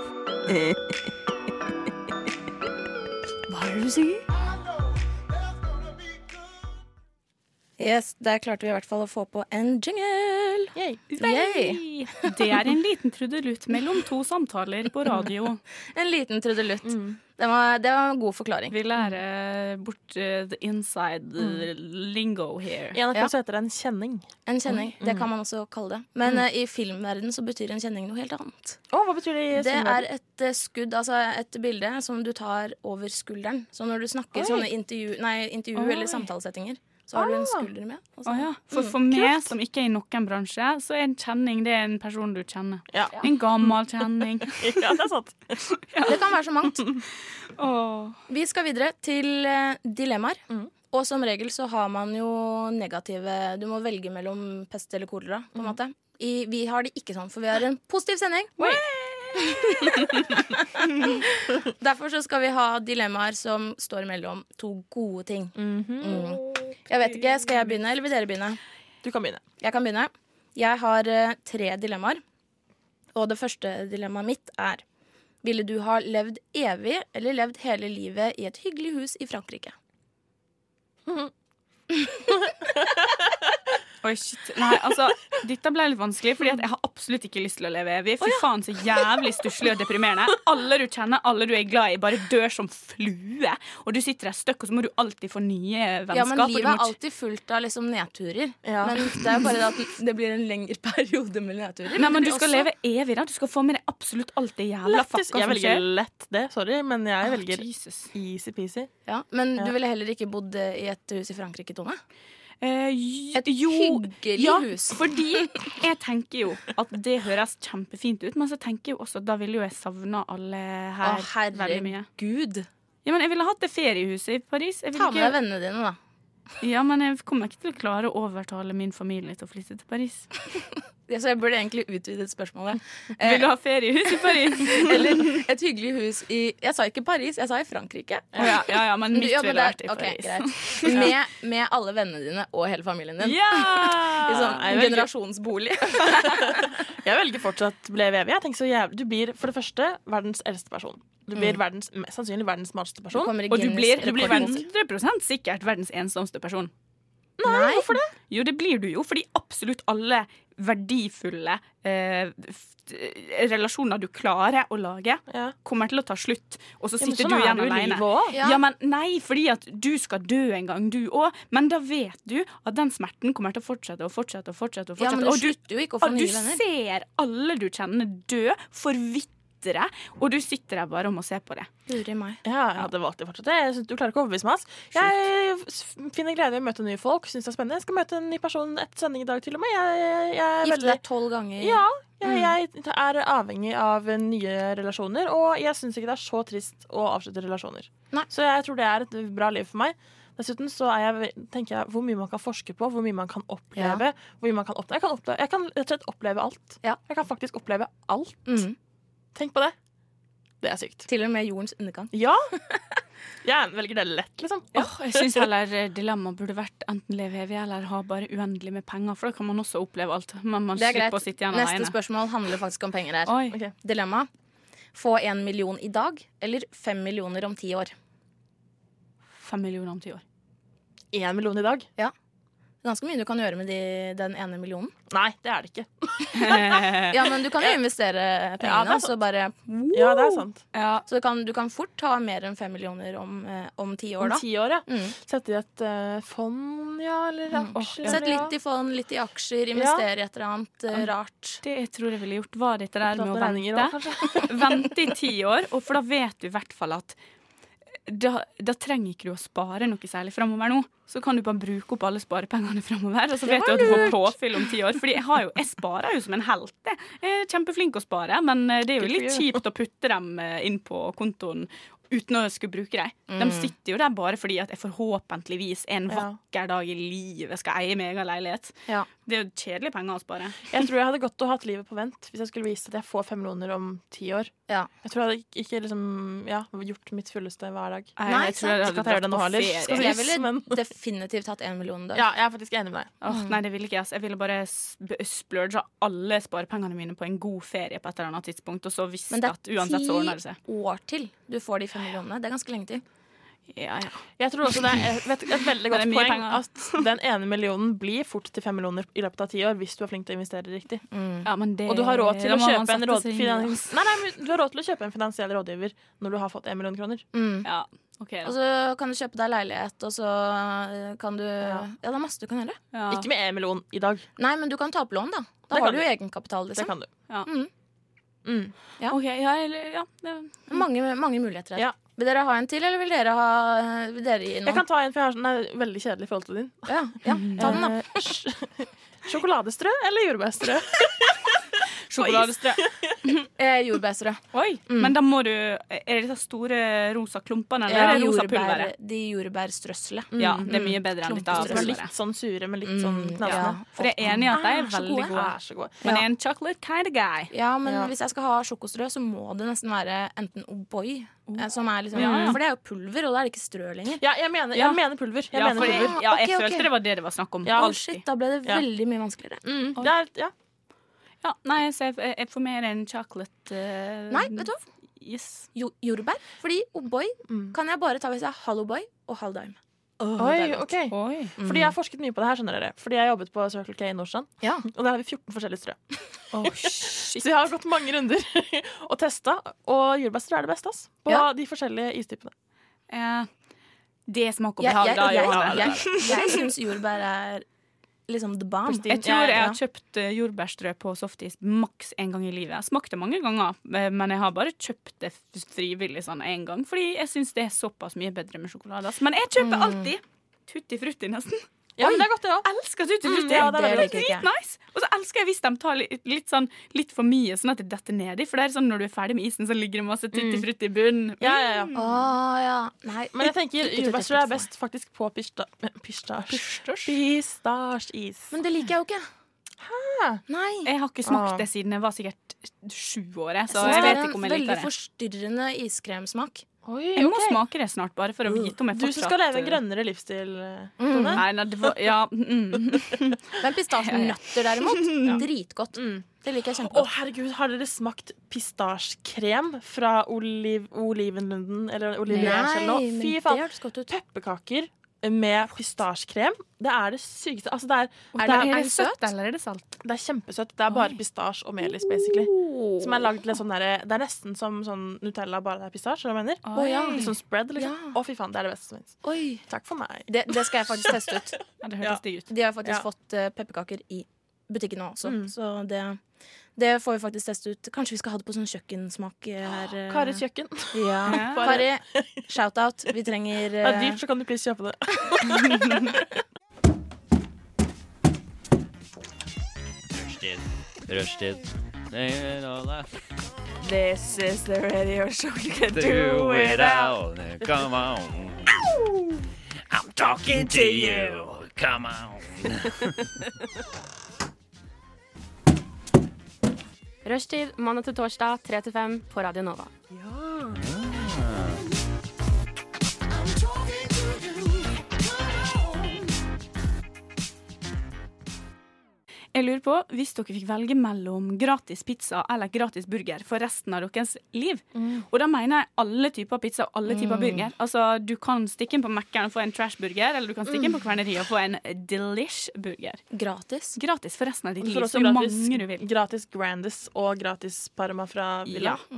[SPEAKER 5] Yes, Der klarte vi i hvert fall å få på en jingle.
[SPEAKER 1] Yay.
[SPEAKER 5] Yay.
[SPEAKER 4] Det er en liten trudelutt mellom to samtaler på radio.
[SPEAKER 5] En liten trudelutt. Det, var, det var en god forklaring.
[SPEAKER 4] Vi lærer bort eh, the inside eh, lingo here.
[SPEAKER 1] I NRK
[SPEAKER 5] Ja.
[SPEAKER 1] så heter det en kjenning.
[SPEAKER 5] En kjenning. Det kan man også kalle det. Men eh, i filmverdenen så betyr en kjenning noe helt annet.
[SPEAKER 1] Å, hva betyr det i
[SPEAKER 5] Det er
[SPEAKER 1] Sunnmøre?
[SPEAKER 5] et eh, skudd, altså et bilde som du tar over skulderen. Så når du snakker
[SPEAKER 1] Oi.
[SPEAKER 5] sånne intervju, nei, intervju
[SPEAKER 4] Oi.
[SPEAKER 5] eller samtalesettinger, så har du en
[SPEAKER 1] Ah.
[SPEAKER 5] skulder med. altså. og så-
[SPEAKER 4] Å ja. For for meg som ikke er i noen bransje, så er en kjenning det er en person du kjenner.
[SPEAKER 1] Ja.
[SPEAKER 4] En gammel kjenning.
[SPEAKER 1] [LAUGHS] ja, det er sant.
[SPEAKER 5] Det kan være så mangt.
[SPEAKER 4] Åh.
[SPEAKER 5] Vi skal videre til eh, dilemmaer.
[SPEAKER 1] Mm.
[SPEAKER 5] Og som regel så har man jo negative Du må velge mellom pest eller kolera, på en måte. I, vi har det ikke sånn, for vi har en positiv sending.
[SPEAKER 1] Mm. Oi.
[SPEAKER 5] [LAUGHS] Derfor så skal vi ha dilemmaer som står mellom to gode ting.
[SPEAKER 1] Mhm.
[SPEAKER 5] Mm. Jeg vet ikke, Skal jeg begynne, eller vil dere begynne?
[SPEAKER 1] Du kan begynne.
[SPEAKER 5] Jeg kan begynne. Jeg har eh, tre dilemmaer. Og det første dilemmaet mitt er Ville du ha levd evig eller levd hele livet i et hyggelig hus i Frankrike?
[SPEAKER 4] Oi, shit. Nei, altså, dette ble litt vanskelig, Fordi at jeg har absolutt ikke lyst til å leve evig. Fy faen, så jævlig stusslig og deprimerende. Alle du kjenner, alle du er glad i, bare dør som flue. Og du sitter der støkk, og så må du alltid få nye vennskap.
[SPEAKER 5] Ja, men
[SPEAKER 4] og du
[SPEAKER 5] livet
[SPEAKER 4] må
[SPEAKER 5] er
[SPEAKER 4] ikke-
[SPEAKER 5] alltid fullt av liksom nedturer.
[SPEAKER 1] Ja.
[SPEAKER 5] Men det er jo bare det at [LAUGHS] det blir en lengre periode med nedturer.
[SPEAKER 4] Nei, men
[SPEAKER 5] det
[SPEAKER 4] du
[SPEAKER 5] blir
[SPEAKER 4] skal
[SPEAKER 5] også-
[SPEAKER 4] leve evig. Da. Du skal få med deg absolutt alt det jævla
[SPEAKER 1] Lett,
[SPEAKER 4] fucka
[SPEAKER 1] jeg
[SPEAKER 4] som
[SPEAKER 1] velger
[SPEAKER 4] skjer.
[SPEAKER 1] lett det, sorry, men jeg
[SPEAKER 4] Åh,
[SPEAKER 1] velger
[SPEAKER 4] Jesus.
[SPEAKER 1] easy-peasy.
[SPEAKER 5] Ja, men
[SPEAKER 1] Ja.
[SPEAKER 5] du ville heller ikke bodd eh, i et hus i Frankrike, Tone?
[SPEAKER 4] Eh, j-
[SPEAKER 5] Et
[SPEAKER 4] jo,
[SPEAKER 5] hyggelig
[SPEAKER 4] ja,
[SPEAKER 5] hus. [LAUGHS]
[SPEAKER 4] Fordi jeg tenker jo at det høres kjempefint ut, men så tenker jeg jo også at da ville jo jeg savna alle her
[SPEAKER 5] Å,
[SPEAKER 4] veldig mye.
[SPEAKER 5] herregud.
[SPEAKER 4] Ja, men jeg ville hatt det feriehuset i Paris. Jeg ville
[SPEAKER 5] Ta med deg
[SPEAKER 4] ikke,
[SPEAKER 5] vennene dine, da.
[SPEAKER 4] ja, men jeg kommer ikke til å klare å overtale min familie til å flytte til Paris.
[SPEAKER 5] Ja, Så jeg burde egentlig utvidet spørsmålet. Eh,
[SPEAKER 4] Vil du ha feriehus i Paris?
[SPEAKER 5] [LAUGHS] Eller et hyggelig hus i Jeg sa ikke Paris, jeg sa i Frankrike.
[SPEAKER 4] Å ja, ja, ja, men
[SPEAKER 5] Du-
[SPEAKER 4] mitt
[SPEAKER 5] ja, men
[SPEAKER 4] ville vært
[SPEAKER 5] det-
[SPEAKER 4] i
[SPEAKER 5] ok,
[SPEAKER 4] Paris. [LAUGHS]
[SPEAKER 5] greit. Med, med alle vennene dine og hele familien din.
[SPEAKER 4] Ja!
[SPEAKER 5] I sånn
[SPEAKER 1] Nei, veldig-
[SPEAKER 5] generasjonsbolig.
[SPEAKER 1] Jeg velger fortsatt leve evig. Jeg tenker så jævlig. Du blir for det første verdens eldste person. Du blir verdens, mest sannsynlig verdens smarteste person.
[SPEAKER 5] kommer i
[SPEAKER 1] Og Mm. du
[SPEAKER 5] Guinness
[SPEAKER 1] blir, du
[SPEAKER 5] rekord.
[SPEAKER 1] blir verdens
[SPEAKER 4] 100 sikkert verdens ensomste person.
[SPEAKER 5] Nei, hvorfor det?
[SPEAKER 4] Jo, det blir du jo, fordi absolutt alle verdifulle eh, f- eh, relasjoner du klarer å lage,
[SPEAKER 1] ja.
[SPEAKER 4] kommer til å ta slutt, og så
[SPEAKER 1] Ja, men
[SPEAKER 4] sitter
[SPEAKER 1] sånn
[SPEAKER 4] du
[SPEAKER 1] er
[SPEAKER 4] igjen
[SPEAKER 1] det jo i
[SPEAKER 4] alene.
[SPEAKER 1] livet også.
[SPEAKER 4] Ja. men nei, fordi at du skal dø en gang, du òg. Men da vet du at den smerten kommer til å fortsette og fortsette. og fortsette, og
[SPEAKER 5] Ja,
[SPEAKER 4] fortsette.
[SPEAKER 5] men du
[SPEAKER 4] og
[SPEAKER 5] slutter jo ikke å få
[SPEAKER 4] og du
[SPEAKER 5] nye venner.
[SPEAKER 4] ser alle du kjenner dø, forvitre, og du sitter der bare og må se på det.
[SPEAKER 5] Lurer meg.
[SPEAKER 1] Ja, jeg hadde valgt det fortsatt. Jeg synes du klarer ikke å overbevise meg. ass. Jeg s- finner glede i å møte nye folk. Synes det er spennende. Jeg skal møte en ny person etter sending i dag, til og med. Jeg, jeg, jeg er
[SPEAKER 5] Gifte
[SPEAKER 1] veldig...
[SPEAKER 5] deg Mm. tolv ganger.
[SPEAKER 1] Ja, jeg, jeg er avhengig av nye relasjoner, og jeg syns ikke det er så trist å avslutte relasjoner.
[SPEAKER 5] Nei.
[SPEAKER 1] Så jeg tror det er et bra liv for meg. Dessuten så er jeg, tenker jeg hvor mye man kan forske på, hvor mye man kan oppleve. Hvor mye man kan oppleve. Jeg, kan oppleve. jeg kan rett og slett oppleve alt.
[SPEAKER 5] Ja.
[SPEAKER 1] Jeg kan faktisk oppleve alt.
[SPEAKER 5] Mm.
[SPEAKER 1] Tenk på det. Det er sykt.
[SPEAKER 5] Til og med jordens undergang.
[SPEAKER 1] [LAUGHS] Ja! Jeg velger det lett, liksom.
[SPEAKER 4] Åh, jeg syns heller eh, dilemmaet burde vært enten leve evig eller ha bare uendelig med penger, for da kan man også oppleve alt. Men man
[SPEAKER 5] Det er
[SPEAKER 4] slipper
[SPEAKER 5] greit.
[SPEAKER 4] å sitte igjen
[SPEAKER 5] Neste
[SPEAKER 4] alene.
[SPEAKER 5] spørsmål handler faktisk om penger her.
[SPEAKER 4] Oi.
[SPEAKER 1] [LAUGHS] Ok.
[SPEAKER 5] Dilemma. Få én million i dag, eller fem millioner om ti år?
[SPEAKER 4] Fem millioner om ti
[SPEAKER 5] [LAUGHS]
[SPEAKER 4] år.
[SPEAKER 1] Én million i dag?
[SPEAKER 5] Ganske mye du kan gjøre med de, den ene millionen.
[SPEAKER 1] Nei, det er det ikke.
[SPEAKER 5] Ja, men du kan jo investere
[SPEAKER 1] Ja, det
[SPEAKER 5] pengene,
[SPEAKER 1] er
[SPEAKER 5] og så bare
[SPEAKER 1] Ja, det er sant.
[SPEAKER 4] Ja,
[SPEAKER 5] Så du kan, du kan fort ha mer enn fem millioner om, eh, om ti år,
[SPEAKER 1] Om
[SPEAKER 5] da.
[SPEAKER 1] ti år, ja.
[SPEAKER 5] Mm.
[SPEAKER 1] Sette i et eh, fond, ja, eller aksjer.
[SPEAKER 5] Sett
[SPEAKER 1] Mm, ja.
[SPEAKER 5] litt i fond, litt i aksjer, investere i et eller annet eh, rart.
[SPEAKER 4] det jeg tror jeg ville gjort, var dette der med å
[SPEAKER 1] Opptatt av regninger
[SPEAKER 4] vente.
[SPEAKER 1] også, kanskje? [LAUGHS]
[SPEAKER 4] Vente i ti år, og for da vet du i hvert fall at da, da trenger ikke du å spare noe særlig framover nå. Så kan du bare bruke opp alle sparepengene framover, og så vet du at du får påfyll om ti år. Fordi jeg, har jo, jeg sparer jo som en helt. jeg. Jeg er kjempeflink å spare, men eh, det er jo
[SPEAKER 1] Good for
[SPEAKER 4] litt
[SPEAKER 1] you.
[SPEAKER 4] kjipt å putte dem eh, inn på kontoen uten å skulle bruke dem. De sitter jo der bare fordi at jeg forhåpentligvis en
[SPEAKER 1] Mm. Ja.
[SPEAKER 4] vakker dag i livet skal eie meg egen leilighet.
[SPEAKER 5] Ja.
[SPEAKER 4] Det er jo kjedelige penger å spare.
[SPEAKER 1] Jeg tror jeg hadde godt å hatt livet på vent hvis jeg skulle vise at jeg får fem millioner om ti år.
[SPEAKER 5] Ja.
[SPEAKER 1] Jeg tror jeg hadde ikke- ikke liksom, ja, gjort mitt fulleste hver dag.
[SPEAKER 4] Nei,
[SPEAKER 5] Nei,
[SPEAKER 4] jeg tror jeg hadde
[SPEAKER 1] sant. Ikke at jeg gjør
[SPEAKER 4] dratt
[SPEAKER 1] det nå
[SPEAKER 4] på
[SPEAKER 1] heller.
[SPEAKER 4] ferie.
[SPEAKER 1] Skal vi-
[SPEAKER 5] Jeg
[SPEAKER 1] Yes,
[SPEAKER 5] ville
[SPEAKER 1] [LAUGHS] men-
[SPEAKER 5] definitivt hatt én million i dag.
[SPEAKER 1] Ja, jeg er faktisk enig med deg.
[SPEAKER 5] Mm.
[SPEAKER 4] Åh, Nei, det ville ikke jeg. altså. Jeg ville bare sp- splurge alle sparepengene mine på en god ferie på et eller annet tidspunkt, og så visst
[SPEAKER 5] Men det
[SPEAKER 4] at
[SPEAKER 5] er
[SPEAKER 4] uansett så ordner det seg.
[SPEAKER 5] ti år til du får de fem millionene. Det er ganske lenge til.
[SPEAKER 4] Ja, ja.
[SPEAKER 1] Jeg tror også det er et- vet, et
[SPEAKER 4] [LAUGHS]
[SPEAKER 1] veldig
[SPEAKER 4] Det er
[SPEAKER 1] godt
[SPEAKER 4] mye
[SPEAKER 1] poeng
[SPEAKER 4] penger.
[SPEAKER 1] at den ene millionen blir fort til fem millioner i løpet av ti år hvis du er flink til å investere riktig.
[SPEAKER 5] Mm.
[SPEAKER 4] ja men det,
[SPEAKER 1] Og du har råd til
[SPEAKER 4] da
[SPEAKER 1] å
[SPEAKER 4] må man
[SPEAKER 1] kjøpe en,
[SPEAKER 4] sette
[SPEAKER 1] råd,
[SPEAKER 4] seg inn i det,
[SPEAKER 1] finans,
[SPEAKER 4] altså.
[SPEAKER 1] nei, nei, men du har råd til å kjøpe en finansiell rådgiver når du har fått en million kroner.
[SPEAKER 5] Mm.
[SPEAKER 4] Ja, ok.
[SPEAKER 5] Og
[SPEAKER 4] Da.
[SPEAKER 5] så kan du kjøpe deg leilighet, og så eh, kan du Ja, det er masse du kan gjøre.
[SPEAKER 4] Ja,
[SPEAKER 1] Ikke med en million i dag.
[SPEAKER 5] Nei, men du kan ta opp lån, da. Da
[SPEAKER 1] Det
[SPEAKER 5] har
[SPEAKER 1] kan
[SPEAKER 5] du jo
[SPEAKER 1] du.
[SPEAKER 5] egenkapital,
[SPEAKER 4] Sånn.
[SPEAKER 1] Det
[SPEAKER 5] liksom.
[SPEAKER 1] kan du.
[SPEAKER 4] Ja.
[SPEAKER 5] Mm.
[SPEAKER 1] Mm.
[SPEAKER 5] ja.
[SPEAKER 4] Ok, ja, eller, ja. Det,
[SPEAKER 5] Mange, mange muligheter her.
[SPEAKER 1] Ja.
[SPEAKER 5] Vil dere ha en til, eller vil dere, ha, eh, vil dere gi
[SPEAKER 1] Jeg
[SPEAKER 5] noen?
[SPEAKER 1] kan ta en, for jeg har sånn den er veldig kjedelig i forhold til din.
[SPEAKER 5] Ja, ja, ta
[SPEAKER 1] [LAUGHS]
[SPEAKER 5] den, da.
[SPEAKER 1] Eh, sj- Sjokoladestrø eller
[SPEAKER 4] [LAUGHS]
[SPEAKER 1] jordbærstrø? Altså,
[SPEAKER 4] sjokoladestrø.
[SPEAKER 5] Eh, jordbærstrø.
[SPEAKER 4] Oi,
[SPEAKER 5] Mm.
[SPEAKER 4] men da må du Er det de store rosa klumpene, eller er
[SPEAKER 5] Eh,
[SPEAKER 4] det rosa
[SPEAKER 5] jordbær,
[SPEAKER 4] pulveret?
[SPEAKER 5] de jordbærstrøsselet.
[SPEAKER 4] Ja, det er mye bedre enn litt av
[SPEAKER 1] Som er litt
[SPEAKER 4] pulveret.
[SPEAKER 1] sånn sure, men litt sånn
[SPEAKER 5] Mm,
[SPEAKER 1] knasende.
[SPEAKER 5] ja.
[SPEAKER 4] For jeg er enig i at de er
[SPEAKER 5] Er Ah, så
[SPEAKER 4] veldig
[SPEAKER 5] gode.
[SPEAKER 4] gode.
[SPEAKER 1] Er så gode.
[SPEAKER 4] Men jeg er en chocolate kind of guy.
[SPEAKER 5] Ja, men
[SPEAKER 1] Ja.
[SPEAKER 5] hvis jeg skal ha sjokostrø, så må det nesten være enten O'boy eh, som er liksom,
[SPEAKER 4] Oh. Ja, ja.
[SPEAKER 5] For det er jo pulver, og da er det ikke strø lenger.
[SPEAKER 1] Ja, jeg mener, jeg
[SPEAKER 4] Ja.
[SPEAKER 1] mener pulver. Jeg
[SPEAKER 4] Ja,
[SPEAKER 1] mener
[SPEAKER 4] for jeg,
[SPEAKER 1] pulver.
[SPEAKER 5] pulver.
[SPEAKER 4] ja, jeg
[SPEAKER 5] Ok, ok.
[SPEAKER 4] følte det var det det var snakk om.
[SPEAKER 1] Ja.
[SPEAKER 5] Å,
[SPEAKER 4] alltid.
[SPEAKER 5] shit, da ble det
[SPEAKER 1] Ja.
[SPEAKER 5] veldig mye vanskeligere.
[SPEAKER 1] Mm, det er, ja.
[SPEAKER 4] Ja, nei, så jeg, jeg, jeg får mer en chocolate eh,
[SPEAKER 5] Nei, vet du hva?
[SPEAKER 4] Yes.
[SPEAKER 5] Jo, jordbær. Fordi O'boy
[SPEAKER 1] Mm.
[SPEAKER 5] kan jeg bare ta hvis jeg har halv O'boy og halv Dime.
[SPEAKER 1] Oi, ok.
[SPEAKER 4] [LAUGHS] Oi.
[SPEAKER 1] Fordi jeg har forsket mye på det her, skjønner dere. Fordi jeg jobbet på Circle K i Nordstrand,
[SPEAKER 5] Ja.
[SPEAKER 1] [LAUGHS] og der har vi 14 forskjellige strø.
[SPEAKER 4] Å, shit.
[SPEAKER 1] Så jeg har gått mange runder [LAUGHS] og testa, og jordbærstrø er det beste, ass. På
[SPEAKER 5] Ja.
[SPEAKER 1] de forskjellige istypene.
[SPEAKER 4] Eh, det smaker
[SPEAKER 5] Jeg, jeg,
[SPEAKER 4] behag, da.
[SPEAKER 5] jeg,
[SPEAKER 4] Johanne.
[SPEAKER 5] jeg, jeg, jeg syns jordbær er liksom the bomb.
[SPEAKER 1] Pristine.
[SPEAKER 4] Jeg tror jeg
[SPEAKER 1] Ja,
[SPEAKER 4] har kjøpt eh, jordbærstrø på softis maks én gang i livet. Smakte mange ganger, eh, men jeg har bare kjøpt det f- frivillig sånn én gang. Fordi jeg syns det er såpass mye bedre med sjokolade. ass. Men jeg kjøper alltid tutti frutti, nesten.
[SPEAKER 1] Mm. Ja, men det er godt, det òg.
[SPEAKER 4] Elsker tutti frutti.
[SPEAKER 1] ja,
[SPEAKER 4] det
[SPEAKER 1] det er
[SPEAKER 4] er
[SPEAKER 1] veldig
[SPEAKER 5] godt.
[SPEAKER 4] dritnice. Og så elsker jeg hvis de tar litt, litt, sånn, litt for mye, sånn at det detter nedi. For det er sånn når du er ferdig med isen, så ligger det masse tutti frutti i bunnen.
[SPEAKER 1] Mm. Ja, ja, ja.
[SPEAKER 5] Å Ah, ja. Nei.
[SPEAKER 1] Men jeg tenker
[SPEAKER 5] Ikke
[SPEAKER 1] jordbærstrø
[SPEAKER 5] tutti
[SPEAKER 1] er best faktisk på pista [LAUGHS] pistasj.
[SPEAKER 4] Størst.
[SPEAKER 5] [LAUGHS]
[SPEAKER 1] Pistasjis.
[SPEAKER 5] Men det liker jeg jo ikke. Hæ? Nei.
[SPEAKER 4] Jeg har ikke
[SPEAKER 1] Ah.
[SPEAKER 4] smakt det siden jeg var sikkert sju år, jeg, så
[SPEAKER 5] synes
[SPEAKER 4] jeg
[SPEAKER 5] det
[SPEAKER 4] vet
[SPEAKER 5] er
[SPEAKER 4] ikke om
[SPEAKER 5] en
[SPEAKER 4] jeg
[SPEAKER 5] veldig
[SPEAKER 4] liker det.
[SPEAKER 5] forstyrrende iskremsmak.
[SPEAKER 4] [LAUGHS]
[SPEAKER 1] Oi,
[SPEAKER 4] Jeg må
[SPEAKER 1] ok.
[SPEAKER 4] smake det snart, bare for å vite om jeg
[SPEAKER 1] Du
[SPEAKER 4] fortsatt eh,
[SPEAKER 1] som skal leve en grønnere livsstil, Tone.
[SPEAKER 4] Nei, nei, det var Ja.
[SPEAKER 1] [LAUGHS]
[SPEAKER 4] Mm.
[SPEAKER 5] Men pistasjenøtter [LAUGHS] derimot, dritgodt.
[SPEAKER 1] Mm.
[SPEAKER 5] Det liker jeg
[SPEAKER 1] Å,
[SPEAKER 4] altså.
[SPEAKER 5] kjempegodt.
[SPEAKER 1] herregud, har dere smakt pistasjekrem fra Oliv Olivenlunden? Eller Olivia Kjellå? Fy
[SPEAKER 5] men det
[SPEAKER 1] faen.
[SPEAKER 5] hørtes godt ut.
[SPEAKER 1] Pepperkaker med pistasjekrem. Det er det sykeste. Altså, det er,
[SPEAKER 4] Er,
[SPEAKER 1] det
[SPEAKER 4] det,
[SPEAKER 1] er,
[SPEAKER 4] er det søtt, eller er det salt?
[SPEAKER 1] det er kjempesøtt. Det er bare pistasje og melis, basically.
[SPEAKER 4] Oh.
[SPEAKER 1] Som er lagd litt sånn derre Det er nesten som sånn Nutella, bare det er pistasje. skjønner du hva jeg mener?
[SPEAKER 4] Oi.
[SPEAKER 1] Litt sånn spread, liksom. Å,
[SPEAKER 5] Ja.
[SPEAKER 1] fy faen, det er det beste som finnes.
[SPEAKER 5] Oi.
[SPEAKER 1] Takk for meg.
[SPEAKER 5] Det, det skal jeg faktisk teste [LAUGHS] ut.
[SPEAKER 4] Ja, det hørtes digg ut.
[SPEAKER 5] De har faktisk
[SPEAKER 1] Ja.
[SPEAKER 5] fått eh, pepperkaker i butikken nå også,
[SPEAKER 1] Mm.
[SPEAKER 5] så det, det får vi faktisk teste ut. Kanskje vi skal ha det på sånn kjøkkensmak eh, her. eh.
[SPEAKER 1] Karis kjøkken.
[SPEAKER 5] Ja.
[SPEAKER 4] Ja.
[SPEAKER 5] [LAUGHS] Kari, shout-out. Vi trenger
[SPEAKER 1] Det er
[SPEAKER 5] eh,
[SPEAKER 1] dyrt, så kan du please kjøpe det.
[SPEAKER 2] Rushtid.
[SPEAKER 6] This is the radio show you can
[SPEAKER 2] Come on. I'm talking to you. Come on.
[SPEAKER 11] Rushtid mandag til torsdag 3 til 5 på Radio Nova.
[SPEAKER 4] Jeg lurer på, Hvis dere fikk velge mellom gratis pizza eller gratis burger for resten av deres liv
[SPEAKER 1] Mm.
[SPEAKER 4] Og da mener jeg alle typer pizza og alle typer burger. Altså, Du kan stikke inn på Mækkern og få en trash-burger, eller du kan stikke inn
[SPEAKER 1] Mm.
[SPEAKER 4] på Kverneriet og få en delish-burger.
[SPEAKER 5] gratis.
[SPEAKER 4] Gratis for resten av ditt
[SPEAKER 1] Du
[SPEAKER 4] liv.
[SPEAKER 1] får
[SPEAKER 4] Så
[SPEAKER 1] også gratis,
[SPEAKER 4] mange du vil.
[SPEAKER 1] gratis Grandis og gratis Parma fra Villa.
[SPEAKER 4] Ja.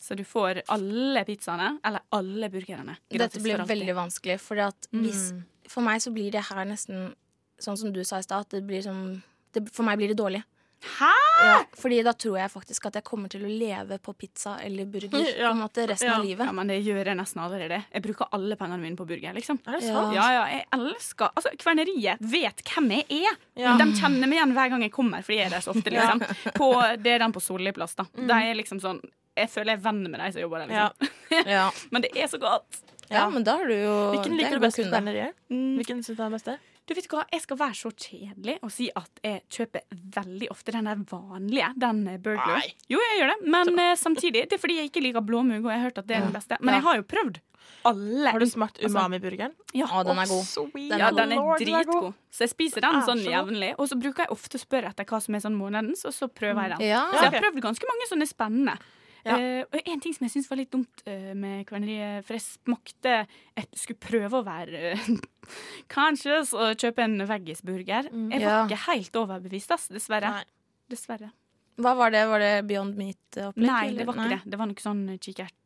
[SPEAKER 4] Så du får alle pizzaene, eller alle burgerne.
[SPEAKER 5] Dette blir veldig
[SPEAKER 4] vanskelig.
[SPEAKER 5] vanskelig, for, at hvis, for meg så blir det her nesten sånn som du sa i stad. at Det blir som det, For meg blir det dårlig.
[SPEAKER 4] Hæ?!
[SPEAKER 5] Ja, fordi da tror jeg faktisk at jeg kommer til å leve på pizza eller burger på
[SPEAKER 1] Ja.
[SPEAKER 5] en måte resten
[SPEAKER 1] Ja.
[SPEAKER 5] av
[SPEAKER 4] [LAUGHS] Ja,
[SPEAKER 5] livet.
[SPEAKER 4] men det gjør jeg nesten allerede. Jeg bruker alle pengene mine på burger, liksom.
[SPEAKER 1] Er det
[SPEAKER 5] Ja.
[SPEAKER 1] sant?
[SPEAKER 4] Ja, ja, jeg elsker Altså, Kverneriet vet hvem jeg er.
[SPEAKER 1] Ja.
[SPEAKER 4] De kjenner meg igjen hver gang jeg kommer, fordi jeg er der så ofte, liksom. På, det er den på Solli plass, da. De er liksom sånn Jeg føler jeg er venn med de som jobber der,
[SPEAKER 1] Ja.
[SPEAKER 4] liksom.
[SPEAKER 5] Ja.
[SPEAKER 4] [LAUGHS] Men det er så godt.
[SPEAKER 5] ja, men da har du jo
[SPEAKER 1] Hvilken
[SPEAKER 5] det er
[SPEAKER 1] liker du
[SPEAKER 5] god
[SPEAKER 1] best?
[SPEAKER 5] kunde.
[SPEAKER 1] Berneriet?
[SPEAKER 4] Mm.
[SPEAKER 1] Hvilken synes du er best?
[SPEAKER 4] Du vet hva, Jeg skal være så kjedelig og si at jeg kjøper veldig ofte den der vanlige. Den eh, burgler.
[SPEAKER 1] Nei.
[SPEAKER 4] Jo, jeg gjør det, men eh, samtidig. Det er fordi jeg ikke liker blåmugg, og jeg har hørt at det er den beste. Men jeg har jo prøvd alle. Altså,
[SPEAKER 1] Har du smakt umami-burgeren?
[SPEAKER 4] Ja,
[SPEAKER 5] Å, den er god.
[SPEAKER 1] Sweet
[SPEAKER 5] Den
[SPEAKER 4] ja,
[SPEAKER 5] er god.
[SPEAKER 4] den er
[SPEAKER 1] lord, den er
[SPEAKER 4] dritgod. Så jeg spiser den
[SPEAKER 1] Den er
[SPEAKER 4] sånn
[SPEAKER 1] så god.
[SPEAKER 4] jevnlig. Og så bruker jeg ofte å spørre etter hva som er sånn månedens, og så prøver jeg den.
[SPEAKER 5] Ja.
[SPEAKER 4] Så jeg
[SPEAKER 1] Ja,
[SPEAKER 4] har
[SPEAKER 1] ok.
[SPEAKER 4] prøvd ganske mange sånne spennende.
[SPEAKER 1] Ja.
[SPEAKER 4] Eh, og en ting som jeg syns var litt dumt eh, med Kverneriet, for jeg smakte Jeg skulle prøve å være eh, [LAUGHS] conscious og kjøpe en veggisburger. Jeg var
[SPEAKER 5] Ja.
[SPEAKER 4] ikke helt overbevist, ass, dessverre.
[SPEAKER 1] Mm. Nei.
[SPEAKER 4] Dessverre.
[SPEAKER 5] Hva var det? Var det Beyond Meat-opplegg?
[SPEAKER 4] Nei,
[SPEAKER 5] eller?
[SPEAKER 4] det var
[SPEAKER 5] Nei.
[SPEAKER 4] ikke det. Det var noe sånn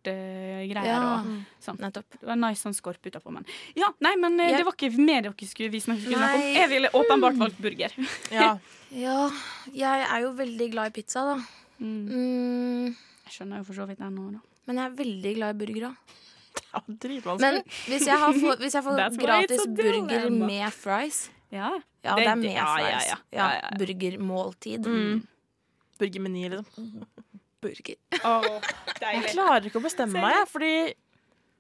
[SPEAKER 4] kikertgreier.
[SPEAKER 5] Ja.
[SPEAKER 4] og
[SPEAKER 1] Mm.
[SPEAKER 4] sånn.
[SPEAKER 5] Nettopp.
[SPEAKER 4] Det var nice sånn skorpe utapå, men Ja, nei, men eh,
[SPEAKER 5] Jeg-
[SPEAKER 4] det var ikke mer dere skulle vise meg. Skulle snakke om.
[SPEAKER 5] Nei.
[SPEAKER 4] Jeg ville åpenbart valgt burger.
[SPEAKER 1] Ja.
[SPEAKER 4] [LAUGHS]
[SPEAKER 5] Ja, jeg er jo veldig glad i pizza, da.
[SPEAKER 4] Mm.
[SPEAKER 5] Mm,
[SPEAKER 4] Jeg skjønner jo for så vidt den nå, da.
[SPEAKER 5] men jeg er veldig glad i burger òg.
[SPEAKER 1] ja, dritvanskelig.
[SPEAKER 5] Men hvis jeg, har få, hvis jeg får
[SPEAKER 4] Altså, [LAUGHS] That's why
[SPEAKER 5] gratis
[SPEAKER 4] it's a
[SPEAKER 5] burger
[SPEAKER 4] dilemma.
[SPEAKER 5] med fries
[SPEAKER 4] Ja.
[SPEAKER 5] Ja, det, er
[SPEAKER 4] Det- det-
[SPEAKER 5] med
[SPEAKER 4] ja, ja,
[SPEAKER 5] fries.
[SPEAKER 4] ja.
[SPEAKER 5] Ja,
[SPEAKER 4] Ja, ja, ja.
[SPEAKER 5] Burgermåltid.
[SPEAKER 1] Mm. Burgermeny, liksom.
[SPEAKER 5] Burger.
[SPEAKER 1] Jeg klarer ikke å bestemme meg, jeg, fordi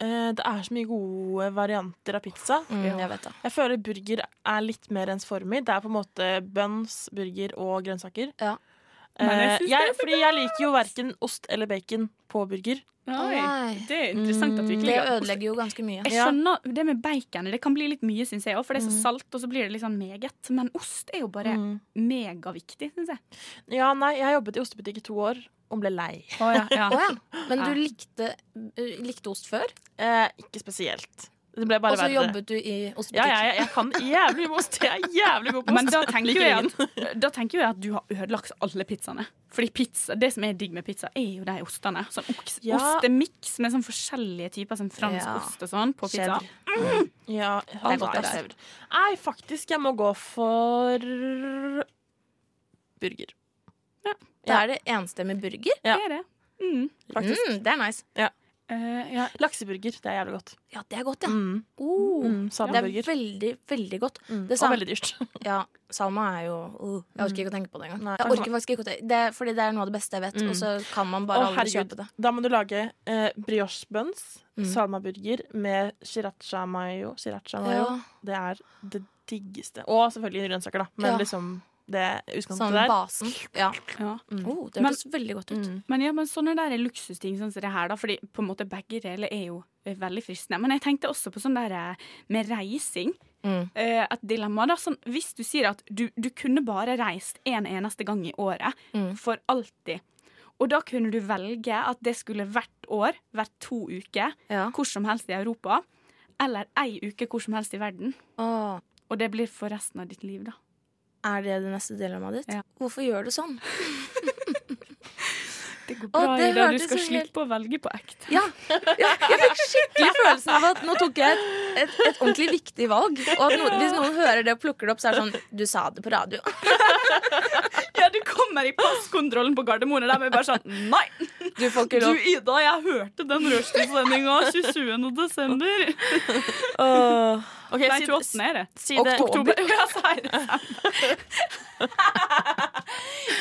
[SPEAKER 1] eh, det er så mye gode varianter av pizza.
[SPEAKER 5] Mm, jeg vet det.
[SPEAKER 1] Jeg føler burger er litt mer ens form i. Det er på en måte buns, burger og grønnsaker.
[SPEAKER 5] Ja.
[SPEAKER 1] Eh,
[SPEAKER 4] Men jeg synes det er
[SPEAKER 1] jeg, fordi jeg liker jo verken ost eller bacon på burger.
[SPEAKER 5] Nei.
[SPEAKER 4] det er interessant at vi ikke
[SPEAKER 5] Det
[SPEAKER 4] liker ost.
[SPEAKER 5] ødelegger jo ganske mye.
[SPEAKER 4] Jeg skjønner det med bacon. Det kan bli litt mye, syns jeg òg, for det er så salt, og så blir det litt sånn meget. Men ost er jo bare
[SPEAKER 1] Mm.
[SPEAKER 4] megaviktig, syns jeg.
[SPEAKER 1] Ja, nei, jeg jobbet i ostebutikk i to år og ble lei.
[SPEAKER 4] Å ja, ja.
[SPEAKER 5] Å ja. Men
[SPEAKER 4] Ja.
[SPEAKER 5] du likte, uh, likte ost før?
[SPEAKER 1] Eh, ikke spesielt. Det ble bare
[SPEAKER 5] Og så
[SPEAKER 1] verre.
[SPEAKER 5] jobbet du i
[SPEAKER 1] Ja, ja,
[SPEAKER 5] ostebutikk.
[SPEAKER 1] jeg, jeg kan jævlig mye om ost. Jeg er jævlig god på ost. [LAUGHS]
[SPEAKER 4] Men da tenker, jo
[SPEAKER 1] Liker
[SPEAKER 4] jeg
[SPEAKER 1] ingen.
[SPEAKER 4] at, da tenker jo jeg at du har ødelagt alle pizzaene. Fordi pizza, det som er digg med pizza, er jo de ostene. Sånn oks-
[SPEAKER 1] Ja.
[SPEAKER 4] ostemiks med sånn forskjellige typer sånn fransk
[SPEAKER 5] Ja.
[SPEAKER 4] ost og sånn på pizza.
[SPEAKER 5] Cheddar.
[SPEAKER 1] Ja,
[SPEAKER 4] er godt,
[SPEAKER 1] alt er
[SPEAKER 4] ass.
[SPEAKER 1] sevr. Nei, faktisk, jeg må gå for burger.
[SPEAKER 5] Det er det enstemmig burger.
[SPEAKER 1] Ja.
[SPEAKER 4] Det er det. Mm.
[SPEAKER 1] Faktisk.
[SPEAKER 5] Mm, det er nice.
[SPEAKER 4] Eh, ja.
[SPEAKER 1] Lakseburger. Det er jævlig godt.
[SPEAKER 5] Ja, det er godt, ja.
[SPEAKER 1] Mm.
[SPEAKER 5] Oh,
[SPEAKER 1] Mm,
[SPEAKER 5] det er
[SPEAKER 1] Salmaburger.
[SPEAKER 5] veldig, veldig godt.
[SPEAKER 1] Mm.
[SPEAKER 5] det
[SPEAKER 1] Og
[SPEAKER 5] samme-
[SPEAKER 1] veldig dyrt.
[SPEAKER 5] Ja, Salma er jo uh, Jeg orker ikke å tenke på det engang.
[SPEAKER 1] Nei.
[SPEAKER 5] Jeg orker faktisk ikke å tenke det er, Fordi det er noe av det beste jeg vet,
[SPEAKER 1] Mm.
[SPEAKER 5] og så kan man bare
[SPEAKER 1] Å,
[SPEAKER 5] aldri
[SPEAKER 1] herregud.
[SPEAKER 5] kjøpe det.
[SPEAKER 1] [LAUGHS] Da må du lage eh, brioche buns,
[SPEAKER 5] Mm.
[SPEAKER 1] salmaburger med sriracha mayo. Sriracha mayo.
[SPEAKER 5] Ja.
[SPEAKER 1] Det er det diggeste. Og selvfølgelig grønnsaker, da. Men
[SPEAKER 5] Ja.
[SPEAKER 1] liksom det utgangspunktet
[SPEAKER 5] Sånn
[SPEAKER 1] der.
[SPEAKER 5] basen. Ja.
[SPEAKER 4] Ja.
[SPEAKER 5] Oh, det høres veldig godt ut.
[SPEAKER 1] Mm.
[SPEAKER 4] Men ja, men sånne der luksusting sånn som det her, da. Fordi på en måte begge deler er jo eh, veldig fristende. Men jeg tenkte også på sånn der eh, med reising.
[SPEAKER 5] Mm.
[SPEAKER 4] Eh, et dilemma, da. Sånn, hvis du sier at du, du kunne bare reist en eneste gang i året,
[SPEAKER 5] Mm.
[SPEAKER 4] for alltid. Og da kunne du velge at det skulle hvert år, hvert to uker,
[SPEAKER 5] Ja.
[SPEAKER 4] hvor som helst i Europa. Eller ei uke hvor som helst i verden.
[SPEAKER 5] Åh,
[SPEAKER 4] Og det blir for resten av ditt liv, da.
[SPEAKER 5] er det det neste dilemmaet ditt?
[SPEAKER 4] Ja.
[SPEAKER 5] Hvorfor gjør du sånn?
[SPEAKER 4] Det går
[SPEAKER 5] Å,
[SPEAKER 4] bra,
[SPEAKER 5] det
[SPEAKER 4] Ida. Du
[SPEAKER 5] hørtes så
[SPEAKER 4] skal
[SPEAKER 5] helt-
[SPEAKER 4] slippe å velge på ekte.
[SPEAKER 5] Ja. ja jeg fikk skikkelig følelsen av at nå tok jeg et, et, et ordentlig viktig valg. Og at noen, hvis noen hører det og plukker det opp, så er det sånn Du sa det på radio.
[SPEAKER 4] Ja, du kommer i passkontrollen på Gardermoen, og de er bare sånn Nei!
[SPEAKER 5] Du får
[SPEAKER 4] Du, Ida, jeg hørte den rushtidssendinga 27. desember.
[SPEAKER 1] Ok,
[SPEAKER 4] Nei,
[SPEAKER 1] si-
[SPEAKER 4] 28. er det.
[SPEAKER 1] si det- [LAUGHS]
[SPEAKER 4] Oktober. Ja, sier det.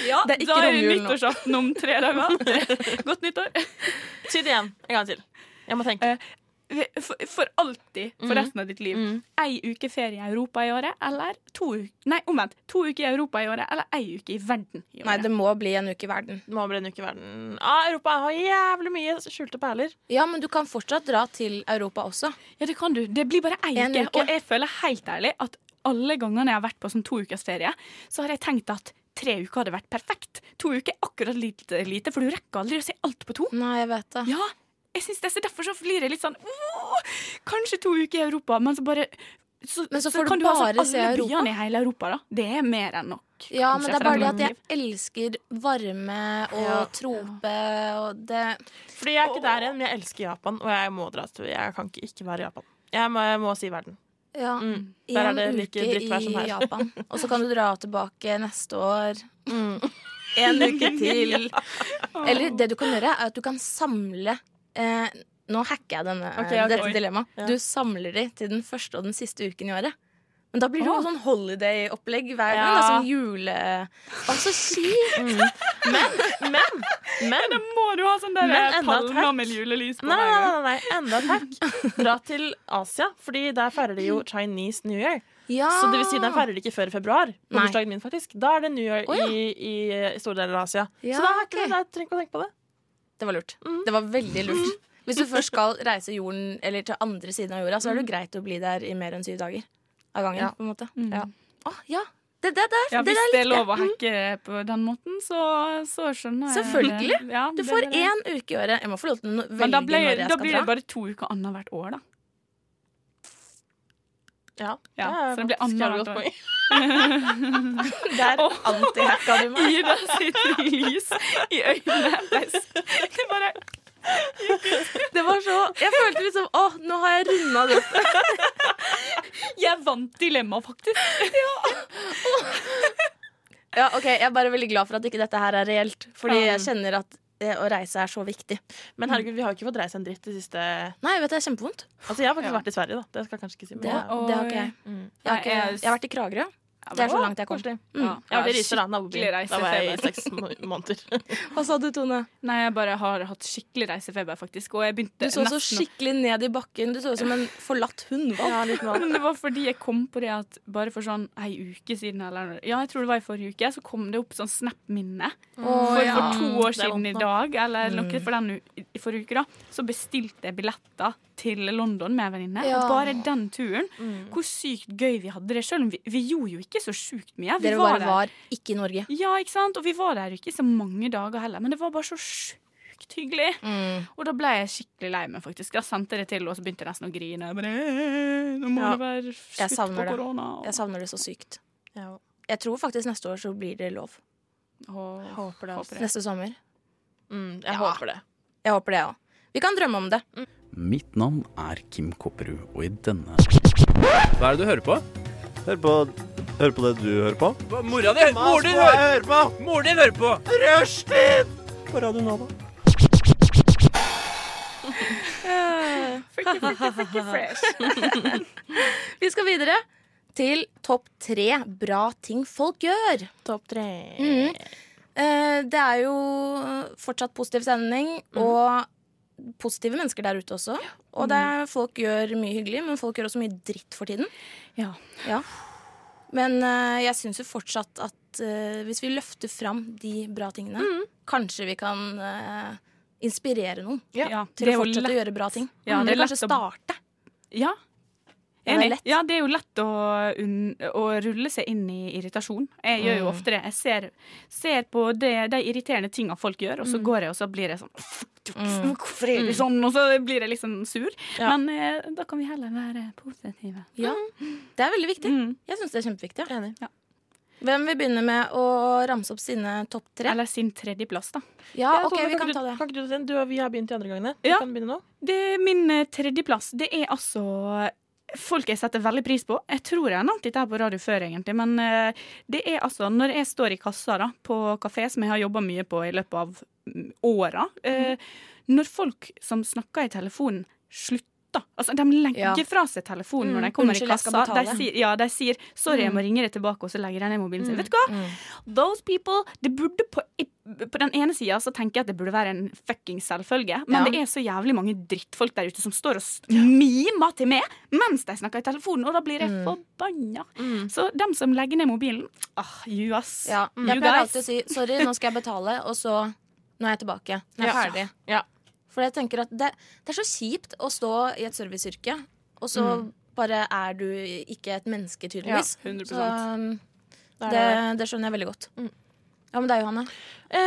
[SPEAKER 5] Ja, det er
[SPEAKER 4] da
[SPEAKER 5] ikke
[SPEAKER 4] er det
[SPEAKER 5] romjulen nå.
[SPEAKER 4] nyttårsaften om tre dager. Godt nyttår.
[SPEAKER 1] Si det igjen. En gang til. Jeg må tenke.
[SPEAKER 4] Eh, For, for alltid, for resten av ditt liv.
[SPEAKER 1] Mm.
[SPEAKER 4] Ei uke ferie i Europa i året, eller to uker Nei, omvendt. To uker i Europa i året, eller ei uke i verden i året.
[SPEAKER 5] Nei, det må bli en uke i verden.
[SPEAKER 1] Nå blir det en uke i verden. Ah, Europa har jævlig mye skjulte perler.
[SPEAKER 5] Ja, men du kan fortsatt dra til Europa også.
[SPEAKER 4] Ja, det kan du. Det blir bare ei
[SPEAKER 5] En
[SPEAKER 4] uke.
[SPEAKER 5] uke.
[SPEAKER 4] Og jeg føler helt ærlig at alle gangene jeg har vært på sånn to ukers ferie, så har jeg tenkt at tre uker hadde vært perfekt. To uker er akkurat lite, lite for du rekker aldri å se alt på to.
[SPEAKER 5] Nei, jeg vet det.
[SPEAKER 4] Ja, jeg synes det, så derfor så blir det litt sånn «Åh, Kanskje to uker i Europa, men så bare så,
[SPEAKER 5] Men så får du
[SPEAKER 4] kan ha sånn
[SPEAKER 5] bare se
[SPEAKER 4] alle
[SPEAKER 5] Europa.
[SPEAKER 4] byene i hele Europa, da. Det er mer enn nok.
[SPEAKER 5] Ja,
[SPEAKER 4] kanskje,
[SPEAKER 5] men det er
[SPEAKER 4] for
[SPEAKER 5] bare
[SPEAKER 4] et
[SPEAKER 5] det at
[SPEAKER 4] langt
[SPEAKER 5] jeg elsker varme og
[SPEAKER 1] Ja.
[SPEAKER 5] trope og det
[SPEAKER 1] Fordi jeg er ikke der igjen, men jeg elsker Japan, og jeg må dra til Jeg kan ikke ikke være i Japan. Jeg må, jeg må si verden.
[SPEAKER 5] Ja.
[SPEAKER 1] Mm. Der er
[SPEAKER 5] En
[SPEAKER 1] det like
[SPEAKER 5] uke
[SPEAKER 1] drittvær
[SPEAKER 5] i
[SPEAKER 1] som her.
[SPEAKER 5] Japan. Og så kan du dra tilbake neste år.
[SPEAKER 1] Mm.
[SPEAKER 5] [LAUGHS]
[SPEAKER 1] En uke til.
[SPEAKER 5] Eller det du kan gjøre, er at du kan samle eh, Nå hacker jeg denne,
[SPEAKER 1] Ok, ok.
[SPEAKER 5] dette dilemmaet.
[SPEAKER 1] Ja.
[SPEAKER 5] Du samler de til den første og den siste uken i året. Men da blir det jo sånn holiday-opplegg hver gang.
[SPEAKER 1] Ja.
[SPEAKER 5] Da, sånn jule... Å, så kjipt! [LAUGHS]
[SPEAKER 1] Men, men
[SPEAKER 4] Må du ha sånn der
[SPEAKER 1] Men
[SPEAKER 4] eh,
[SPEAKER 1] enda
[SPEAKER 4] palmer
[SPEAKER 1] takk.
[SPEAKER 4] med julelys på
[SPEAKER 1] Nei,
[SPEAKER 4] hver gang?
[SPEAKER 1] nei, nei, nei, enda takk. Dra til Asia, Fordi der feirer de jo Chinese New Year.
[SPEAKER 5] Ja.
[SPEAKER 1] [LAUGHS] Så det vil si, den feirer de ikke før i februar. På
[SPEAKER 5] Nei.
[SPEAKER 1] bursdagen min, faktisk. Da er det New Year
[SPEAKER 5] Å, ja.
[SPEAKER 1] i, i, eh, store deler av Asia.
[SPEAKER 5] Ja,
[SPEAKER 1] så da er ikke
[SPEAKER 5] ok.
[SPEAKER 1] det der, trenger ikke å tenke på det.
[SPEAKER 5] Det var lurt.
[SPEAKER 4] Mm.
[SPEAKER 5] Det var veldig lurt. Hvis du først skal reise jorden Eller til andre siden av jorda, så er det jo greit å bli der i mer enn syv dager av gangen.
[SPEAKER 1] Ja.
[SPEAKER 5] på en måte
[SPEAKER 4] Mm.
[SPEAKER 1] Ja.
[SPEAKER 5] Å, ja. Det, det der!
[SPEAKER 4] Ja,
[SPEAKER 5] det
[SPEAKER 4] hvis
[SPEAKER 5] der
[SPEAKER 4] det er
[SPEAKER 5] likte jeg.
[SPEAKER 4] lov å hacke på den måten, så, så skjønner jeg
[SPEAKER 5] Selvfølgelig.
[SPEAKER 4] det. Ja,
[SPEAKER 5] Du
[SPEAKER 4] det
[SPEAKER 5] får
[SPEAKER 4] er det.
[SPEAKER 5] én uke i året. Jeg må få lov til å no-
[SPEAKER 4] Men
[SPEAKER 5] velge
[SPEAKER 4] da, ble,
[SPEAKER 5] når jeg
[SPEAKER 4] da
[SPEAKER 5] skal
[SPEAKER 4] blir det
[SPEAKER 5] dra.
[SPEAKER 4] bare to uker annethvert år, da.
[SPEAKER 1] Ja,
[SPEAKER 4] Ja,
[SPEAKER 1] er
[SPEAKER 4] så det blir
[SPEAKER 1] faktisk
[SPEAKER 4] annet
[SPEAKER 1] jævlig godt
[SPEAKER 4] år.
[SPEAKER 1] poeng. [LAUGHS]
[SPEAKER 5] Der antihacka du meg.
[SPEAKER 4] Ida sitter i lys i øynene. Det er bare
[SPEAKER 5] [LAUGHS] Det var så Jeg følte liksom Å, nå har jeg runda det.
[SPEAKER 4] Jeg vant dilemmaet, faktisk.
[SPEAKER 5] Ja, ok, Jeg er bare veldig glad for at ikke dette her er reelt. Fordi jeg kjenner at det å reise er så viktig. Mm.
[SPEAKER 1] Men herregud, vi har jo ikke fått reise en dritt det siste
[SPEAKER 5] Nei, vet du, det er kjempevondt.
[SPEAKER 1] Altså, jeg har faktisk
[SPEAKER 4] Ja.
[SPEAKER 1] vært i Sverige, da. Det skal jeg kanskje ikke si. Men
[SPEAKER 5] Det,
[SPEAKER 1] jeg-
[SPEAKER 4] Og-
[SPEAKER 5] det har ikke jeg.
[SPEAKER 4] Mm.
[SPEAKER 5] Jeg har, ikke, jeg har vært i Kragerø. Det er så langt Mm. jeg kom.
[SPEAKER 4] Ja,
[SPEAKER 1] Jeg har vært i Riser, da.
[SPEAKER 4] skikkelig
[SPEAKER 1] Nabobyen. Da var jeg i
[SPEAKER 4] reisefeber.
[SPEAKER 1] seks
[SPEAKER 5] [LAUGHS]
[SPEAKER 1] må- måneder.
[SPEAKER 5] Hva sa du, Tone?
[SPEAKER 4] Nei, jeg bare har hatt skikkelig reisefeber, faktisk. Og jeg
[SPEAKER 5] Du
[SPEAKER 4] begynte
[SPEAKER 5] så så
[SPEAKER 4] nesten å-
[SPEAKER 5] skikkelig ned i bakken. Du så ut som en forlatt hundhvalp.
[SPEAKER 1] Ja, litt [LAUGHS]
[SPEAKER 4] Men [LAUGHS] det var fordi jeg kom på det at bare for sånn ei uke siden, eller Ja, jeg tror det var i forrige uke, så kom det opp sånn Snap-minne.
[SPEAKER 5] Å,
[SPEAKER 4] Mm. For,
[SPEAKER 5] ja. Mm.
[SPEAKER 4] for to år
[SPEAKER 1] Det er
[SPEAKER 4] siden i
[SPEAKER 1] vondt nå.
[SPEAKER 4] dag, eller noe for den u- i forrige uke, da, så bestilte jeg billetter til London med en venninne.
[SPEAKER 5] Ja.
[SPEAKER 4] Og bare den turen, hvor sykt gøy vi hadde det. Selv om vi, vi gjorde jo ikke så sjukt mye. Vi
[SPEAKER 5] Dere
[SPEAKER 4] var
[SPEAKER 5] bare
[SPEAKER 4] der.
[SPEAKER 5] var ikke i Norge.
[SPEAKER 4] Ja, ikke sant? Og vi var der ikke så mange dager heller, men det var bare så sjukt sykt hyggelig. Og da ble jeg skikkelig lei meg, faktisk. Da sendte jeg det til, og så begynte jeg nesten å grine. Jeg bare, «Eh, nå må
[SPEAKER 5] Ja.
[SPEAKER 4] det være
[SPEAKER 5] Jeg
[SPEAKER 4] slutt
[SPEAKER 5] savner
[SPEAKER 4] på
[SPEAKER 5] det.
[SPEAKER 4] korona.
[SPEAKER 5] Jeg savner det så sykt. Jeg tror faktisk neste år så blir det lov.
[SPEAKER 4] Og,
[SPEAKER 1] Håper det. altså.
[SPEAKER 4] håper det.
[SPEAKER 5] Neste sommer.
[SPEAKER 1] Mm, jeg
[SPEAKER 5] Ja.
[SPEAKER 1] håper det.
[SPEAKER 5] Jeg håper det òg. Vi kan drømme om det.
[SPEAKER 12] Mitt navn er Kim Kopperud, og i denne
[SPEAKER 2] Hva er det du hører på?
[SPEAKER 8] Hør på, hør på det du hører på.
[SPEAKER 2] Mora di! Moren din hører,
[SPEAKER 8] på!
[SPEAKER 2] moren din hører på!
[SPEAKER 8] Rushtid! På Radio Nova.
[SPEAKER 4] Freaky, freaky, freaky fresh.
[SPEAKER 5] Vi skal videre til topp tre bra ting folk gjør.
[SPEAKER 1] Topp tre.
[SPEAKER 5] Mhm. Eh, Det er jo fortsatt positiv stemning
[SPEAKER 4] Mhm.
[SPEAKER 5] og positive mennesker der ute også. Og det
[SPEAKER 4] Mm.
[SPEAKER 5] er, folk gjør mye hyggelig, men folk gjør også mye dritt for tiden.
[SPEAKER 4] Ja.
[SPEAKER 5] Ja. Men eh, jeg syns jo fortsatt at eh, hvis vi løfter fram de bra tingene,
[SPEAKER 4] Mm.
[SPEAKER 5] kanskje vi kan eh, inspirere noen
[SPEAKER 1] Ja.
[SPEAKER 4] Ja,
[SPEAKER 5] til
[SPEAKER 4] det er
[SPEAKER 5] å
[SPEAKER 4] jo
[SPEAKER 5] fortsette å
[SPEAKER 4] lett.
[SPEAKER 5] gjøre bra ting.
[SPEAKER 4] Ja,
[SPEAKER 5] Mm,
[SPEAKER 4] det er
[SPEAKER 5] Eller kanskje
[SPEAKER 4] lett å-
[SPEAKER 5] starte.
[SPEAKER 4] Ja.
[SPEAKER 5] Ja, det er
[SPEAKER 4] Enig.
[SPEAKER 5] lett.
[SPEAKER 4] Ja, det er jo lett å, unn- å rulle seg inn i irritasjon. Jeg gjør jo
[SPEAKER 5] Mm.
[SPEAKER 4] ofte det. Jeg ser, ser på det, de irriterende tinga folk gjør, og så går jeg og så blir jeg sånn
[SPEAKER 5] Mm.
[SPEAKER 4] Hvorfor er det sånn? Og så blir jeg liksom sur.
[SPEAKER 1] Ja.
[SPEAKER 4] Men eh, da kan vi heller være positive.
[SPEAKER 5] Ja. Det er veldig viktig.
[SPEAKER 4] Mm.
[SPEAKER 5] Jeg syns det er kjempeviktig. ja.
[SPEAKER 1] Enig.
[SPEAKER 5] Hvem vil begynne med å ramse opp sine topp tre?
[SPEAKER 4] Eller sin tredjeplass, da.
[SPEAKER 5] Ja,
[SPEAKER 1] Ja,
[SPEAKER 5] OK,
[SPEAKER 1] Tone,
[SPEAKER 5] vi kan
[SPEAKER 1] ikke
[SPEAKER 5] ta
[SPEAKER 1] du,
[SPEAKER 5] det.
[SPEAKER 1] Kan ikke du ta den? Du og vi har begynt de andre gangene.
[SPEAKER 4] Ja.
[SPEAKER 1] Du kan begynne nå.
[SPEAKER 4] Det er min eh, tredjeplass. Det er altså folk jeg setter veldig pris på. Jeg tror jeg har nevnt dette her på radio før, egentlig, men eh, det er altså når jeg står i kassa da, på kafé, som jeg har jobba mye på i løpet av mm, åra, eh, når folk som snakker i telefonen, slutter. Altså, de legger
[SPEAKER 5] Ja.
[SPEAKER 4] fra seg telefonen
[SPEAKER 5] Mm,
[SPEAKER 4] når de kommer
[SPEAKER 5] unnskyld,
[SPEAKER 4] i
[SPEAKER 5] jeg skal
[SPEAKER 4] kassa. De
[SPEAKER 5] betale.
[SPEAKER 4] sier, ja, de sier 'sorry, jeg må
[SPEAKER 5] Mm.
[SPEAKER 4] ringe deg tilbake', og så legger de ned mobilen sin. Vet du hva? Those people Det burde på, på den ene sida så tenker jeg at det burde være en fucking selvfølge, men
[SPEAKER 5] Ja.
[SPEAKER 4] det er så jævlig mange drittfolk der ute som står og s- mimer til meg mens de snakker i telefonen, og da blir
[SPEAKER 5] Mm.
[SPEAKER 4] jeg forbanna. Så dem som legger ned mobilen ah, You ass.
[SPEAKER 5] Ja,
[SPEAKER 4] Mm.
[SPEAKER 5] jeg
[SPEAKER 4] You
[SPEAKER 5] pleier
[SPEAKER 4] guys.
[SPEAKER 5] alltid å si 'sorry, nå skal jeg betale', og så Nå er jeg tilbake. Nå er jeg
[SPEAKER 1] Ja.
[SPEAKER 5] ferdig.
[SPEAKER 1] Ja.
[SPEAKER 5] For jeg tenker at det, det er så kjipt å stå i et serviceyrke, og så bare er du ikke et menneske, tydeligvis.
[SPEAKER 4] Ja, 100%.
[SPEAKER 5] så um,
[SPEAKER 1] Da er
[SPEAKER 5] det, det skjønner jeg veldig godt.
[SPEAKER 1] Mm.
[SPEAKER 5] Ja, men det er Johanne.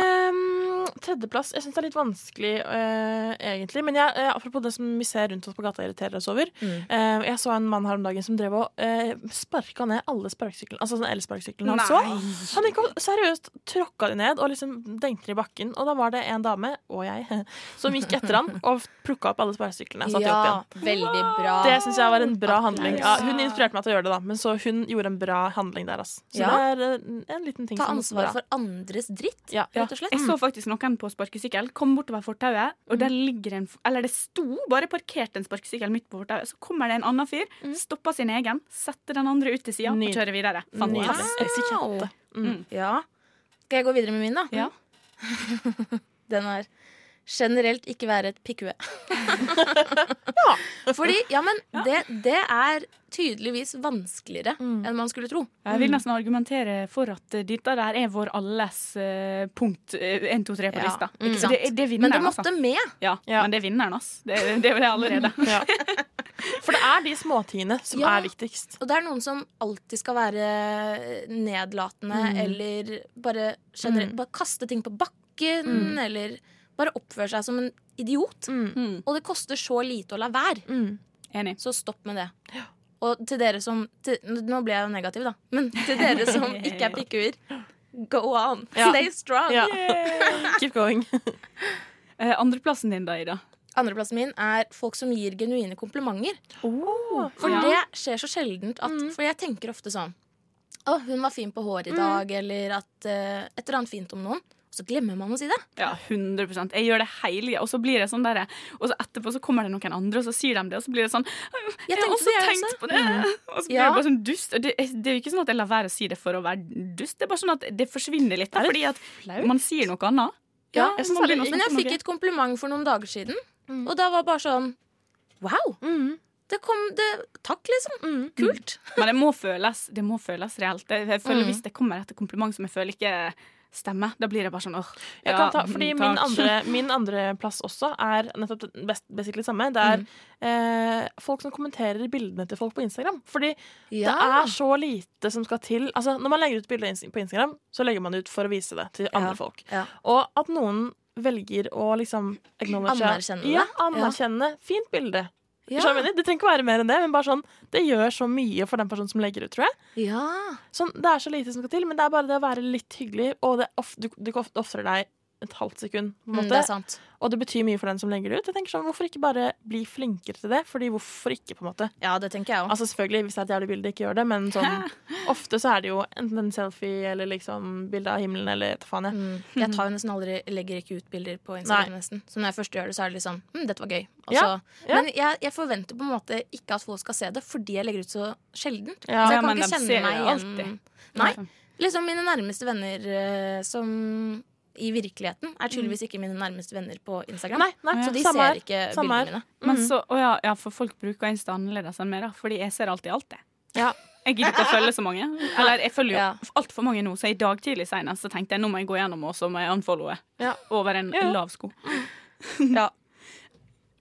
[SPEAKER 1] Ehm, tredjeplass. Jeg syns det er litt vanskelig, eh, egentlig. Men jeg, eh, apropos det som vi ser rundt oss på gata og irriterer oss over.
[SPEAKER 5] Mm.
[SPEAKER 1] eh, jeg så en mann her om dagen som drev og uh, sparka ned alle sparkesyklene. Altså den elsparkesykkelen han
[SPEAKER 4] Nei.
[SPEAKER 1] så. Han gikk og seriøst tråkka de ned og liksom dengte de i bakken. Og da var det en dame, og jeg, [LAUGHS] som gikk etter han og plukka opp alle sparkesyklene. og Satte de opp igjen.
[SPEAKER 5] veldig bra.
[SPEAKER 1] Det syns jeg var en bra
[SPEAKER 5] Applaus.
[SPEAKER 1] handling. Ja, hun inspirerte meg til å gjøre det, da, men så hun gjorde en bra handling der. ass. Så
[SPEAKER 5] Ja.
[SPEAKER 1] det er eh, en liten ting
[SPEAKER 5] Ta
[SPEAKER 1] som
[SPEAKER 5] ansvar for andres dritt,
[SPEAKER 1] Ja.
[SPEAKER 5] rett og slett.
[SPEAKER 4] Jeg så faktisk noen på sparkesykkel kom bortover fortauet, og der ligger en Eller det sto bare parkert en sparkesykkel midt på fortauet. Så kommer det en annen fyr,
[SPEAKER 5] Mm.
[SPEAKER 4] stopper sin egen, setter den andre ut til sida og
[SPEAKER 1] Nydelig.
[SPEAKER 4] kjører videre.
[SPEAKER 1] Nydelig.
[SPEAKER 4] Fantastisk.
[SPEAKER 1] Etikette.
[SPEAKER 5] Mm. Ja. Skal jeg gå videre med min, da?
[SPEAKER 4] Ja.
[SPEAKER 5] [LAUGHS] Den er generelt ikke være et pikkhue. [LAUGHS] Fordi, ja, men det, det er tydeligvis vanskeligere
[SPEAKER 1] Mm.
[SPEAKER 5] enn man skulle tro.
[SPEAKER 4] Jeg vil nesten argumentere for at eh, dette der er vår alles eh, punkt eh, 1, 2, 3 på
[SPEAKER 5] Ja,
[SPEAKER 4] lista.
[SPEAKER 5] ikke
[SPEAKER 4] Så
[SPEAKER 5] sant.
[SPEAKER 4] Det, det er
[SPEAKER 5] Men det
[SPEAKER 4] vinneren, altså.
[SPEAKER 5] måtte med.
[SPEAKER 4] Ja,
[SPEAKER 1] Ja.
[SPEAKER 4] Men det er vinneren, ass. Det, det er jo det allerede.
[SPEAKER 1] Ja. For det er de småtingene som
[SPEAKER 5] Ja.
[SPEAKER 1] er viktigst.
[SPEAKER 5] Og det er noen som alltid skal være nedlatende
[SPEAKER 1] Mm.
[SPEAKER 5] eller bare generelt Bare kaste ting på bakken
[SPEAKER 1] Mm.
[SPEAKER 5] eller bare oppføre seg som en idiot. Og det koster så lite å la være.
[SPEAKER 4] Enig.
[SPEAKER 5] Så stopp med det. Og til dere som til, Nå ble jeg jo negativ, da. Men til
[SPEAKER 1] [LAUGHS]
[SPEAKER 5] dere som ikke er pikkuer, go on.
[SPEAKER 1] Ja.
[SPEAKER 5] Stay strong.
[SPEAKER 1] Ja. [LAUGHS] Keep going.
[SPEAKER 4] Eh, andreplassen din da, Ida?
[SPEAKER 5] Andreplassen min er folk som gir genuine komplimenter. For
[SPEAKER 4] Ja.
[SPEAKER 5] det skjer så sjeldent at
[SPEAKER 1] Mm.
[SPEAKER 5] For jeg tenker ofte sånn Å, hun var fin på håret i dag, eller at eh, et eller annet fint om noen. Og så glemmer man å si det.
[SPEAKER 4] Ja, 100 Jeg gjør det hele tida. Og så blir det sånn der, og så etterpå så kommer det noen andre, og så sier de det, og så blir det sånn Jeg,
[SPEAKER 5] Jeg
[SPEAKER 4] har
[SPEAKER 5] tenkte
[SPEAKER 4] også
[SPEAKER 5] det, jeg
[SPEAKER 4] tenkt
[SPEAKER 5] også.
[SPEAKER 4] på det! Og så blir
[SPEAKER 5] Ja.
[SPEAKER 4] det bare sånn dust. Og Det, det er jo ikke sånn at jeg lar være å si det for å være dust, det er bare sånn at det forsvinner litt. Da, fordi at man sier noe annet.
[SPEAKER 5] Ja,
[SPEAKER 1] jeg synes
[SPEAKER 4] man begynner å
[SPEAKER 1] det er sånn- Mm.
[SPEAKER 5] Men jeg
[SPEAKER 4] snakke om noe.
[SPEAKER 5] fikk et kompliment for noen dager siden, og da var bare sånn Wow! Det kom det, Takk, liksom.
[SPEAKER 1] Mm.
[SPEAKER 5] Kult.
[SPEAKER 4] Men det må føles, det må føles reelt. Jeg, jeg føler Hvis det kommer et kompliment som jeg føler ikke stemmer, da blir det bare sånn åh.
[SPEAKER 1] Jeg
[SPEAKER 4] ja,
[SPEAKER 1] kan ta, fordi
[SPEAKER 4] mm,
[SPEAKER 1] min
[SPEAKER 4] takk. [LAUGHS]
[SPEAKER 1] andre, min andre plass også er nettopp det best, basically det samme. Det er
[SPEAKER 5] Mm.
[SPEAKER 1] eh, folk som kommenterer bildene til folk på Instagram. Fordi det er så lite som skal til. Altså, når man legger ut bilder på Instagram, så legger man det ut for å vise det til andre folk.
[SPEAKER 5] Ja.
[SPEAKER 1] Og at noen velger å liksom acknowledge
[SPEAKER 5] Anerkjenne det.
[SPEAKER 1] Ja, anerkjenne. Fint bilde.
[SPEAKER 5] Ja.
[SPEAKER 1] Skjønner du hva jeg mener? Det trenger ikke være mer enn det, men bare sånn, det gjør så mye for den personen som legger ut, tror jeg. Sånn, det er så lite som skal til, men det er bare det å være litt hyggelig, og det er of, du, du ofte ofrer deg et halvt sekund. På en
[SPEAKER 5] Mm,
[SPEAKER 1] måte.
[SPEAKER 5] det er sant.
[SPEAKER 1] Og det betyr mye for den som legger det ut. Jeg tenker sånn, Hvorfor ikke bare bli flinkere til det? Fordi hvorfor ikke, på en måte?
[SPEAKER 5] Ja, det tenker jeg også.
[SPEAKER 1] Altså Selvfølgelig, hvis det er et jævlig bilde, ikke gjør det, men
[SPEAKER 5] [LAUGHS]
[SPEAKER 1] sånn, ofte så er det jo enten en selfie eller liksom bilde av himmelen eller hva
[SPEAKER 5] Mm.
[SPEAKER 1] faen jeg.
[SPEAKER 5] Jeg tar jo nesten aldri, legger ikke ut bilder på Instagram. nesten Så når jeg først gjør det, så er det liksom hm, 'Dette var gøy'. Og
[SPEAKER 1] Ja,
[SPEAKER 5] så-
[SPEAKER 1] ja.
[SPEAKER 5] Men jeg, jeg forventer på en måte ikke at folk skal se det, fordi jeg legger ut så sjelden.
[SPEAKER 1] Ja.
[SPEAKER 5] så jeg
[SPEAKER 1] Ja,
[SPEAKER 5] kan
[SPEAKER 1] men
[SPEAKER 5] ikke
[SPEAKER 1] de
[SPEAKER 5] kjenne
[SPEAKER 1] ser
[SPEAKER 5] meg
[SPEAKER 1] jo
[SPEAKER 5] igjen. Nei. Liksom mine nærmeste venner eh, som i virkeligheten er tydeligvis ikke mine nærmeste venner på Instagram.
[SPEAKER 1] Nei, nei,
[SPEAKER 5] så de
[SPEAKER 1] samme her,
[SPEAKER 5] ser ikke
[SPEAKER 1] samme her.
[SPEAKER 5] bildene mine.
[SPEAKER 4] Men så, å ja, ja, for folk bruker Insta annerledes enn meg, da. Fordi jeg ser alltid alt, jeg.
[SPEAKER 1] Ja.
[SPEAKER 4] Jeg gidder ikke å følge så mange. Eller jeg følger jo
[SPEAKER 1] Ja.
[SPEAKER 4] altfor mange nå, så i dag tidlig senest så tenkte jeg nå må jeg gå gjennom og så må jeg unfollowe. Over en
[SPEAKER 5] Ja.
[SPEAKER 4] lav sko.
[SPEAKER 1] ja.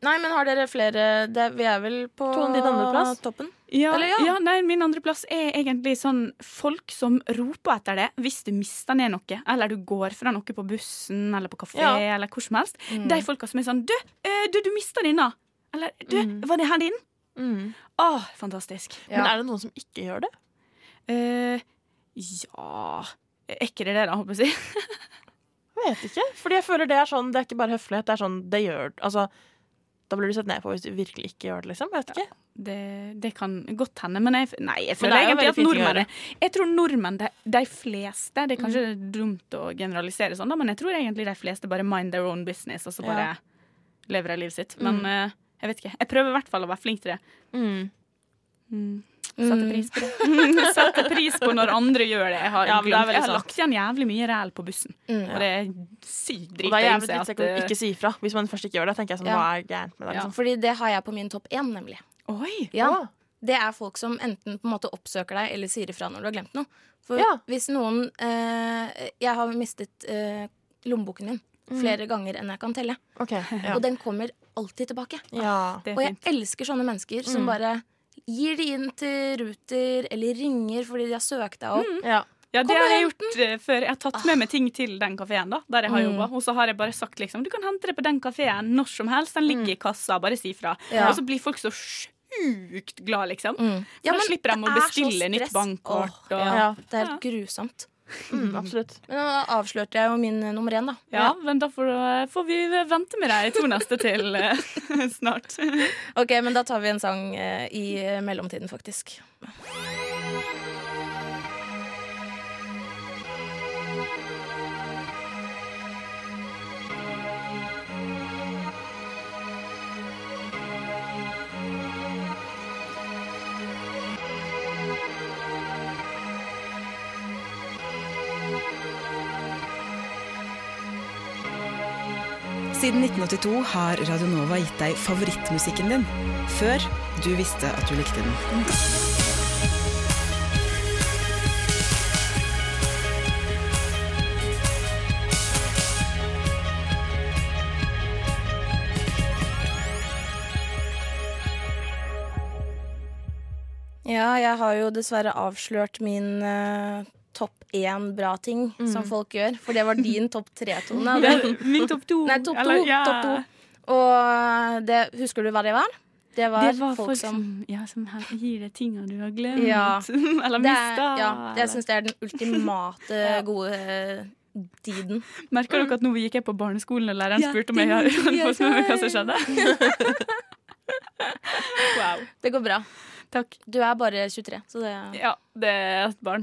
[SPEAKER 5] Nei, men har dere flere det, Vi er vel på
[SPEAKER 4] Tone, din andreplass?
[SPEAKER 5] toppen?
[SPEAKER 4] Ja,
[SPEAKER 5] Eller
[SPEAKER 4] ja. nei, min andreplass er egentlig sånn folk som roper etter det hvis du mister ned noe, eller du går fra noe på bussen eller på kafé
[SPEAKER 11] Ja.
[SPEAKER 4] eller hvor som helst.
[SPEAKER 11] Mm.
[SPEAKER 4] De folka som er sånn Du, eh, du, du mista denne! Eller du, var det her din? Åh, fantastisk.
[SPEAKER 1] Mm. Men Ja. er det noen som ikke gjør det?
[SPEAKER 4] Eh, ja Er ikke det det, da, håper jeg å si?
[SPEAKER 1] Jeg vet ikke. Fordi jeg føler det er sånn, det er ikke bare høflighet. Det er sånn, det gjør Altså, da blir du sett ned på hvis du virkelig ikke gjør det, liksom. Jeg vet ikke.
[SPEAKER 4] Det, det kan godt hende, men jeg, f- nei, jeg
[SPEAKER 1] Men
[SPEAKER 4] føler
[SPEAKER 1] det er jo
[SPEAKER 4] egentlig
[SPEAKER 1] veldig
[SPEAKER 4] at
[SPEAKER 1] fint å
[SPEAKER 4] nordmenn
[SPEAKER 1] gjøre.
[SPEAKER 4] Jeg tror nordmenn, de, de fleste Det er kanskje
[SPEAKER 1] Mm.
[SPEAKER 4] dumt å generalisere sånn, da, men jeg tror egentlig de fleste bare mind their own business, og så bare
[SPEAKER 1] Ja.
[SPEAKER 4] lever de livet sitt. Men
[SPEAKER 1] Mm.
[SPEAKER 4] eh, jeg vet ikke. Jeg prøver i hvert fall å være flink til det. Mm. Setter pris på [LAUGHS] det. Setter pris på når andre gjør det. Jeg har,
[SPEAKER 1] Mm. Ja, men det er
[SPEAKER 4] glemt.
[SPEAKER 1] veldig
[SPEAKER 4] jeg har
[SPEAKER 1] sant.
[SPEAKER 4] lagt igjen jævlig mye ræl på bussen,
[SPEAKER 1] Mm.
[SPEAKER 4] og det er sykt
[SPEAKER 1] Og
[SPEAKER 4] drit
[SPEAKER 1] det er
[SPEAKER 4] å
[SPEAKER 1] jævlig
[SPEAKER 4] innse at,
[SPEAKER 1] dritt å
[SPEAKER 4] eh,
[SPEAKER 1] ikke si ifra hvis man først ikke gjør det. tenker jeg sånn,
[SPEAKER 5] Ja.
[SPEAKER 1] hva er gærent med deg,
[SPEAKER 5] Ja.
[SPEAKER 1] liksom. Ah,
[SPEAKER 5] Fordi det har jeg på min topp én, nemlig.
[SPEAKER 1] Å.
[SPEAKER 5] Ja. Det er folk som enten på en måte oppsøker deg eller sier ifra når du har glemt noe. For
[SPEAKER 1] Ja.
[SPEAKER 5] hvis noen eh, Jeg har mistet eh, lommeboken min
[SPEAKER 1] Mm.
[SPEAKER 5] flere ganger enn jeg kan telle. [LAUGHS]
[SPEAKER 1] Ok, ja.
[SPEAKER 5] Og den kommer alltid tilbake.
[SPEAKER 1] Ja, det er
[SPEAKER 5] og jeg
[SPEAKER 1] fint.
[SPEAKER 5] elsker sånne mennesker
[SPEAKER 1] Mm.
[SPEAKER 5] som bare gir de inn til Ruter eller ringer fordi de har søkt deg
[SPEAKER 4] Mm,
[SPEAKER 5] opp.
[SPEAKER 1] Ja.
[SPEAKER 4] Ja, det
[SPEAKER 5] Kom og
[SPEAKER 4] har jeg
[SPEAKER 5] hent
[SPEAKER 4] gjort eh, før. Jeg har tatt med meg ting til den kafeen da, der jeg har
[SPEAKER 5] Mm.
[SPEAKER 4] jobba. Og så har jeg bare sagt liksom Du kan hente det på den kafeen når som helst. Den ligger i kassa. Bare si fra.
[SPEAKER 5] Mm. Ja.
[SPEAKER 4] Og så blir folk så sjukt glad, liksom.
[SPEAKER 5] Mm.
[SPEAKER 4] For da slipper de å
[SPEAKER 5] det er så
[SPEAKER 4] bestille nytt
[SPEAKER 5] stress.
[SPEAKER 4] bankkort.
[SPEAKER 5] Åh,
[SPEAKER 4] og...
[SPEAKER 5] ja. Det er helt grusomt.
[SPEAKER 1] Mm, absolutt.
[SPEAKER 5] Men nå avslørte jeg jo min eh, nummer én, da.
[SPEAKER 4] Ja, men da får, eh, får vi vente med de to neste til eh, [LAUGHS] snart.
[SPEAKER 5] Ok, men da tar vi en sang eh, i eh, mellomtiden, faktisk.
[SPEAKER 9] Siden 1982 har Radionova gitt deg favorittmusikken din, før du visste at du likte den.
[SPEAKER 5] Ja, jeg har jo dessverre avslørt min eh, topp én bra ting som folk gjør. For det var din topp [LAUGHS] tre-tone.
[SPEAKER 4] Det er min topp to.
[SPEAKER 5] Nei, topp to.
[SPEAKER 4] Eller, ja.
[SPEAKER 5] Topp to. Og det, husker du hva det var? Det var,
[SPEAKER 4] det var
[SPEAKER 5] folk, som
[SPEAKER 4] ja, som her- gir deg tinga du har glemt.
[SPEAKER 5] Ja.
[SPEAKER 4] [LAUGHS] Eller
[SPEAKER 5] Det er-
[SPEAKER 4] mista.
[SPEAKER 5] Ja,
[SPEAKER 4] eller-
[SPEAKER 5] jeg syns det er den [LAUGHS] ultimate gode eh, deeden.
[SPEAKER 4] Merker dere at nå gikk jeg på barneskolen, og læreren
[SPEAKER 5] Ja,
[SPEAKER 4] spurte
[SPEAKER 5] det
[SPEAKER 4] om jeg har
[SPEAKER 5] gjorde jeg
[SPEAKER 4] fått med meg hva som skjedde? [LAUGHS] wow.
[SPEAKER 5] Det går bra.
[SPEAKER 4] Takk.
[SPEAKER 5] Du er bare 23, så det
[SPEAKER 4] Ja, det er et barn.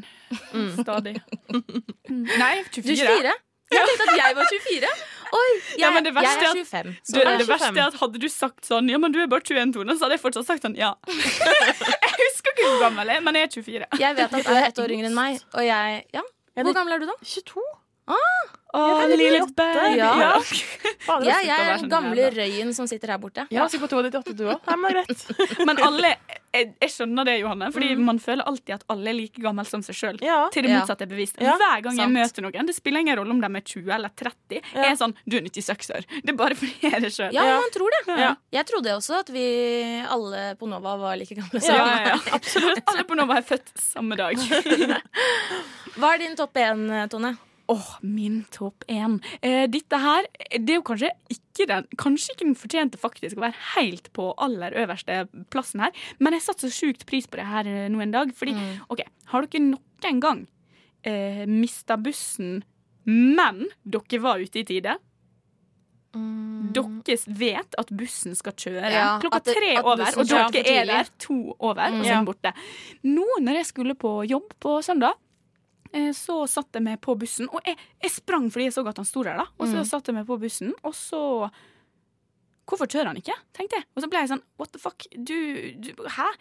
[SPEAKER 4] Stadig. Mm. [LAUGHS] Nei, 24.
[SPEAKER 5] Du er 24? Jeg tenkte at jeg var 24. [LAUGHS] Oi, jeg,
[SPEAKER 4] Ja, men det verste
[SPEAKER 5] jeg er
[SPEAKER 4] at-
[SPEAKER 5] 25.
[SPEAKER 4] Du, det verste er at Hadde du sagt sånn Ja, men du er bare 21, Tone, så hadde jeg fortsatt sagt sånn
[SPEAKER 5] [LAUGHS]
[SPEAKER 4] ja. jeg husker ikke hvor gammel jeg er, men jeg er 24.
[SPEAKER 5] Jeg vet at du er ett år yngre enn meg, og jeg Ja. Hvor gammel er du, da?
[SPEAKER 1] 22.
[SPEAKER 5] Ah,
[SPEAKER 4] Å,
[SPEAKER 5] jeg er
[SPEAKER 4] lille
[SPEAKER 5] 98.
[SPEAKER 4] baby.
[SPEAKER 5] Ja.
[SPEAKER 4] Ja.
[SPEAKER 1] [LAUGHS] Fader,
[SPEAKER 5] Ja,
[SPEAKER 1] slutt å
[SPEAKER 5] jeg
[SPEAKER 1] være
[SPEAKER 5] er
[SPEAKER 1] sånn
[SPEAKER 5] den gamle
[SPEAKER 1] jævla.
[SPEAKER 5] røyen som sitter her borte.
[SPEAKER 1] Ja, sikkert på 298 du òg. Nei, men det er greit.
[SPEAKER 4] Men alle jeg, jeg skjønner det, Johanne, fordi man føler alltid at alle er like gammel som seg sjøl. Til det
[SPEAKER 5] Ja.
[SPEAKER 4] motsatte er bevist.
[SPEAKER 5] Ja,
[SPEAKER 4] Hver gang jeg
[SPEAKER 5] sant.
[SPEAKER 4] møter noen, det spiller ingen rolle om de er 20 eller 30, jeg er sånn 'du er 96 år'. Det er bare fordi jeg er det sjøl.
[SPEAKER 5] Ja, man tror det.
[SPEAKER 4] Ja.
[SPEAKER 5] Jeg trodde også at vi alle på Nova var like gamle
[SPEAKER 4] Ja,
[SPEAKER 5] som
[SPEAKER 4] ja, ja,
[SPEAKER 5] [LAUGHS]
[SPEAKER 4] absolutt. Alle på Nova er født samme dag.
[SPEAKER 5] Hva er din topp én, Tone?
[SPEAKER 4] Å, Åh, min topp én. Eh, dette her det er jo kanskje ikke den Kanskje ikke den fortjente faktisk å være helt på aller øverste plassen her, men jeg satte så sjukt pris på det her eh, nå en dag. Fordi,
[SPEAKER 5] Mm.
[SPEAKER 4] OK, har dere noen gang eh, mista bussen, men dere var ute i tide?
[SPEAKER 5] Mm.
[SPEAKER 4] Dere vet at bussen skal kjøre
[SPEAKER 5] Ja,
[SPEAKER 4] klokka
[SPEAKER 5] at det-
[SPEAKER 4] tre
[SPEAKER 5] at
[SPEAKER 4] over,
[SPEAKER 5] bussen
[SPEAKER 4] og
[SPEAKER 5] kjører
[SPEAKER 4] dere
[SPEAKER 5] for
[SPEAKER 4] er
[SPEAKER 5] tidlig.
[SPEAKER 4] der to over, og så er
[SPEAKER 5] Ja.
[SPEAKER 4] den borte. Nå når jeg skulle på jobb på søndag, eh, så satt jeg meg på bussen, og jeg, jeg sprang fordi jeg så at han sto der, da. Og så
[SPEAKER 5] Mm.
[SPEAKER 4] satt jeg meg på bussen, og så Hvorfor kjører han ikke? tenkte jeg. Og så ble jeg sånn what the fuck, du, du Hæ?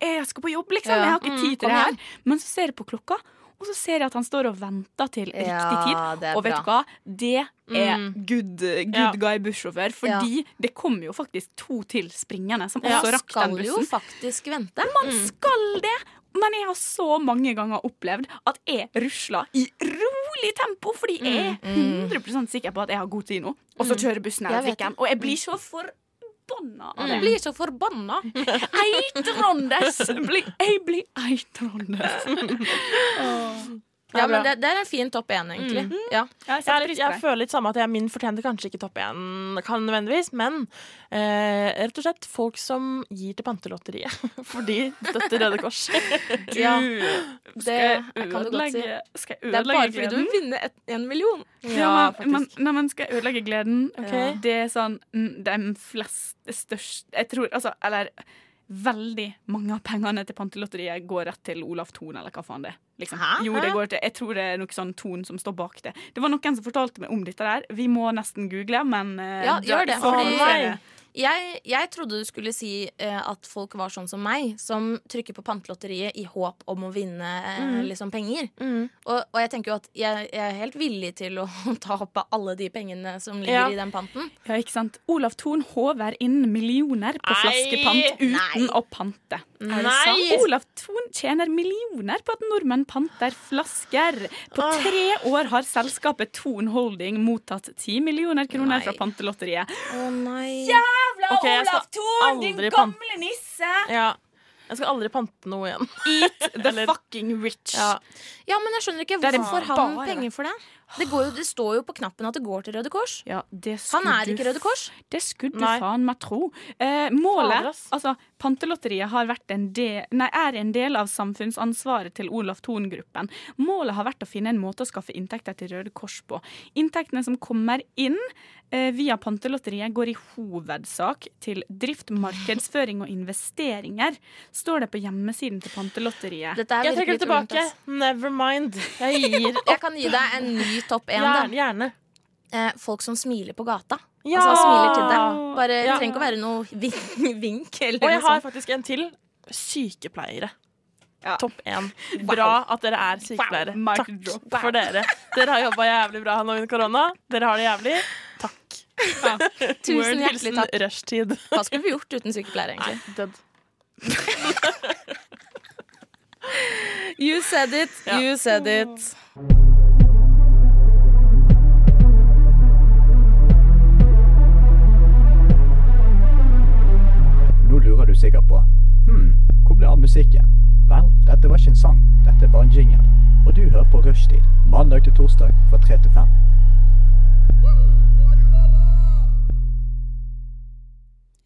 [SPEAKER 4] Jeg skal på jobb, liksom.
[SPEAKER 5] Ja.
[SPEAKER 4] Jeg har ikke
[SPEAKER 5] Mm,
[SPEAKER 4] tid til
[SPEAKER 5] kom
[SPEAKER 4] det
[SPEAKER 5] igjen.
[SPEAKER 4] her. Men så ser jeg på klokka, og så ser jeg at han står og venter til riktig
[SPEAKER 5] Ja,
[SPEAKER 4] tid.
[SPEAKER 5] det er
[SPEAKER 4] Og vet
[SPEAKER 5] bra.
[SPEAKER 4] du hva? Det er
[SPEAKER 5] Mm.
[SPEAKER 4] good, good
[SPEAKER 5] Ja.
[SPEAKER 4] guy bussjåfør, fordi det kom jo faktisk to til springende som også rakk
[SPEAKER 5] skal
[SPEAKER 4] den
[SPEAKER 5] jo
[SPEAKER 4] bussen.
[SPEAKER 5] faktisk vente.
[SPEAKER 4] Man skal det! Men jeg har så mange ganger opplevd at jeg rusler i rolig tempo fordi jeg er 100 sikker på at jeg har god tid nå, og så
[SPEAKER 5] Mm.
[SPEAKER 4] kjører bussen
[SPEAKER 5] Jeg
[SPEAKER 4] eller
[SPEAKER 5] vet
[SPEAKER 4] trikken,
[SPEAKER 5] det. Mm.
[SPEAKER 4] og jeg blir så forbanna av det.
[SPEAKER 5] Jeg blir så forbanna!
[SPEAKER 4] Eitrandes! Blir- Jeg blir
[SPEAKER 5] [LAUGHS]
[SPEAKER 4] eitrandes.
[SPEAKER 5] Ja, men det, det er en fin topp én, egentlig.
[SPEAKER 1] Mm.
[SPEAKER 5] Ja.
[SPEAKER 1] Jeg, er litt, jeg føler litt samme at jeg, min fortjente kanskje ikke topp én, kan nødvendigvis, men eh, rett og slett folk som gir til Pantelotteriet [LAUGHS] fordi dette Røde Kors.
[SPEAKER 5] [LAUGHS] Du, Ja. Det jeg kan du godt si.
[SPEAKER 4] Skal jeg
[SPEAKER 5] Det er
[SPEAKER 4] ødelegge
[SPEAKER 5] bare fordi du vil
[SPEAKER 4] gleden?
[SPEAKER 5] vinne et, en million.
[SPEAKER 4] Ja, men, men, nei, men skal jeg ødelegge gleden?
[SPEAKER 5] Ok.
[SPEAKER 4] Det er sånn mm, De fleste største Jeg tror altså Eller veldig mange av pengene til Pantelotteriet går rett til Olav Thon, eller hva faen det er. Liksom.
[SPEAKER 5] Hæ?
[SPEAKER 4] Jo, det går til Jeg tror det er noe sånn Thon som står bak det. Det var noen som fortalte meg om dette der. Vi må nesten google, men eh,
[SPEAKER 5] Ja,
[SPEAKER 4] da-
[SPEAKER 5] gjør det.
[SPEAKER 4] så-
[SPEAKER 5] Fordi jeg, jeg trodde du skulle si eh, at folk var sånn som meg, som trykker på pantelotteriet i håp om å vinne eh,
[SPEAKER 1] Mm.
[SPEAKER 5] liksom penger.
[SPEAKER 1] Mm.
[SPEAKER 5] Og, og jeg tenker jo at jeg, jeg er helt villig til å [LAUGHS] ta opp av alle de pengene som ligger
[SPEAKER 4] Ja.
[SPEAKER 5] i den panten.
[SPEAKER 4] Ja, ikke sant? Olav Thon håver inn millioner på
[SPEAKER 5] Nei!
[SPEAKER 4] flaskepant uten
[SPEAKER 5] Nei.
[SPEAKER 4] å pante.
[SPEAKER 5] Nei!
[SPEAKER 4] Altså, Olav Thon tjener millioner på at nordmenn panter flasker. På tre år har selskapet Thon Holding mottatt ti millioner kroner fra Pantelotteriet.
[SPEAKER 5] Å nei.
[SPEAKER 4] Jævla
[SPEAKER 1] [LAUGHS] Ok, jeg skal aldri pan-
[SPEAKER 4] nisse!
[SPEAKER 1] Ja. Jeg skal aldri pante noe igjen.
[SPEAKER 4] Eat the fucking rich.
[SPEAKER 1] Ja.
[SPEAKER 5] Ja, men jeg skjønner ikke
[SPEAKER 1] Det er det
[SPEAKER 5] hvorfor han
[SPEAKER 1] bare.
[SPEAKER 5] penger for det. Det, går jo, det står jo på knappen at det går til Røde Kors.
[SPEAKER 4] Ja, det
[SPEAKER 5] han
[SPEAKER 4] skulle
[SPEAKER 5] er
[SPEAKER 4] du
[SPEAKER 5] ikke Røde Kors.
[SPEAKER 4] Det skulle du
[SPEAKER 5] Nei.
[SPEAKER 4] faen meg tro. Eh, målet,
[SPEAKER 5] Fader, ass.
[SPEAKER 4] altså Pantelotteriet har vært en del, nei, er en del av samfunnsansvaret til Olav Thon-gruppen. Målet har vært å finne en måte å skaffe inntekter til Røde Kors på. Inntektene som kommer inn eh, via Pantelotteriet, går i hovedsak til drift, markedsføring og investeringer, står det på hjemmesiden til Pantelotteriet.
[SPEAKER 5] Dette er
[SPEAKER 1] Jeg trekker
[SPEAKER 5] virkelig
[SPEAKER 1] det tilbake.
[SPEAKER 5] tungt, ass.
[SPEAKER 1] Never mind. Jeg gir opp.
[SPEAKER 5] Jeg kan gi deg [LAUGHS] en ny topp én. da.
[SPEAKER 1] Gjerne. gjerne.
[SPEAKER 5] Eh, folk som smiler på gata.
[SPEAKER 1] Ja!
[SPEAKER 5] Altså smiler til deg. Bare,
[SPEAKER 1] Ah. Ja.
[SPEAKER 5] Det trenger ikke å være noe vink, [LAUGHS] vink eller
[SPEAKER 1] Og jeg
[SPEAKER 5] noe
[SPEAKER 1] har
[SPEAKER 5] sånt.
[SPEAKER 1] faktisk en til. Sykepleiere.
[SPEAKER 4] Ja.
[SPEAKER 1] Topp
[SPEAKER 5] [LAUGHS]
[SPEAKER 1] én. Bra at dere er sykepleiere.
[SPEAKER 4] Wow. Mic
[SPEAKER 1] Takk
[SPEAKER 4] drop.
[SPEAKER 1] for dere. Dere har jobba jævlig bra nå under korona. Dere har det jævlig. Takk.
[SPEAKER 5] Tusen
[SPEAKER 1] Word,
[SPEAKER 5] hjertelig
[SPEAKER 1] hilsen
[SPEAKER 5] takk.
[SPEAKER 1] Rushtid.
[SPEAKER 5] Hva skulle vi gjort uten sykepleiere, egentlig?
[SPEAKER 1] [LAUGHS] Død.
[SPEAKER 5] You said it, you said it.
[SPEAKER 13] Nå lurer du sikkert på Hm, hvor ble av musikken? Vel, dette var ikke en sang, dette er bare en jingle. Og du hører på Rushtid mandag til torsdag fra 3 til 5.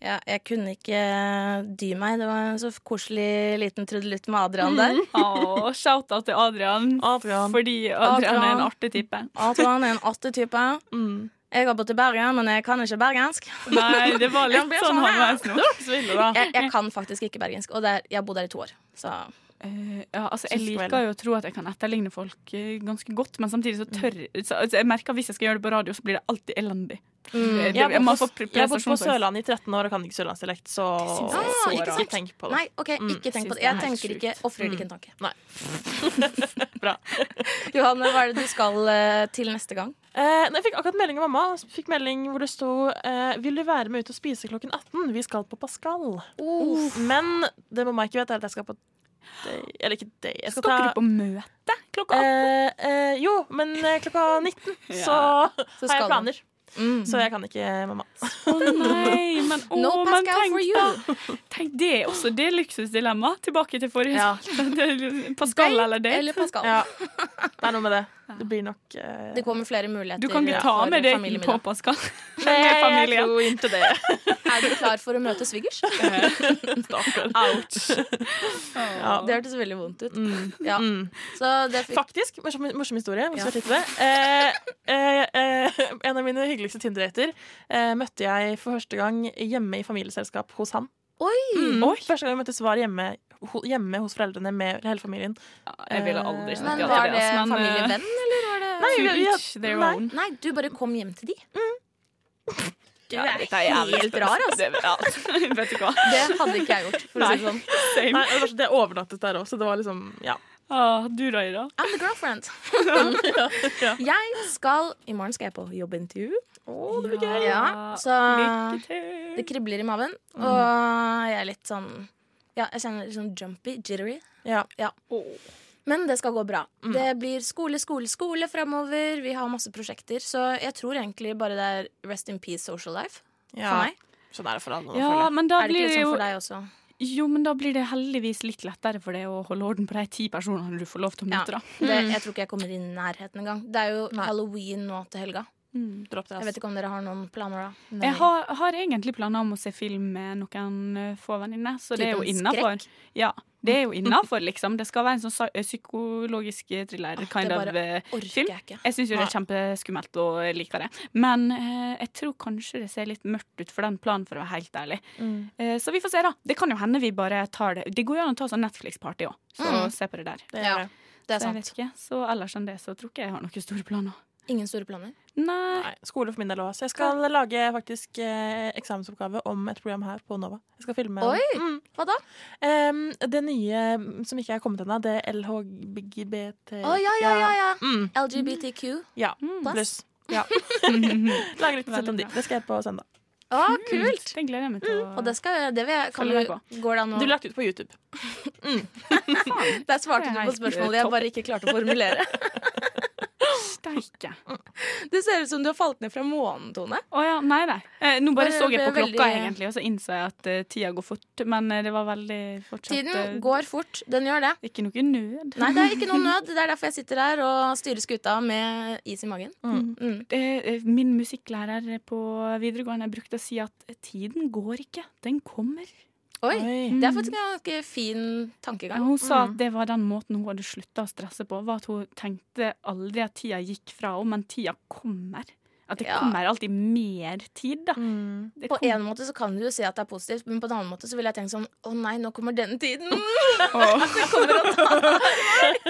[SPEAKER 5] Ja, jeg kunne ikke eh, dy meg. Det var en så koselig liten trudelutt med Adrian der.
[SPEAKER 4] Å, [LAUGHS] shout-out til Adrian, fordi Adrian, er en
[SPEAKER 5] Adrian.
[SPEAKER 4] artig type.
[SPEAKER 5] Adrian er en artig type. Jeg har bodd i Bergen, men jeg kan ikke bergensk.
[SPEAKER 4] Nei, det var litt
[SPEAKER 5] Jeg ble
[SPEAKER 4] sånn
[SPEAKER 5] her.
[SPEAKER 4] halvveis nå. Sville, da.
[SPEAKER 5] Jeg, jeg kan faktisk ikke bergensk, og det er, jeg har bodd her i to år. Så
[SPEAKER 4] Eh, ja, altså, jeg
[SPEAKER 5] Synes det var
[SPEAKER 4] liker jo å tro at jeg kan etterligne folk eh, ganske godt, men samtidig så tør så, altså, Jeg merker at hvis jeg skal gjøre det på radio, så blir det alltid elendig. Eh, det-
[SPEAKER 1] Jeg har
[SPEAKER 4] man
[SPEAKER 1] bodd på,
[SPEAKER 4] får pre-
[SPEAKER 1] jeg har bodd på
[SPEAKER 4] prestasjonsangst.
[SPEAKER 1] Sørlandet i 13 år og kan ikke sørlandsdialekt, så,
[SPEAKER 4] synes jeg er
[SPEAKER 1] så
[SPEAKER 4] så
[SPEAKER 1] ikke
[SPEAKER 4] rart.
[SPEAKER 1] sånn tenk på det.
[SPEAKER 5] Nei, OK,
[SPEAKER 1] Mm.
[SPEAKER 5] ikke tenk
[SPEAKER 1] Synes
[SPEAKER 5] på det.
[SPEAKER 1] det er
[SPEAKER 5] Jeg
[SPEAKER 1] helt
[SPEAKER 5] tenker ikke, ofrer
[SPEAKER 1] Mm.
[SPEAKER 5] ikke en tanke.
[SPEAKER 1] Nei.
[SPEAKER 5] Johanne, hva er det du skal eh, til neste gang?
[SPEAKER 1] Eh, nei, jeg fikk akkurat melding av mamma. Fikk melding hvor det sto eh, 'Vil du være med ut og spise klokken 18? Vi skal på Pascal'.
[SPEAKER 5] Uff.
[SPEAKER 1] Men det mamma ikke vet, er at jeg skal på day, Eller ikke day. Jeg skal,
[SPEAKER 4] Skal ikke
[SPEAKER 1] ta
[SPEAKER 4] du på møte klokka 18?
[SPEAKER 1] eh, eh, Jo, men eh, klokka
[SPEAKER 4] [LAUGHS]
[SPEAKER 1] 19 så
[SPEAKER 4] Ja. Så skal
[SPEAKER 1] har jeg
[SPEAKER 4] du.
[SPEAKER 1] planer. Så jeg kan ikke mamma.
[SPEAKER 4] Å nei, men, å,
[SPEAKER 5] Mm. No
[SPEAKER 4] Oh, men
[SPEAKER 5] Pascal
[SPEAKER 4] tenk
[SPEAKER 5] for
[SPEAKER 4] da. Tenk det er også det er [LAUGHS] luksusdilemma. Tilbake til forrige.
[SPEAKER 1] Ja.
[SPEAKER 4] Det er Pascal eller date?
[SPEAKER 5] eller Pascal.
[SPEAKER 1] Ja. Det er noe med det. Det blir nok eh,
[SPEAKER 5] Det kommer flere muligheter.
[SPEAKER 4] Du kan ikke ta
[SPEAKER 5] for
[SPEAKER 4] med det inn
[SPEAKER 5] familiemiddag.
[SPEAKER 4] på Pascal. [LAUGHS]
[SPEAKER 1] Nei,
[SPEAKER 4] Med
[SPEAKER 1] jeg
[SPEAKER 4] familien.
[SPEAKER 1] tror ikke det.
[SPEAKER 5] Er du klar for å møte
[SPEAKER 4] [LAUGHS]
[SPEAKER 5] svigers?
[SPEAKER 1] Stakkar.
[SPEAKER 4] Ouch.
[SPEAKER 1] Ja.
[SPEAKER 5] Det hørtes veldig vondt ut. Ja.
[SPEAKER 1] Mm.
[SPEAKER 5] Så det fikk
[SPEAKER 1] Faktisk, morsom, morsom historie. hvis
[SPEAKER 5] Ja.
[SPEAKER 1] vi har tid til det. Eh, eh, eh, en av mine hyggeligste Tinder-dater eh, møtte jeg for første gang hjemme i familieselskap hos han. Mm. Første gang vi møttes, var hjemme, ho, hjemme hos foreldrene med hele familien.
[SPEAKER 4] jeg ville aldri snakke
[SPEAKER 5] Eh, Men
[SPEAKER 4] om
[SPEAKER 5] var
[SPEAKER 4] det,
[SPEAKER 5] det
[SPEAKER 4] ass, men, eh, [LAUGHS]
[SPEAKER 5] familievenn, eller var det
[SPEAKER 1] Nei, vi- vi-
[SPEAKER 4] To each their
[SPEAKER 5] nei,
[SPEAKER 4] own.
[SPEAKER 5] nei, du bare kom hjem til de? Du
[SPEAKER 4] Mm. Ja,
[SPEAKER 5] er
[SPEAKER 4] dette er jævlig
[SPEAKER 5] helt rar, altså.
[SPEAKER 4] Det, ja.
[SPEAKER 5] [LAUGHS]
[SPEAKER 4] Vet du hva?
[SPEAKER 5] Det hadde ikke jeg gjort, for å si det
[SPEAKER 4] Nei.
[SPEAKER 5] sånn.
[SPEAKER 4] Same.
[SPEAKER 1] Nei, det var så- det overnattet der òg, så det var liksom Ja.
[SPEAKER 4] Ah, du da, Ida?
[SPEAKER 5] I'm the girlfriend. [LAUGHS] Jeg skal I morgen skal jeg på jobbintervju.
[SPEAKER 1] Oh, det
[SPEAKER 5] blir gøy. Ja, så
[SPEAKER 4] Lykke til.
[SPEAKER 5] det kribler i maven. Og jeg er litt sånn Ja, jeg kjenner litt sånn jumpy, jittery.
[SPEAKER 1] Ja.
[SPEAKER 5] Men det skal gå bra.
[SPEAKER 1] Mm.
[SPEAKER 5] Det blir skole, skole, skole framover. Vi har masse prosjekter. Så jeg tror egentlig bare det er rest in peace social life
[SPEAKER 1] Ja.
[SPEAKER 5] for meg.
[SPEAKER 1] Sånn er det for alle. nå, føler
[SPEAKER 4] Ja,
[SPEAKER 1] jeg.
[SPEAKER 4] men da
[SPEAKER 5] er det
[SPEAKER 4] blir
[SPEAKER 5] ikke
[SPEAKER 4] det
[SPEAKER 5] litt
[SPEAKER 4] jo
[SPEAKER 5] sånn for deg også?
[SPEAKER 4] Jo, men da blir det heldigvis litt lettere for deg å holde orden på de ti personene du får lov til å møte, da.
[SPEAKER 5] Det, jeg tror ikke jeg kommer i nærheten engang. Det er jo halloween nå til helga.
[SPEAKER 4] Mm.
[SPEAKER 5] Jeg
[SPEAKER 1] altså.
[SPEAKER 5] vet ikke om dere har noen planer da.
[SPEAKER 4] Jeg har, har egentlig planer om å se film med noen eh, få venninner, så det er jo
[SPEAKER 5] Typen
[SPEAKER 4] innafor.
[SPEAKER 5] skrekk?
[SPEAKER 4] Ja, det er jo innafor, liksom. Det skal være en sånn sa- psykologisk thriller kind
[SPEAKER 5] det
[SPEAKER 4] of
[SPEAKER 5] bare
[SPEAKER 4] eh, film.
[SPEAKER 5] ikke.
[SPEAKER 4] Jeg syns jo det er kjempeskummelt og jeg liker det. Men eh, jeg tror kanskje det ser litt mørkt ut for den planen, for å være helt ærlig.
[SPEAKER 1] Mm.
[SPEAKER 4] Eh, så vi får se, da. Det kan jo hende vi bare tar det. Det går jo an å ta sånn Netflix-party òg, så
[SPEAKER 5] Mm.
[SPEAKER 4] se på det der.
[SPEAKER 1] Det gjør det.
[SPEAKER 5] Det er
[SPEAKER 4] så jeg
[SPEAKER 5] sant.
[SPEAKER 4] vet ikke. Så ellers enn det så tror ikke jeg har noen store planer.
[SPEAKER 5] Ingen store planer.
[SPEAKER 4] Nei.
[SPEAKER 1] Nei, skole for min del òg. Så jeg skal lage faktisk eh, eksamensoppgave om et program her på Nova. Jeg skal filme
[SPEAKER 5] Oi!
[SPEAKER 1] Mm.
[SPEAKER 5] Hva da?
[SPEAKER 1] Em, det nye mm, som ikke er kommet ennå, det er LHBT...
[SPEAKER 5] Å, ja, ja, ja, Mm, ja.
[SPEAKER 1] Mm.
[SPEAKER 5] LGBTQ.
[SPEAKER 1] Ja,
[SPEAKER 5] Plus.
[SPEAKER 1] pluss.
[SPEAKER 5] [LAUGHS]
[SPEAKER 1] Ja. Lager litt sett om de. Det skal jeg på søndag.
[SPEAKER 5] Å, kult! Mm.
[SPEAKER 4] Den gleder jeg meg til å
[SPEAKER 5] Og det skal jeg- det vil jeg kan
[SPEAKER 1] Følg
[SPEAKER 5] du,
[SPEAKER 1] meg
[SPEAKER 5] Går det an å
[SPEAKER 1] Du lagt ut på YouTube.
[SPEAKER 5] Der svarte du
[SPEAKER 4] Det er
[SPEAKER 5] på
[SPEAKER 4] helt,
[SPEAKER 5] spørsmålet
[SPEAKER 4] eh,
[SPEAKER 5] jeg bare ikke klarte å formulere.
[SPEAKER 4] Steike.
[SPEAKER 5] [LAUGHS] Det ser ut som du har falt ned fra månen, Tone.
[SPEAKER 4] Å ja, nei, nei. Eh, nå bare
[SPEAKER 5] Bare
[SPEAKER 4] så jeg på
[SPEAKER 5] ble veldig-
[SPEAKER 4] klokka, egentlig, og så innså jeg at eh, tida går fort. Men eh, det var veldig fortsatt eh,
[SPEAKER 5] Tiden går fort. Den gjør det.
[SPEAKER 4] Ikke noe nød.
[SPEAKER 5] Nei, det er ikke noe nød. Det er derfor jeg sitter her og styrer skuta med is i magen.
[SPEAKER 4] Mm. Eh, eh, Min musikklærer på videregående brukte å si at tiden går ikke, den kommer.
[SPEAKER 5] Oi. Mm.
[SPEAKER 1] Oi.
[SPEAKER 5] Det er faktisk en ganske fin tankegang.
[SPEAKER 4] Hun sa at
[SPEAKER 5] Mm.
[SPEAKER 4] det var den måten hun hadde slutta å stresse på, var at hun tenkte aldri at tida gikk fra henne, men tida kommer. At det
[SPEAKER 5] Ja. Mm.
[SPEAKER 4] kommer alltid mer tid, da. Det
[SPEAKER 5] På
[SPEAKER 4] kom-
[SPEAKER 5] en måte så kan du jo si at det er positivt, men på en annen måte så ville jeg tenkt sånn Å nei, nå kommer den tiden!
[SPEAKER 4] [LAUGHS]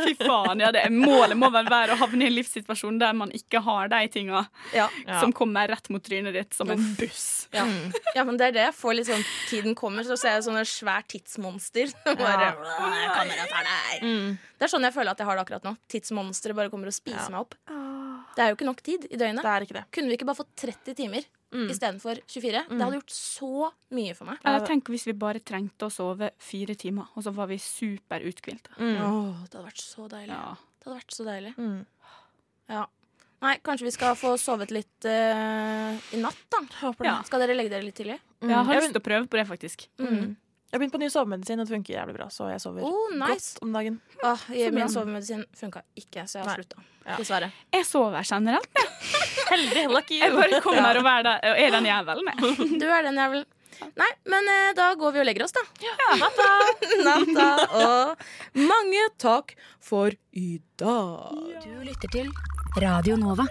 [SPEAKER 4] Fy faen, ja, det er målet må vel være å havne i en livssituasjon der man ikke har de tinga
[SPEAKER 5] Ja. [LAUGHS]
[SPEAKER 4] som kommer rett mot trynet ditt som en buss.
[SPEAKER 5] Ja.
[SPEAKER 1] Mm.
[SPEAKER 5] ja, men det er det. Jeg får litt sånn Tiden kommer, så ser jeg sånne svært tidsmonster. [LAUGHS] som Bare,
[SPEAKER 1] Ja. Mm.
[SPEAKER 5] «Åh, jeg kommer og tar deg. Det er sånn jeg føler at jeg har det akkurat nå. Tidsmonsteret bare kommer og spiser meg opp. Det er jo ikke nok tid i døgnet.
[SPEAKER 1] Det er ikke det.
[SPEAKER 5] Kunne vi ikke bare fått 30 timer
[SPEAKER 1] Mm.
[SPEAKER 5] istedenfor 24? Det hadde gjort så mye for meg.
[SPEAKER 4] Eller tenk hvis vi bare trengte å sove fire timer, og så var vi superuthvilte.
[SPEAKER 1] Mm.
[SPEAKER 5] Åh, det hadde vært så deilig.
[SPEAKER 4] Ja.
[SPEAKER 5] Det hadde vært så deilig.
[SPEAKER 1] Mm.
[SPEAKER 5] Ja. Nei, kanskje vi skal få sovet litt eh, i natt, da.
[SPEAKER 1] Håper det.
[SPEAKER 5] Ja. Skal dere legge dere litt tidlig?
[SPEAKER 4] Jeg har
[SPEAKER 1] Jeg
[SPEAKER 4] lyst til å prøve på det, faktisk.
[SPEAKER 5] Mm.
[SPEAKER 1] Jeg har begynt på ny sovemedisin, og det funker jævlig bra, så jeg sover
[SPEAKER 5] Oh, nice.
[SPEAKER 1] godt om dagen.
[SPEAKER 5] Åh, jeg-
[SPEAKER 1] Så bra.
[SPEAKER 5] min sovemedisin funka ikke, så jeg har
[SPEAKER 1] Nei.
[SPEAKER 5] slutta. Dessverre.
[SPEAKER 4] Jeg sover generelt.
[SPEAKER 1] Heldig, lucky
[SPEAKER 4] Jeg bare kommer og, er der, og er den jævelen, jeg.
[SPEAKER 5] [LAUGHS] Du er den jævelen. Nei, men eh, da går vi og legger oss, da.
[SPEAKER 1] Natta!
[SPEAKER 5] Natta og mange takk for i dag.
[SPEAKER 14] Du lytter til Radio Nova.